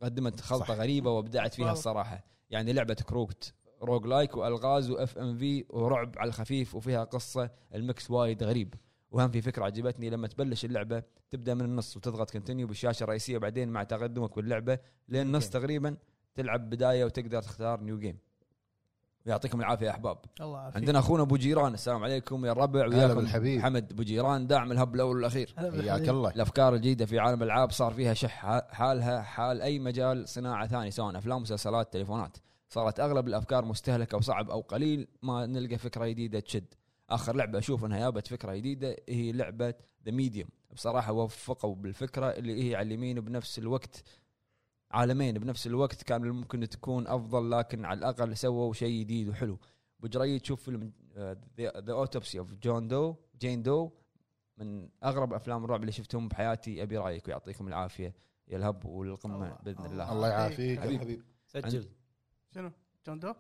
Speaker 1: قدمت خلطه
Speaker 3: صح.
Speaker 1: غريبه وابدعت فيها الصراحه يعني لعبه كروكت روج لايك والغاز واف ام في ورعب على الخفيف وفيها قصه المكس وايد غريب وهم في فكره عجبتني لما تبلش اللعبه تبدا من النص وتضغط كونتينيو بالشاشه الرئيسيه بعدين مع تقدمك باللعبه لين النص تقريبا تلعب بدايه وتقدر تختار نيو جيم يعطيكم العافيه يا احباب
Speaker 5: الله يعافيك
Speaker 1: عندنا اخونا ابو جيران السلام عليكم يا الربع
Speaker 3: هلا
Speaker 1: وياكم
Speaker 3: بالحبيب.
Speaker 1: حمد ابو جيران داعم الهب الاول والاخير
Speaker 5: هلا بالحبيب.
Speaker 3: حياك الله
Speaker 1: الافكار الجديده في عالم الالعاب صار فيها شح حالها حال اي مجال صناعه ثاني سواء افلام مسلسلات تليفونات صارت اغلب الافكار مستهلكه وصعب او قليل ما نلقى فكره جديده تشد اخر لعبه اشوف انها جابت فكره جديده هي لعبه ذا ميديوم بصراحه وفقوا بالفكره اللي هي على اليمين بنفس الوقت عالمين بنفس الوقت كان ممكن تكون افضل لكن على الاقل سووا شيء جديد وحلو بجري تشوف فيلم آه، ذا اوتوبسي اوف جون دو جين دو من اغرب افلام الرعب اللي شفتهم بحياتي ابي رايك ويعطيكم العافيه يا الهب والقمه
Speaker 5: الله-
Speaker 1: باذن الله
Speaker 3: الله يعافيك يا
Speaker 1: حبيبي.
Speaker 3: حبيبي
Speaker 4: سجل آه،
Speaker 5: شنو جون دو؟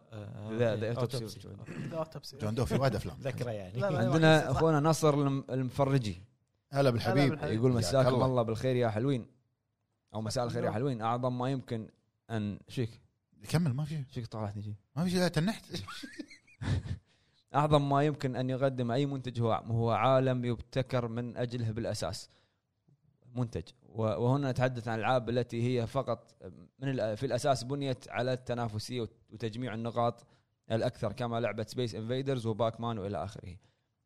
Speaker 1: لا، لا،
Speaker 4: أوتوبسي.
Speaker 1: أوتوبسي.
Speaker 5: ذا اوتوبسي
Speaker 3: جون دو في وايد افلام
Speaker 4: ذكرى يعني
Speaker 5: لا، لا.
Speaker 1: عندنا اخونا نصر الم- المفرجي
Speaker 3: هلا
Speaker 5: هلا
Speaker 3: بالحبيب
Speaker 5: بالحبيب. حبيبي.
Speaker 1: يقول
Speaker 3: حياك
Speaker 1: مساكم
Speaker 3: الله.
Speaker 1: الله بالخير يا حلوين او مساء الخير يا
Speaker 5: الله.
Speaker 1: حلوين اعظم ما يمكن ان شيك
Speaker 3: كمل ما في شيء
Speaker 1: شيك طلعتني جي
Speaker 3: ما في شيء
Speaker 1: [laughs]
Speaker 3: لا، تنحت
Speaker 1: اعظم ما يمكن ان يقدم اي منتج هو هو عالم يبتكر من اجله بالاساس منتج و- وهنا نتحدث عن الالعاب التي هي فقط من الأ- في الاساس بنيت على التنافسيه وت- وتجميع النقاط الاكثر كما لعبه سبيس انفيدرز وباك مان والى اخره.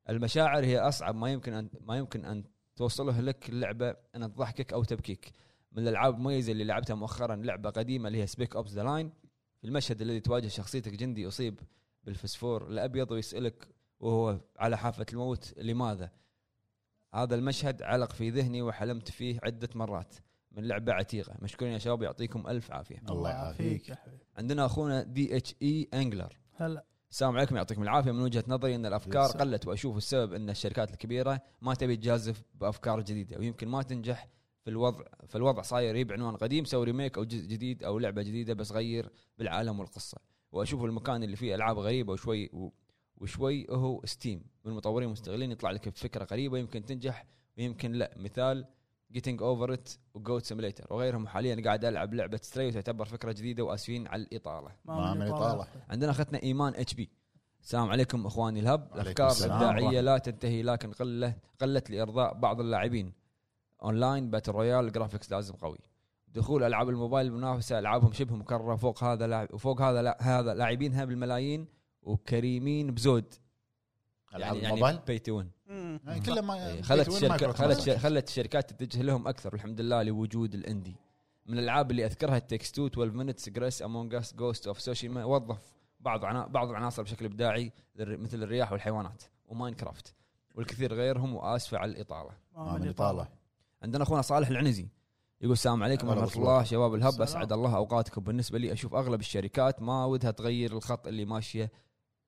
Speaker 1: المشاعر هي اصعب ما يمكن ان ما يمكن ان توصله لك اللعبه ان تضحكك او تبكيك. من الالعاب المميزه اللي لعبتها مؤخرا لعبه قديمه اللي هي سبيك اوبس ذا لاين في المشهد الذي تواجه شخصيتك جندي اصيب بالفسفور الابيض ويسالك وهو على حافه الموت لماذا؟ هذا المشهد علق في ذهني وحلمت فيه عده مرات من لعبه عتيقه مشكورين يا شباب يعطيكم الف عافيه
Speaker 3: الله يعافيك
Speaker 5: يا حبيبي.
Speaker 1: عندنا اخونا دي اتش اي انجلر
Speaker 5: هلا
Speaker 1: السلام عليكم يعطيكم العافيه من وجهه نظري ان الافكار
Speaker 3: يسلم.
Speaker 1: قلت واشوف السبب ان الشركات الكبيره ما تبي تجازف بافكار جديده ويمكن ما تنجح في الوضع فالوضع صاير يب عنوان قديم سوي ريميك او جزء جديد او لعبه جديده بس غير بالعالم والقصه واشوف المكان اللي فيه العاب غريبه وشوي و- وشوي هو ستيم من مطورين مستغلين يطلع لك بفكره غريبه يمكن تنجح ويمكن لا مثال جيتنج اوفر ات وجوت سيميليتر وغيرهم وحاليا قاعد العب لعبه ستري وتعتبر فكره جديده واسفين على الاطاله
Speaker 3: ما من إطالة.
Speaker 1: عندنا اختنا ايمان اتش بي السلام عليكم اخواني الهب
Speaker 3: وعليكم
Speaker 1: الافكار
Speaker 3: السلام
Speaker 1: الابداعيه
Speaker 3: ورحمة.
Speaker 1: لا تنتهي لكن قله قلت لارضاء بعض اللاعبين اونلاين باتل رويال جرافيكس لازم قوي دخول العاب الموبايل المنافسه العابهم شبه مكرره فوق هذا لاعب وفوق هذا لا هذا لاعبينها بالملايين وكريمين بزود
Speaker 3: العاب الموبايل
Speaker 1: بي تو وين
Speaker 5: مم.
Speaker 3: يعني كلها ما
Speaker 1: يعني- إيه، خلت
Speaker 3: وين
Speaker 1: الشركة
Speaker 3: مايكرو
Speaker 1: خلت
Speaker 3: ترانزاكشن.
Speaker 1: خلت الشركات تتجه لهم اكثر والحمد لله لوجود الاندي من الالعاب اللي اذكرها التكس 2 12 مينتس جريس امونج اس جوست اوف سوشيما وظف بعض عنا بعض العناصر بشكل ابداعي للر- مثل الرياح والحيوانات وماينكرافت والكثير غيرهم واسفه على الاطاله
Speaker 3: ما من اطاله
Speaker 1: عندنا اخونا صالح العنزي يقول السلام عليكم
Speaker 3: هلا
Speaker 1: ورحمه
Speaker 3: بالصلاة.
Speaker 1: الله شباب الهب
Speaker 5: السلام.
Speaker 1: اسعد الله اوقاتكم بالنسبه لي اشوف اغلب الشركات ما ودها تغير الخط اللي ماشيه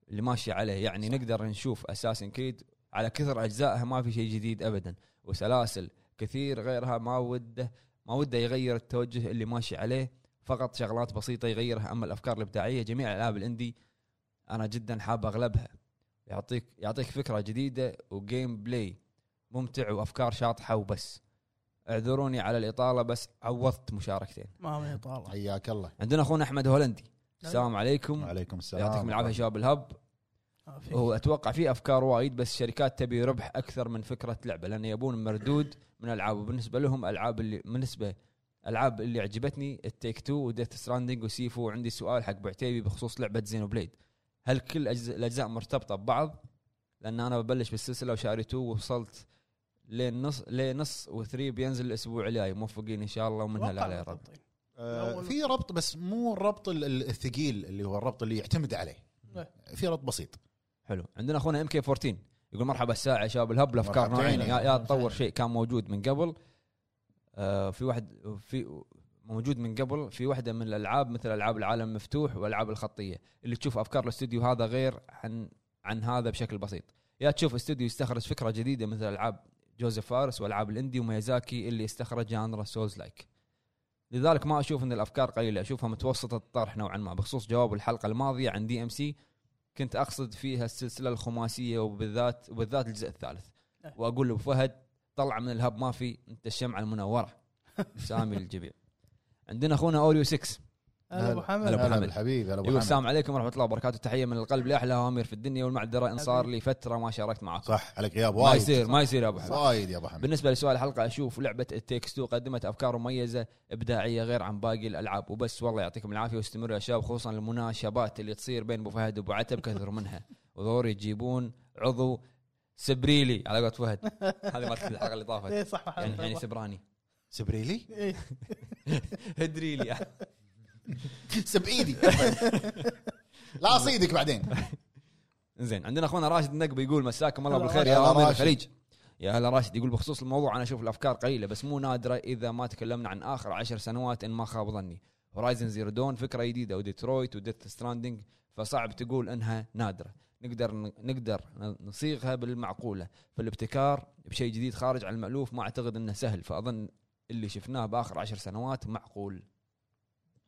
Speaker 1: اللي ماشيه عليه يعني نقدر نشوف اساسن كريد على كثر اجزائها ما في شيء جديد ابدا وسلاسل كثير غيرها ما وده ما وده يغير التوجه اللي ماشي عليه فقط شغلات بسيطه يغيرها اما الافكار الابداعيه جميع الالعاب الاندي انا جدا حاب اغلبها يعطيك يعطيك فكره جديده وجيم بلاي ممتع وافكار شاطحه وبس اعذروني على الاطاله بس عوضت مشاركتين
Speaker 5: ما من يطالع
Speaker 3: حياك الله
Speaker 1: عندنا اخونا احمد هولندي السلام عليكم
Speaker 3: وعليكم السلام
Speaker 1: يعطيكم العافيه شباب الهب هو اتوقع في افكار وايد بس الشركات تبي ربح اكثر من فكره لعبه لان يبون مردود من العاب وبالنسبه لهم العاب اللي بالنسبه العاب اللي عجبتني التيك تو وديث ستراندنج وسيفو وعندي سؤال حق بعتيبي بخصوص لعبه زينو بليد هل كل أجز... الاجزاء مرتبطه ببعض؟ لان انا ببلش بالسلسله وشاري تو ووصلت لين نص لين نص وثري بينزل الاسبوع الجاي موفقين ان شاء الله ومنها لا يا رب
Speaker 3: آه،
Speaker 5: أول-
Speaker 3: في ربط بس مو الربط ال- ال- الثقيل اللي هو الربط اللي يعتمد عليه
Speaker 5: إيه.
Speaker 3: في ربط بسيط
Speaker 1: حلو عندنا اخونا ام كي 14 يقول مرحبا الساعه يا شباب الهب الافكار
Speaker 3: مرحبا
Speaker 1: نوعين يا,
Speaker 3: فينا.
Speaker 1: يا تطور شيء كان موجود من قبل آه في واحد في موجود من قبل في واحده من الالعاب مثل العاب العالم مفتوح والالعاب الخطيه اللي تشوف افكار الاستوديو هذا غير عن عن هذا بشكل بسيط يا تشوف استوديو يستخرج فكره جديده مثل العاب جوزيف فارس والعاب الاندي وميازاكي اللي استخرج جانرا سولز لايك لذلك ما اشوف ان الافكار قليله اشوفها متوسطه الطرح نوعا ما بخصوص جواب الحلقه الماضيه عن دي ام سي كنت اقصد فيها السلسله الخماسيه وبالذات وبالذات الجزء الثالث
Speaker 5: أه.
Speaker 1: واقول له فهد طلع من الهب ما في انت الشمعه المنوره سامي الجبيع عندنا اخونا اوريو 6
Speaker 5: هلا ابو
Speaker 1: هلا
Speaker 5: حمد
Speaker 1: أبو
Speaker 3: هلا
Speaker 1: حمد.
Speaker 3: بالحبيب هلا
Speaker 1: يقول
Speaker 3: ابو حمد
Speaker 1: السلام عليكم ورحمه الله وبركاته تحيه من القلب لاحلى اوامر في الدنيا والمعذره ان صار لي فتره ما شاركت معاكم
Speaker 3: صح عليك غياب
Speaker 1: ما
Speaker 3: وايد
Speaker 1: يصير ما يصير يا ابو حمد
Speaker 3: وايد يا ابو حمد
Speaker 1: بالنسبه لسؤال الحلقه اشوف لعبه التيكس تو قدمت افكار مميزه ابداعيه غير عن باقي الالعاب وبس والله يعطيكم العافيه واستمروا يا شباب خصوصا المناشبات اللي تصير بين ابو فهد وابو عتب كثر منها وضروري يجيبون عضو سبريلي على قولة فهد هذه مالت الحلقه اللي طافت
Speaker 5: [laughs] اي صح
Speaker 1: يعني يعني
Speaker 5: محمد
Speaker 1: سبراني
Speaker 3: سبريلي [laughs]
Speaker 5: إيه.
Speaker 1: [laughs] هدريلي
Speaker 3: سب ايدي طيب. لا اصيدك بعدين
Speaker 1: زين عندنا اخونا راشد النقبي يقول مساكم الله
Speaker 5: هلا
Speaker 1: بالخير
Speaker 3: راشد.
Speaker 1: يا
Speaker 3: هلا
Speaker 1: امير
Speaker 3: راشد.
Speaker 1: الخليج يا هلا راشد يقول بخصوص الموضوع انا اشوف الافكار قليله بس مو نادره اذا ما تكلمنا عن اخر عشر سنوات ان ما خاب ظني هورايزن زيرو دون فكره جديده وديترويت وديث ستراندنج فصعب تقول انها نادره نقدر نقدر نصيغها بالمعقوله فالابتكار بشيء جديد خارج عن المالوف ما اعتقد انه سهل فاظن اللي شفناه باخر عشر سنوات معقول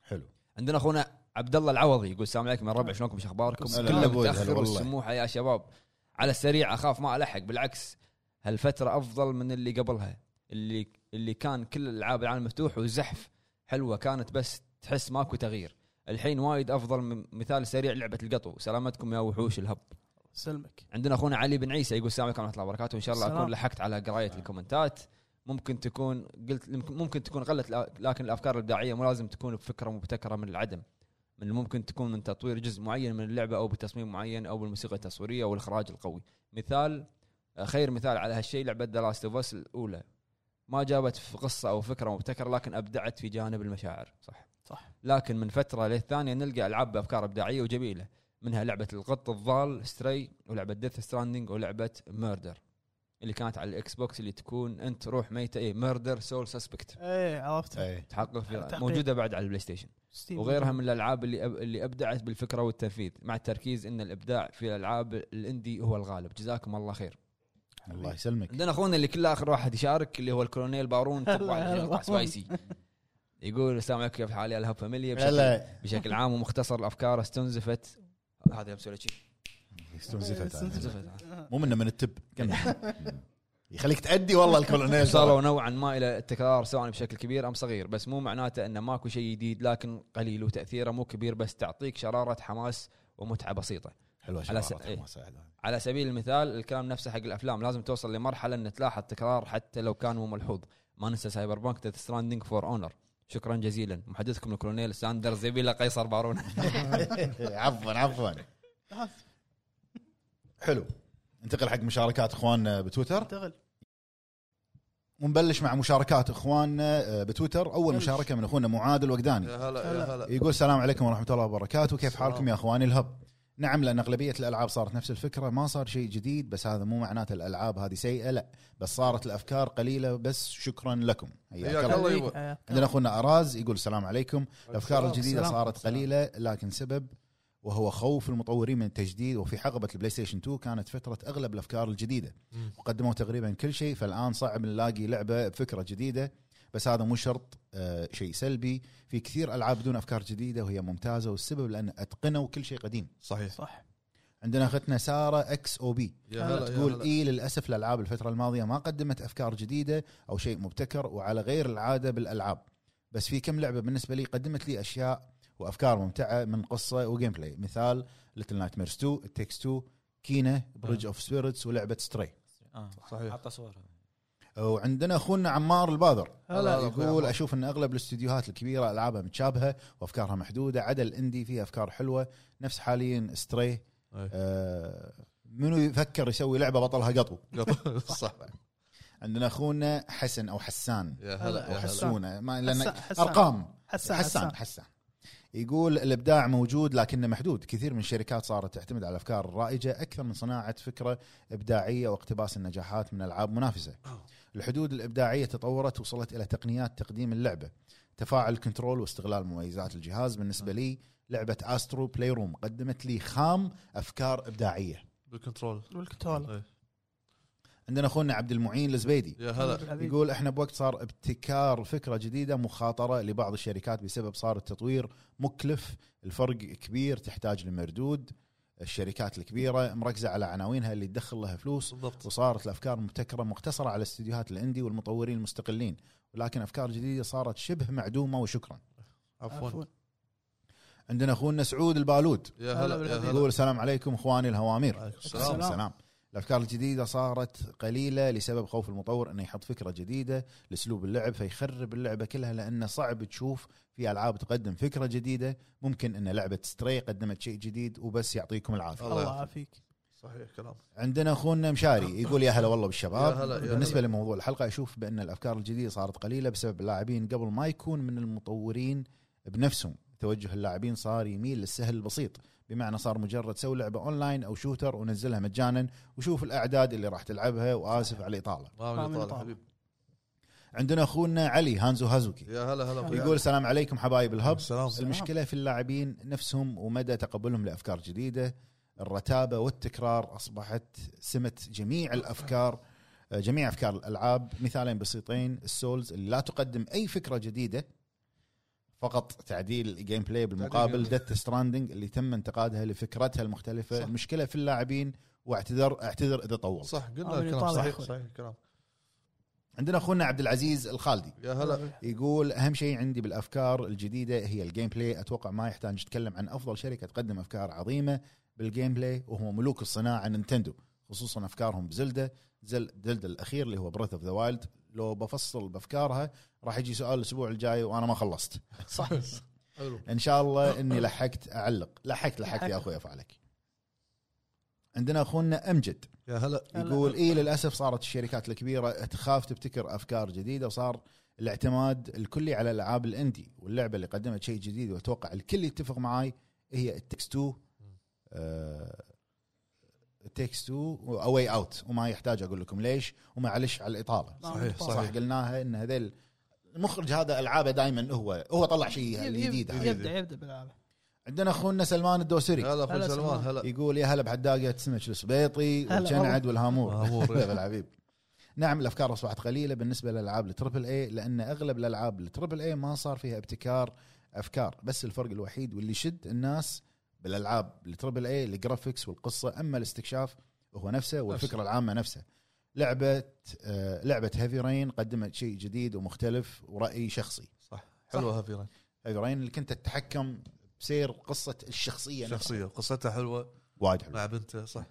Speaker 3: حلو
Speaker 1: عندنا اخونا عبد الله العوضي يقول السلام عليكم يا ربع شلونكم ايش اخباركم؟
Speaker 3: هلا
Speaker 1: كله
Speaker 3: أبوي، هلا
Speaker 1: متاخر
Speaker 3: والله.
Speaker 1: والسموحه يا شباب على السريع اخاف ما الحق بالعكس هالفتره افضل من اللي قبلها اللي اللي كان كل الالعاب العالم مفتوح وزحف حلوه كانت بس تحس ماكو تغيير الحين وايد افضل من مثال سريع لعبه القطو سلامتكم يا وحوش الهب
Speaker 5: سلمك
Speaker 1: عندنا اخونا علي بن عيسى يقول السلام عليكم ورحمه الله وبركاته وان شاء الله
Speaker 5: السلام.
Speaker 1: اكون لحقت على قرايه الكومنتات ممكن تكون قلت ممكن تكون قلت الأ- لكن الافكار الابداعيه مو لازم تكون بفكره مبتكره من العدم من ممكن تكون من تطوير جزء معين من اللعبه او بتصميم معين او بالموسيقى التصويريه او الاخراج القوي مثال آه، خير مثال على هالشيء لعبه ذا لاست اوف اس الاولى ما جابت في قصه او فكره مبتكره لكن ابدعت في جانب المشاعر صح
Speaker 5: صح.
Speaker 1: لكن من فتره للثانيه نلقى العاب بافكار ابداعيه وجميله منها لعبه القط الضال ستري ولعبه ديث ستراندنج ولعبه ميردر اللي كانت على الاكس بوكس اللي تكون انت روح إيه، ميته اي ميردر سول سسبكت
Speaker 5: ايه عرفت
Speaker 3: اي
Speaker 1: تحقق فيها
Speaker 5: تحقيق.
Speaker 1: موجوده بعد على البلاي ستيشن
Speaker 5: إيه،
Speaker 1: وغيرها من الالعاب اللي أب... اللي ابدعت بالفكره والتنفيذ مع التركيز ان الابداع في الالعاب الاندي هو الغالب جزاكم الله خير
Speaker 3: الله يسلمك
Speaker 1: عندنا اخونا اللي كله اخر واحد يشارك اللي هو الكولونيل بارون
Speaker 5: هلا
Speaker 1: تبع
Speaker 5: هلا
Speaker 1: القطع
Speaker 5: بارون.
Speaker 1: سبايسي يقول السلام عليكم كيف حالي الهب فاميليا بشكل,
Speaker 3: هلا
Speaker 1: بشكل عام ومختصر الافكار استنزفت هذا مسوي لك شي.
Speaker 3: استنزفت أنا.
Speaker 1: استنزفت
Speaker 3: مو منه من التب كمل. [laughs] يخليك تأدي والله الكولونيل
Speaker 1: وصلوا نوعا ما الى التكرار سواء بشكل كبير ام صغير بس مو معناته انه ماكو شيء جديد لكن قليل وتاثيره مو كبير بس تعطيك شراره حماس ومتعه بسيطه
Speaker 3: حلوه
Speaker 1: على
Speaker 3: شغلات
Speaker 1: س- إيه.
Speaker 3: ما ساعدها. [laughs]
Speaker 1: على سبيل المثال الكلام نفسه حق الافلام لازم توصل لمرحله ان تلاحظ تكرار حتى لو كان مو ملحوظ ما ننسى سايبر بانك ديث ستراندنج فور اونر شكرا جزيلا محدثكم الكولونيل ساندر زبيلا قيصر بارون
Speaker 3: عفوا عفوا حلو انتقل حق مشاركات اخواننا بتويتر
Speaker 5: انتقل
Speaker 3: ونبلش مع مشاركات اخواننا آه، بتويتر اول
Speaker 5: بلش.
Speaker 3: مشاركه من اخونا معاد الوقداني
Speaker 2: يا هلا يا هلا
Speaker 3: يقول السلام عليكم ورحمه الله وبركاته كيف
Speaker 2: السلام.
Speaker 3: حالكم يا اخواني الهب نعم لان اغلبيه الالعاب صارت نفس الفكره ما صار شيء جديد بس هذا مو معناته الالعاب هذه سيئه لا بس صارت الافكار قليله بس شكرا لكم
Speaker 2: حياك الله. يبا.
Speaker 5: حياك
Speaker 3: عندنا اخونا اراز يقول السلام عليكم الافكار
Speaker 2: السلام.
Speaker 3: الجديده
Speaker 5: السلام.
Speaker 3: صارت قليله لكن سبب وهو خوف المطورين من التجديد وفي حقبه البلاي ستيشن 2 كانت فتره اغلب الافكار الجديده
Speaker 2: مم.
Speaker 3: وقدموا تقريبا كل شيء فالان صعب نلاقي لعبه بفكره جديده بس هذا مو شرط آه شيء سلبي في كثير العاب بدون افكار جديده وهي ممتازه والسبب لان اتقنوا كل شيء قديم
Speaker 2: صحيح
Speaker 5: صح
Speaker 3: عندنا اختنا ساره اكس او بي
Speaker 2: يا هلا يا
Speaker 3: تقول إيه
Speaker 2: هلا.
Speaker 3: اي للاسف الالعاب الفتره الماضيه ما قدمت افكار جديده او شيء مبتكر وعلى غير العاده بالالعاب بس في كم لعبه بالنسبه لي قدمت لي اشياء وافكار ممتعه من قصه وجيم بلاي مثال ليتل نايت ميرز 2 تكس 2 كينا بريدج اوف سبيرتس ولعبه ستري
Speaker 4: آه.
Speaker 2: صحيح.
Speaker 4: حط صورها
Speaker 3: وعندنا اخونا عمار البادر
Speaker 2: هلا.
Speaker 3: يقول اشوف ان اغلب الاستديوهات الكبيره العابها متشابهه وافكارها محدوده عدا الاندي فيه افكار حلوه نفس حاليا ستري
Speaker 2: أي.
Speaker 3: آه منو يفكر يسوي لعبه بطلها قطو
Speaker 2: قط- صح
Speaker 3: عندنا اخونا حسن او حسان
Speaker 2: يا هلا
Speaker 5: هلا.
Speaker 2: يا هلا
Speaker 5: حسان.
Speaker 3: حسونه ما لان
Speaker 5: حسان- حسان.
Speaker 3: ارقام
Speaker 5: حسان
Speaker 3: حسان حسان يقول الابداع موجود لكنه محدود كثير من الشركات صارت تعتمد على الافكار الرائجه اكثر من صناعه فكره ابداعيه واقتباس النجاحات من العاب منافسه
Speaker 5: آه.
Speaker 3: الحدود الابداعيه تطورت وصلت الى تقنيات تقديم اللعبه تفاعل الكنترول واستغلال مميزات الجهاز بالنسبه لي لعبه استرو بلاي روم قدمت لي خام افكار ابداعيه
Speaker 2: بالكنترول
Speaker 5: والكنترول
Speaker 2: أي.
Speaker 3: عندنا اخونا عبد المعين الزبيدي
Speaker 2: يا هلا
Speaker 5: حبيبي.
Speaker 3: يقول احنا بوقت صار ابتكار فكره جديده مخاطره لبعض الشركات بسبب صار التطوير مكلف الفرق كبير تحتاج لمردود الشركات الكبيره مركزه على عناوينها اللي تدخل لها فلوس
Speaker 2: بالضبط
Speaker 3: وصارت الافكار مبتكره مقتصره على الاستديوهات الاندي والمطورين المستقلين ولكن افكار جديده صارت شبه معدومه وشكرا
Speaker 2: عفوا
Speaker 3: عندنا اخونا سعود البالود
Speaker 2: يا
Speaker 5: هلا
Speaker 2: هلا يا
Speaker 5: بالحبيب.
Speaker 3: يقول
Speaker 2: هلا
Speaker 3: السلام عليكم اخواني الهوامير
Speaker 2: عليكم السلام.
Speaker 5: السلام.
Speaker 3: سلام سلام الافكار الجديده صارت قليله لسبب خوف المطور انه يحط فكره جديده لاسلوب اللعب فيخرب اللعبه كلها لانه صعب تشوف في العاب تقدم فكره جديده ممكن ان لعبه ستري قدمت شيء جديد وبس يعطيكم العافيه
Speaker 2: الله
Speaker 5: الله
Speaker 2: يعافيك
Speaker 5: يعافيك
Speaker 2: صحيح كلام
Speaker 3: عندنا اخونا مشاري يقول يا هلا والله بالشباب
Speaker 2: يا هلا، يا هلا.
Speaker 3: بالنسبه لموضوع الحلقه اشوف بان الافكار الجديده صارت قليله بسبب اللاعبين قبل ما يكون من المطورين بنفسهم توجه اللاعبين صار يميل للسهل البسيط بمعنى صار مجرد سوي لعبه اونلاين او شوتر ونزلها مجانا وشوف الاعداد اللي راح تلعبها واسف على الاطاله
Speaker 2: ما
Speaker 5: طال
Speaker 2: من طال
Speaker 5: طال.
Speaker 2: حبيب
Speaker 3: عندنا اخونا علي هانزو هازوكي
Speaker 2: يا هلا هلا أخوي.
Speaker 3: يقول السلام عليكم حبايب الهب
Speaker 2: السلام
Speaker 3: المشكله في اللاعبين نفسهم ومدى تقبلهم لافكار جديده الرتابه والتكرار اصبحت سمه جميع الافكار جميع افكار الالعاب مثالين بسيطين السولز اللي لا تقدم اي فكره جديده فقط تعديل الجيم بلاي بالمقابل
Speaker 2: تعديل
Speaker 3: ديث ستراندنج اللي تم انتقادها لفكرتها المختلفه
Speaker 2: صح.
Speaker 3: صح. المشكله في اللاعبين واعتذر اعتذر اذا طول صح.
Speaker 2: صح قلنا
Speaker 5: عامل
Speaker 2: الكلام
Speaker 5: يطالع
Speaker 2: صحيح
Speaker 5: أخوي.
Speaker 2: صحيح الكلام
Speaker 3: عندنا اخونا عبد العزيز الخالدي
Speaker 2: يا هلا
Speaker 3: يقول اهم شيء عندي بالافكار الجديده هي الجيم بلاي اتوقع ما يحتاج نتكلم عن افضل شركه تقدم افكار عظيمه بالجيم بلاي وهو ملوك الصناعه نينتندو خصوصا افكارهم بزلده زل زلده الاخير اللي هو بريث اوف ذا وايلد لو بفصل بافكارها راح يجي سؤال الاسبوع الجاي وانا ما خلصت
Speaker 2: صح حلو
Speaker 3: ان شاء الله اني لحقت اعلق لحقت لحقت يا اخوي افعلك عندنا اخونا امجد
Speaker 2: يا هلا
Speaker 5: هلا.
Speaker 3: يقول اي للاسف صارت الشركات الكبيره تخاف تبتكر افكار جديده وصار الاعتماد الكلي على الالعاب الاندي واللعبه اللي قدمت شيء جديد واتوقع الكل يتفق معاي هي آه، التكس 2 تكس 2 واواي اوت وما يحتاج اقول لكم ليش ومعلش على الاطاله
Speaker 2: صحيح
Speaker 3: صح
Speaker 2: صحيح
Speaker 3: قلناها ان هذيل المخرج هذا العابه دائما هو هو طلع شيء جديد هذا.
Speaker 5: يبدا يبدا بالالعاب
Speaker 3: عندنا اخونا سلمان الدوسري
Speaker 2: يا هلا اخوي
Speaker 5: هلا
Speaker 2: سلمان
Speaker 5: سلمان.
Speaker 2: هلا
Speaker 3: يقول يا هلا بحداقه سمك السبيطي
Speaker 5: هلا
Speaker 3: والجنعد والهامور
Speaker 2: هامور، إيه.
Speaker 3: هلا بالحبيب نعم الافكار اصبحت قليله بالنسبه للالعاب التربل اي لان اغلب الالعاب التربل اي إيه ما صار فيها ابتكار افكار بس الفرق الوحيد واللي يشد الناس بالالعاب التربل اي الجرافيكس والقصه اما الاستكشاف هو نفسه والفكره العامه نفسها لعبه آه لعبه هيفي رين قدمت شيء جديد ومختلف ورايي شخصي
Speaker 2: صح حلوه هافيرا
Speaker 3: هيفي رين اللي كنت تتحكم بسير قصه الشخصيه نفسها
Speaker 2: شخصيه قصتها حلوه
Speaker 3: وايد حلو
Speaker 2: مع بنته صح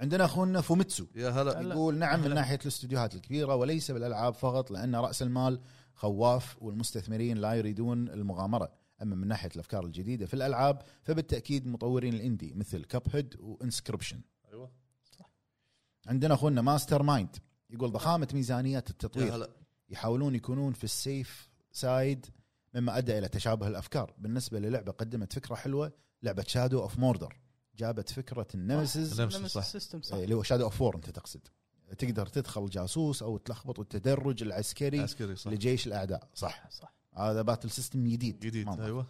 Speaker 3: عندنا اخونا فوميتسو
Speaker 2: يا هلا
Speaker 5: هلا.
Speaker 3: يقول نعم من ناحيه الاستديوهات الكبيره وليس بالالعاب فقط لان راس المال خواف والمستثمرين لا يريدون المغامره اما من ناحيه الافكار الجديده في الالعاب فبالتاكيد مطورين الاندي مثل كاب هيد وانسكربشن
Speaker 2: ايوه
Speaker 3: عندنا اخونا ماستر مايند يقول ضخامه ميزانيات
Speaker 2: يا
Speaker 3: التطوير
Speaker 2: هلا
Speaker 3: يحاولون يكونون في السيف سايد مما ادى الى تشابه الافكار بالنسبه للعبه قدمت فكره حلوه لعبه شادو اوف موردر جابت فكره النمسز
Speaker 2: نفسه صح
Speaker 5: السيستم صح
Speaker 3: إيه، اللي هو شادو اوف وور انت تقصد تقدر تدخل جاسوس او تلخبط التدرج العسكري
Speaker 2: عسكري صح
Speaker 3: لجيش الاعداء صح
Speaker 5: صح
Speaker 3: هذا باتل سيستم جديد
Speaker 2: جديد
Speaker 3: ما-
Speaker 2: ايوه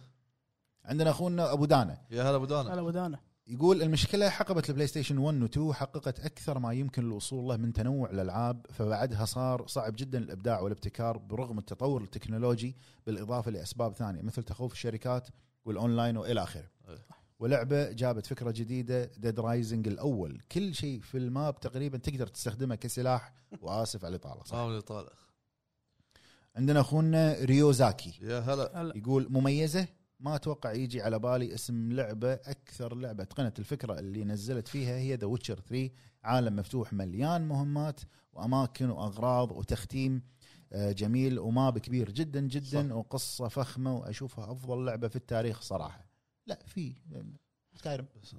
Speaker 3: عندنا اخونا ابو دانا
Speaker 2: يا هلا ابو دانا
Speaker 5: هلا ودانا
Speaker 3: يقول المشكله حقبه البلاي ستيشن 1 و 2 حققت اكثر ما يمكن الوصول له من تنوع الالعاب فبعدها صار صعب جدا الابداع والابتكار برغم التطور التكنولوجي بالاضافه لاسباب ثانيه مثل تخوف الشركات والاونلاين والى اخره.
Speaker 2: أي.
Speaker 3: ولعبه جابت فكره جديده ديد رايزنج الاول كل شيء في الماب تقريبا تقدر تستخدمه كسلاح واسف على الاطاله صح
Speaker 2: صار لي طالع
Speaker 3: عندنا اخونا ريوزاكي
Speaker 2: يا هلا
Speaker 5: هلا
Speaker 3: يقول مميزه ما اتوقع يجي على بالي اسم لعبه اكثر لعبه اتقنت الفكره اللي نزلت فيها هي ذا ويتشر 3 عالم مفتوح مليان مهمات واماكن واغراض وتختيم آه، جميل وماب كبير جدا جدا
Speaker 2: صح.
Speaker 3: صح. وقصه فخمه واشوفها افضل لعبه في التاريخ صراحه لا في سكايرم
Speaker 2: بس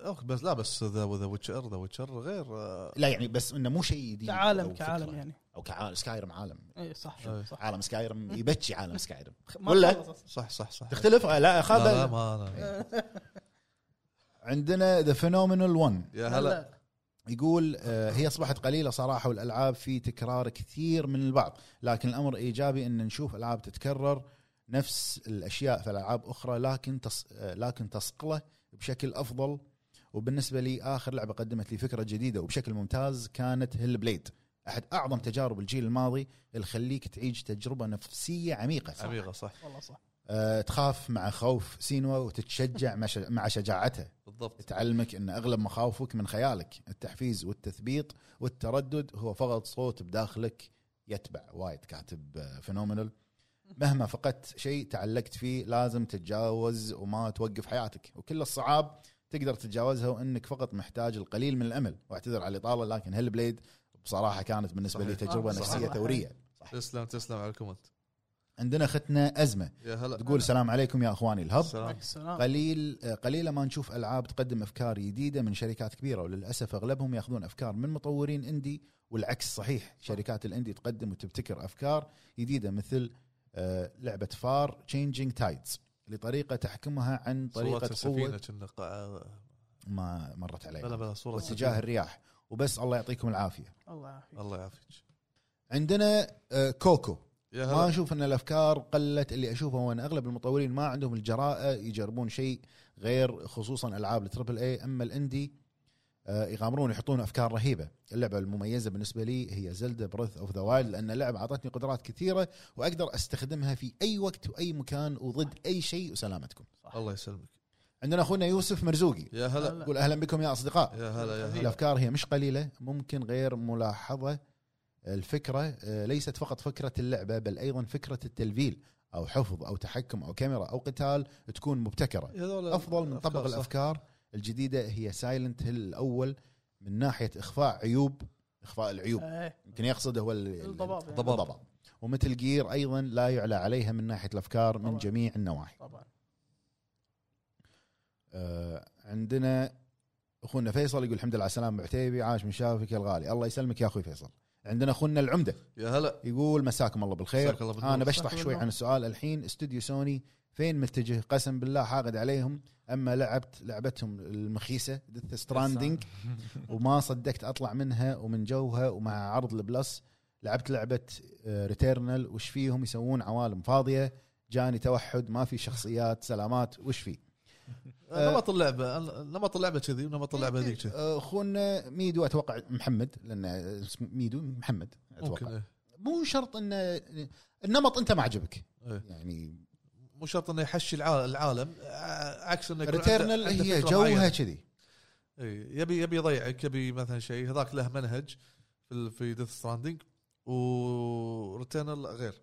Speaker 2: أوكي، بس لا بس ذا ذا ويتشر ذا ويتشر غير آه،
Speaker 3: لا يعني بس انه مو شيء جديد
Speaker 5: كعالم
Speaker 3: أو
Speaker 5: كعالم
Speaker 3: فكرة.
Speaker 5: يعني
Speaker 3: او كعالم سكايرم عالم
Speaker 5: اي صح
Speaker 2: إيه.
Speaker 5: صح
Speaker 3: عالم سكايرم يبكي عالم سكايرم
Speaker 5: ما
Speaker 3: ولا؟
Speaker 5: خلص.
Speaker 2: صح صح صح
Speaker 3: تختلف آه، لا
Speaker 2: لا لا
Speaker 3: خذ
Speaker 2: ما أنا.
Speaker 3: عندنا ذا فينومينال 1
Speaker 2: يا هلا
Speaker 3: يقول آه، هي اصبحت قليله صراحه والالعاب في تكرار كثير من البعض لكن الامر ايجابي ان نشوف العاب تتكرر نفس الاشياء في العاب اخرى لكن تص... آه، لكن تصقله بشكل افضل وبالنسبه لي اخر لعبه قدمت لي فكره جديده وبشكل ممتاز كانت هيل بليد احد اعظم تجارب الجيل الماضي اللي تخليك تعيش تجربه نفسيه عميقه
Speaker 2: عميقه صح
Speaker 5: والله صح
Speaker 3: آه، تخاف مع خوف سينوا وتتشجع مع شج- مع شجاعتها
Speaker 2: بالضبط
Speaker 3: تعلمك ان اغلب مخاوفك من خيالك التحفيز والتثبيط والتردد هو فقط صوت بداخلك يتبع وايد كاتب فينومينال مهما فقدت شيء تعلقت فيه لازم تتجاوز وما توقف حياتك وكل الصعاب تقدر تتجاوزها وانك فقط محتاج القليل من الامل واعتذر على الاطاله لكن هيل بليد بصراحه كانت بالنسبه لي
Speaker 2: صحيح.
Speaker 3: تجربه
Speaker 5: آه، صح.
Speaker 3: نفسيه
Speaker 5: صح.
Speaker 3: ثوريه
Speaker 2: تسلم تسلم على الكومنت
Speaker 3: عندنا اختنا ازمه
Speaker 2: يا هلا
Speaker 3: تقول السلام عليكم يا اخواني الهب
Speaker 2: السلام
Speaker 5: السلام
Speaker 3: قليل قليلا ما نشوف العاب تقدم افكار جديده من شركات كبيره وللاسف اغلبهم ياخذون افكار من مطورين اندي والعكس صحيح شركات الاندي تقدم وتبتكر افكار جديده مثل آه، لعبه فار تشينجينج تايدز لطريقه تحكمها عن
Speaker 2: صورة
Speaker 3: طريقه
Speaker 2: السفينه
Speaker 3: قوه
Speaker 2: كنا قاع-
Speaker 3: ما مرت
Speaker 2: بلا
Speaker 3: علي
Speaker 2: بلا صوره
Speaker 3: واتجاه
Speaker 2: السفينة.
Speaker 3: الرياح وبس الله يعطيكم العافيه
Speaker 5: الله يعافيك
Speaker 2: الله يعافيك
Speaker 3: عندنا آه، كوكو
Speaker 2: يا
Speaker 3: ما
Speaker 2: هلا
Speaker 3: اشوف ان الافكار قلت اللي اشوفه هو ان اغلب المطورين ما عندهم الجراءه يجربون شيء غير خصوصا العاب التربل اي اما الاندي آه، يغامرون يحطون افكار رهيبه اللعبه المميزه بالنسبه لي هي زلدا بريث اوف ذا وايلد لان اللعبه اعطتني قدرات كثيره واقدر استخدمها في اي وقت واي مكان وضد اي شيء وسلامتكم
Speaker 2: الله يسلمك
Speaker 3: عندنا اخونا يوسف مرزوقي
Speaker 2: يا هلا
Speaker 5: هلا.
Speaker 3: يقول اهلا بكم يا اصدقاء
Speaker 2: يا هلا يا
Speaker 5: إيه.
Speaker 2: هلا
Speaker 3: الافكار هي مش قليله ممكن غير ملاحظه الفكره آه، ليست فقط فكره اللعبه بل ايضا فكره التلفيل او حفظ او تحكم او كاميرا او قتال تكون مبتكره
Speaker 2: يا هذول
Speaker 3: افضل من طبق
Speaker 2: صح.
Speaker 3: الافكار الجديده هي سايلنت هيل الاول من ناحيه اخفاء عيوب اخفاء العيوب
Speaker 5: إيه.
Speaker 3: يمكن يقصد هو ال- ال-
Speaker 5: الضباب يعني.
Speaker 2: الضباب.
Speaker 3: الضباب ومثل جير ايضا لا يعلى عليها من ناحيه الافكار من
Speaker 5: طبعاً.
Speaker 3: جميع النواحي
Speaker 5: طبعا
Speaker 3: آه، عندنا اخونا فيصل يقول الحمد لله على السلامه عتيبي عاش من شافك يا الغالي الله يسلمك يا اخوي فيصل عندنا اخونا العمده
Speaker 2: يا هلا
Speaker 3: يقول مساكم الله بالخير
Speaker 2: مساك الله بالنور.
Speaker 3: انا بشطح
Speaker 5: مساك
Speaker 3: شوي
Speaker 5: بالنور.
Speaker 3: عن السؤال الحين استوديو سوني فين متجه قسم بالله حاقد عليهم اما لعبت لعبتهم المخيسه ديث ستراندنج [laughs] وما صدقت اطلع منها ومن جوها ومع عرض البلس لعبت لعبه ريتيرنال وش فيهم يسوون عوالم فاضيه جاني توحد ما في شخصيات سلامات وش فيه آه.
Speaker 2: نمط اللعبه نمط اللعبه كذي ونمط اللعبه هذيك كذي
Speaker 3: اخونا ميدو اتوقع محمد لان اسمه ميدو محمد
Speaker 2: ممكن
Speaker 3: اتوقع
Speaker 2: إيه.
Speaker 3: مو شرط انه النمط انت ما عجبك
Speaker 2: إيه.
Speaker 3: يعني
Speaker 2: مو شرط انه يحشي الع- العالم ع- عكس انه يكون عنده-
Speaker 3: ريتيرنال
Speaker 2: عنده
Speaker 3: هي
Speaker 2: فكرة
Speaker 3: جوها
Speaker 2: معينة.
Speaker 3: كذي
Speaker 2: إيه، يبي يبي يضيعك يبي مثلا شيء هذاك له منهج في ال- في ديث ستراندنج وريتيرنال غير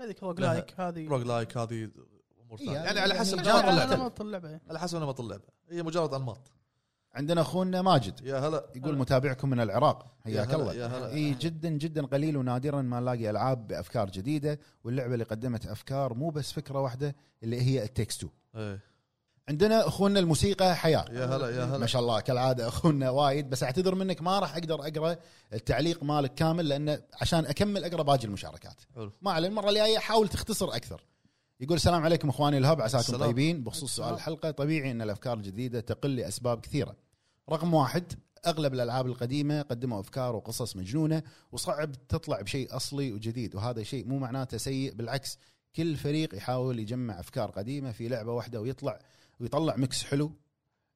Speaker 5: هذيك روج لايك هذه
Speaker 2: روج لايك هذه امور ثانيه
Speaker 3: إيه،
Speaker 2: يعني على
Speaker 3: يعني
Speaker 2: حسب
Speaker 3: جانر
Speaker 2: نمط
Speaker 5: على
Speaker 2: اللعبه
Speaker 5: نمط اللعبه
Speaker 2: على حسب نمط اللعبه هي مجرد انماط
Speaker 3: عندنا اخونا ماجد
Speaker 2: يا هلا
Speaker 3: يقول متابعكم من العراق حياك
Speaker 2: هلا،
Speaker 3: الله
Speaker 2: يا هلا.
Speaker 3: اي جدا جدا قليل ونادرا ما نلاقي العاب بافكار جديده واللعبه اللي قدمت افكار مو بس فكره واحده اللي هي التكستو
Speaker 2: إيه.
Speaker 3: عندنا اخونا الموسيقى حياه
Speaker 2: يا هلا يا
Speaker 3: ما
Speaker 2: هلا
Speaker 3: شاء الله كالعاده اخونا وايد بس اعتذر منك ما راح اقدر اقرا التعليق مالك كامل لانه عشان اكمل اقرا باقي المشاركات
Speaker 2: حلو.
Speaker 3: ما عليه المره الجايه حاول تختصر اكثر يقول السلام عليكم اخواني الهب عساكم
Speaker 2: السلام.
Speaker 3: طيبين بخصوص سؤال
Speaker 5: السلام.
Speaker 3: الحلقه طبيعي ان الافكار الجديده تقل لاسباب كثيره رقم واحد اغلب الالعاب القديمه قدموا افكار وقصص مجنونه وصعب تطلع بشيء اصلي وجديد وهذا شيء مو معناته سيء بالعكس كل فريق يحاول يجمع افكار قديمه في لعبه واحده ويطلع ويطلع ميكس حلو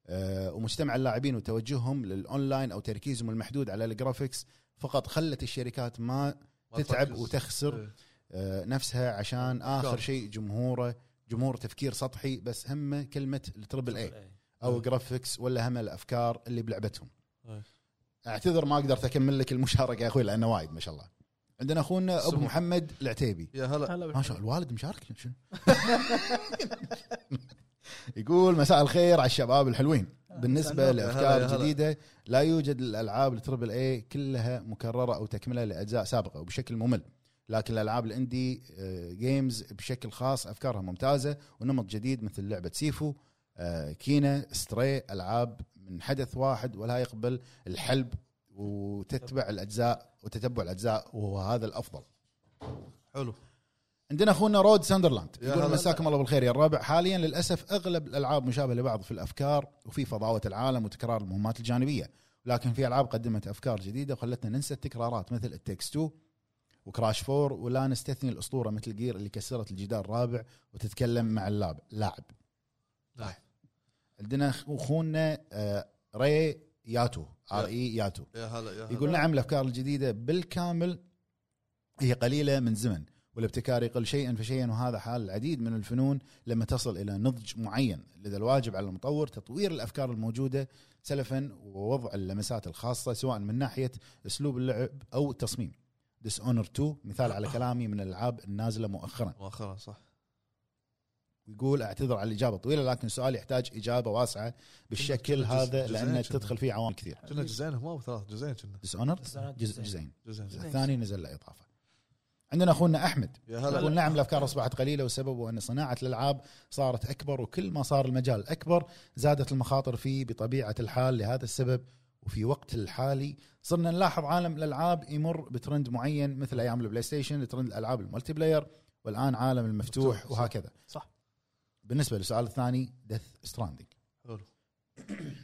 Speaker 3: آه، ومجتمع اللاعبين وتوجههم للاونلاين او تركيزهم المحدود على الجرافيكس فقط خلت الشركات ما
Speaker 2: ما
Speaker 3: تتعب
Speaker 2: تركز.
Speaker 3: وتخسر
Speaker 2: إيه.
Speaker 3: آه، نفسها عشان
Speaker 2: أفكار.
Speaker 4: إيه.
Speaker 3: اخر شيء جمهوره جمهور تفكير سطحي بس همه كلمه التربل اي او جرافيكس ولا هم الافكار اللي بلعبتهم
Speaker 2: أي.
Speaker 3: اعتذر ما قدرت اكمل لك المشاركه يا اخوي لانه وايد ما شاء الله عندنا اخونا ابو
Speaker 2: سمو.
Speaker 3: محمد العتيبي
Speaker 2: يا هلا
Speaker 5: هلا
Speaker 3: ما شاء الله الوالد مشارك شنو [laughs] يقول مساء الخير على الشباب الحلوين بالنسبه
Speaker 2: النور. يا هلا، يا
Speaker 3: لافكار
Speaker 2: هلا.
Speaker 3: جديده لا يوجد الالعاب التربل اي كلها مكرره او تكمله لاجزاء سابقه وبشكل ممل لكن الالعاب الاندي آه، جيمز بشكل خاص افكارها ممتازه ونمط جديد مثل لعبه سيفو آه، كينا ستري العاب من حدث واحد ولا يقبل الحلب وتتبع الاجزاء وتتبع الاجزاء وهو هذا الافضل
Speaker 2: حلو
Speaker 3: عندنا اخونا رود ساندرلاند
Speaker 2: يا
Speaker 3: يقول
Speaker 2: هلا.
Speaker 3: مساكم الله بالخير يا الربع حاليا للاسف اغلب الالعاب مشابهه لبعض في الافكار وفي فضاوه العالم وتكرار المهمات الجانبيه لكن في العاب قدمت افكار جديده وخلتنا ننسى التكرارات مثل التكس 2 وكراش 4 ولا نستثني الاسطوره مثل جير اللي كسرت الجدار الرابع وتتكلم مع اللاب لاعب
Speaker 2: لاعب.
Speaker 3: عندنا أخ- اخونا آه، ري ياتو ار اي ياتو
Speaker 2: يا هلا يا هلا
Speaker 3: يقول نعم الافكار الجديده بالكامل هي قليله من زمن والابتكار يقل شيئا فشيئا وهذا حال العديد من الفنون لما تصل الى نضج معين لذا الواجب على المطور تطوير الافكار الموجوده سلفا ووضع اللمسات الخاصه سواء من ناحيه اسلوب اللعب او التصميم ديس اونر 2 مثال على كلامي من الالعاب النازله مؤخرا
Speaker 2: مؤخرا صح
Speaker 3: ويقول اعتذر على الاجابه الطويله لكن السؤال يحتاج اجابه واسعه بالشكل
Speaker 2: جزء-
Speaker 3: هذا
Speaker 2: جزئين
Speaker 3: لان
Speaker 2: شنو؟
Speaker 3: تدخل فيه عوامل كثير
Speaker 2: كنا جزئين هما وثلاث جزئين كنا
Speaker 3: ديس اونر
Speaker 4: Dishonored جزئين.
Speaker 3: جزئين
Speaker 2: جزئين
Speaker 3: الثاني نزل له اضافه عندنا اخونا احمد
Speaker 2: يا
Speaker 3: يقول
Speaker 2: هلا
Speaker 3: نعم الافكار اصبحت قليله وسببه ان صناعه الالعاب صارت اكبر وكل ما صار المجال اكبر زادت المخاطر فيه بطبيعه الحال لهذا السبب وفي وقت الحالي صرنا نلاحظ عالم الالعاب يمر بترند معين مثل ايام البلاي ستيشن ترند الالعاب الملتي بلاير والان عالم المفتوح
Speaker 2: مفتوح، صح.
Speaker 3: وهكذا
Speaker 5: صح.
Speaker 3: بالنسبه للسؤال الثاني دث ستراندنج
Speaker 2: حلو.
Speaker 3: [clears throat]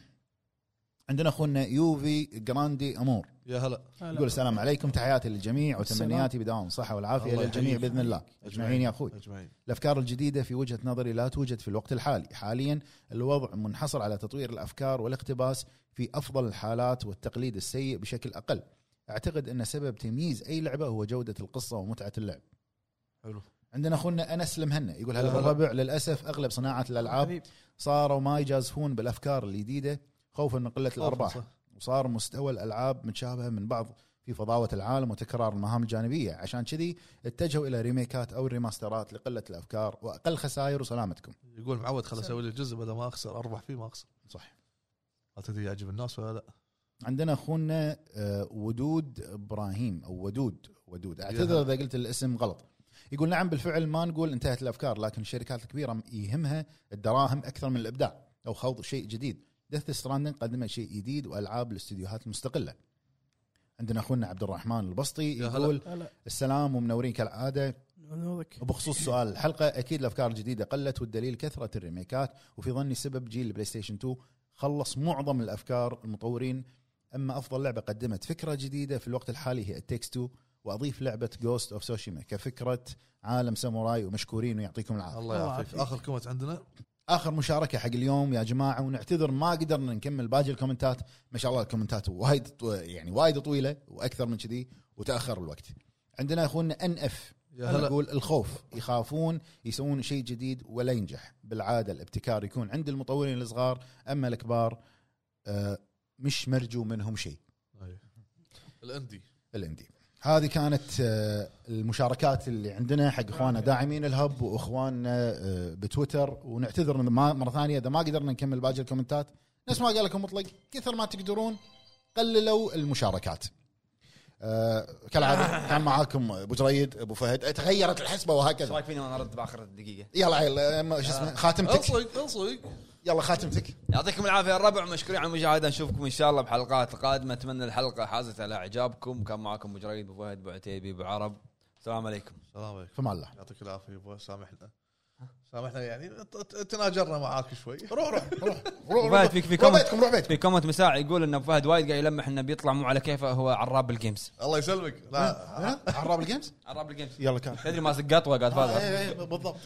Speaker 3: عندنا اخونا يوفي جراندي امور
Speaker 2: يا هلا
Speaker 3: يقول السلام عليكم تحياتي للجميع
Speaker 5: السلام.
Speaker 3: وتمنياتي بدوام الصحه والعافيه
Speaker 2: الله
Speaker 3: للجميع
Speaker 2: يحييك.
Speaker 3: باذن الله اجمعين يا اخوي
Speaker 2: اجمعين
Speaker 3: الافكار الجديده في وجهه نظري لا توجد في الوقت الحالي حاليا الوضع منحصر على تطوير الافكار والاقتباس في افضل الحالات والتقليد السيء بشكل اقل اعتقد ان سبب تمييز اي لعبه هو جوده القصه ومتعه اللعب
Speaker 2: حلو.
Speaker 3: عندنا اخونا انس المهنا يقول هلا
Speaker 2: هلا.
Speaker 3: بالربع للاسف اغلب صناعه الالعاب
Speaker 5: حبيب.
Speaker 3: صاروا ما يجازفون بالافكار الجديده خوفا من قله الارباح
Speaker 2: صح.
Speaker 3: وصار مستوى الالعاب متشابهه من بعض في فضاوه العالم وتكرار المهام الجانبيه عشان كذي اتجهوا الى ريميكات او ريماسترات لقله الافكار واقل خسائر وسلامتكم
Speaker 2: يقول معود خل اسوي لي جزء بدل ما اخسر اربح فيه ما اخسر
Speaker 3: صح
Speaker 2: ما تدري يعجب الناس ولا لا
Speaker 3: عندنا اخونا آه، ودود ابراهيم او ودود ودود اعتذر
Speaker 2: يا
Speaker 3: اذا قلت الاسم غلط يقول نعم بالفعل ما نقول انتهت الافكار لكن الشركات الكبيره يهمها الدراهم اكثر من الابداع او خوض شيء جديد دث ستراندنج قدم شيء جديد والعاب الاستديوهات المستقله عندنا اخونا عبد الرحمن البسطي
Speaker 2: يا هلا.
Speaker 3: يقول
Speaker 5: هلا
Speaker 3: السلام ومنورين كالعاده
Speaker 5: نورك
Speaker 3: وبخصوص سؤال الحلقه اكيد الافكار الجديده قلت والدليل كثره الريميكات وفي ظني سبب جيل البلاي ستيشن 2 خلص معظم الافكار المطورين اما افضل لعبه قدمت فكره جديده في الوقت الحالي هي التكس 2 واضيف لعبه جوست اوف سوشيما كفكره عالم ساموراي ومشكورين ويعطيكم العافيه
Speaker 2: الله
Speaker 5: الله
Speaker 2: يعافيك
Speaker 5: يعافيك.
Speaker 2: اخر كومنت عندنا
Speaker 3: اخر مشاركه حق اليوم يا جماعه ونعتذر ما قدرنا نكمل باقي الكومنتات ما شاء الله الكومنتات وايد طو- يعني وايد طويله واكثر من كذي وتاخر الوقت عندنا اخونا ان اف
Speaker 2: يا
Speaker 3: هلا
Speaker 2: هلا
Speaker 3: اقول الخوف يخافون يسوون شيء جديد ولا ينجح بالعاده الابتكار يكون عند المطورين الصغار اما الكبار آه، مش مرجو منهم شيء
Speaker 2: أي. الاندي
Speaker 3: الاندي هذه كانت آه، المشاركات اللي عندنا حق اخواننا داعمين الهب واخواننا آه، بتويتر ونعتذر إن ما- مره ثانيه اذا ما قدرنا نكمل باقي الكومنتات نفس ما قال لكم مطلق كثر ما تقدرون قللوا المشاركات آه، كالعاده كان معاكم ابو جريد ابو فهد تغيرت الحسبه
Speaker 1: ايش
Speaker 3: وهكذا
Speaker 1: رايك فيني وانا ارد باخر الدقيقه؟
Speaker 3: يلا عيل ما- شو اسمه خاتمتك
Speaker 2: انصق انصق
Speaker 3: يلا خاتمتك
Speaker 1: يعطيكم العافيه يا الربع مشكورين على المشاهده نشوفكم ان شاء الله بحلقات قادمه اتمنى الحلقه حازت على اعجابكم كان معكم ابو جريد ابو فهد ابو عتيبي ابو عرب السلام عليكم
Speaker 2: السلام عليكم
Speaker 3: فما الله
Speaker 2: يعطيك العافيه يبا سامحنا سامحنا يعني ت- ت- تناجرنا معاك شوي روح روح
Speaker 1: ابو فهد فيك في
Speaker 3: روح
Speaker 1: كومنت
Speaker 3: بيتكم روح بيتكم
Speaker 1: في كومنت مساع يقول ان ابو فهد وايد قاعد يلمح انه بيطلع مو على كيفه هو عراب بالجيمز
Speaker 2: [laughs] الله يسلمك لا [laughs]
Speaker 3: عراب الجيمز
Speaker 1: عراب بالجيمز
Speaker 3: آه. يلا كان
Speaker 2: إيه،
Speaker 1: تدري ماسك قطوه قاعد فاز
Speaker 3: بالضبط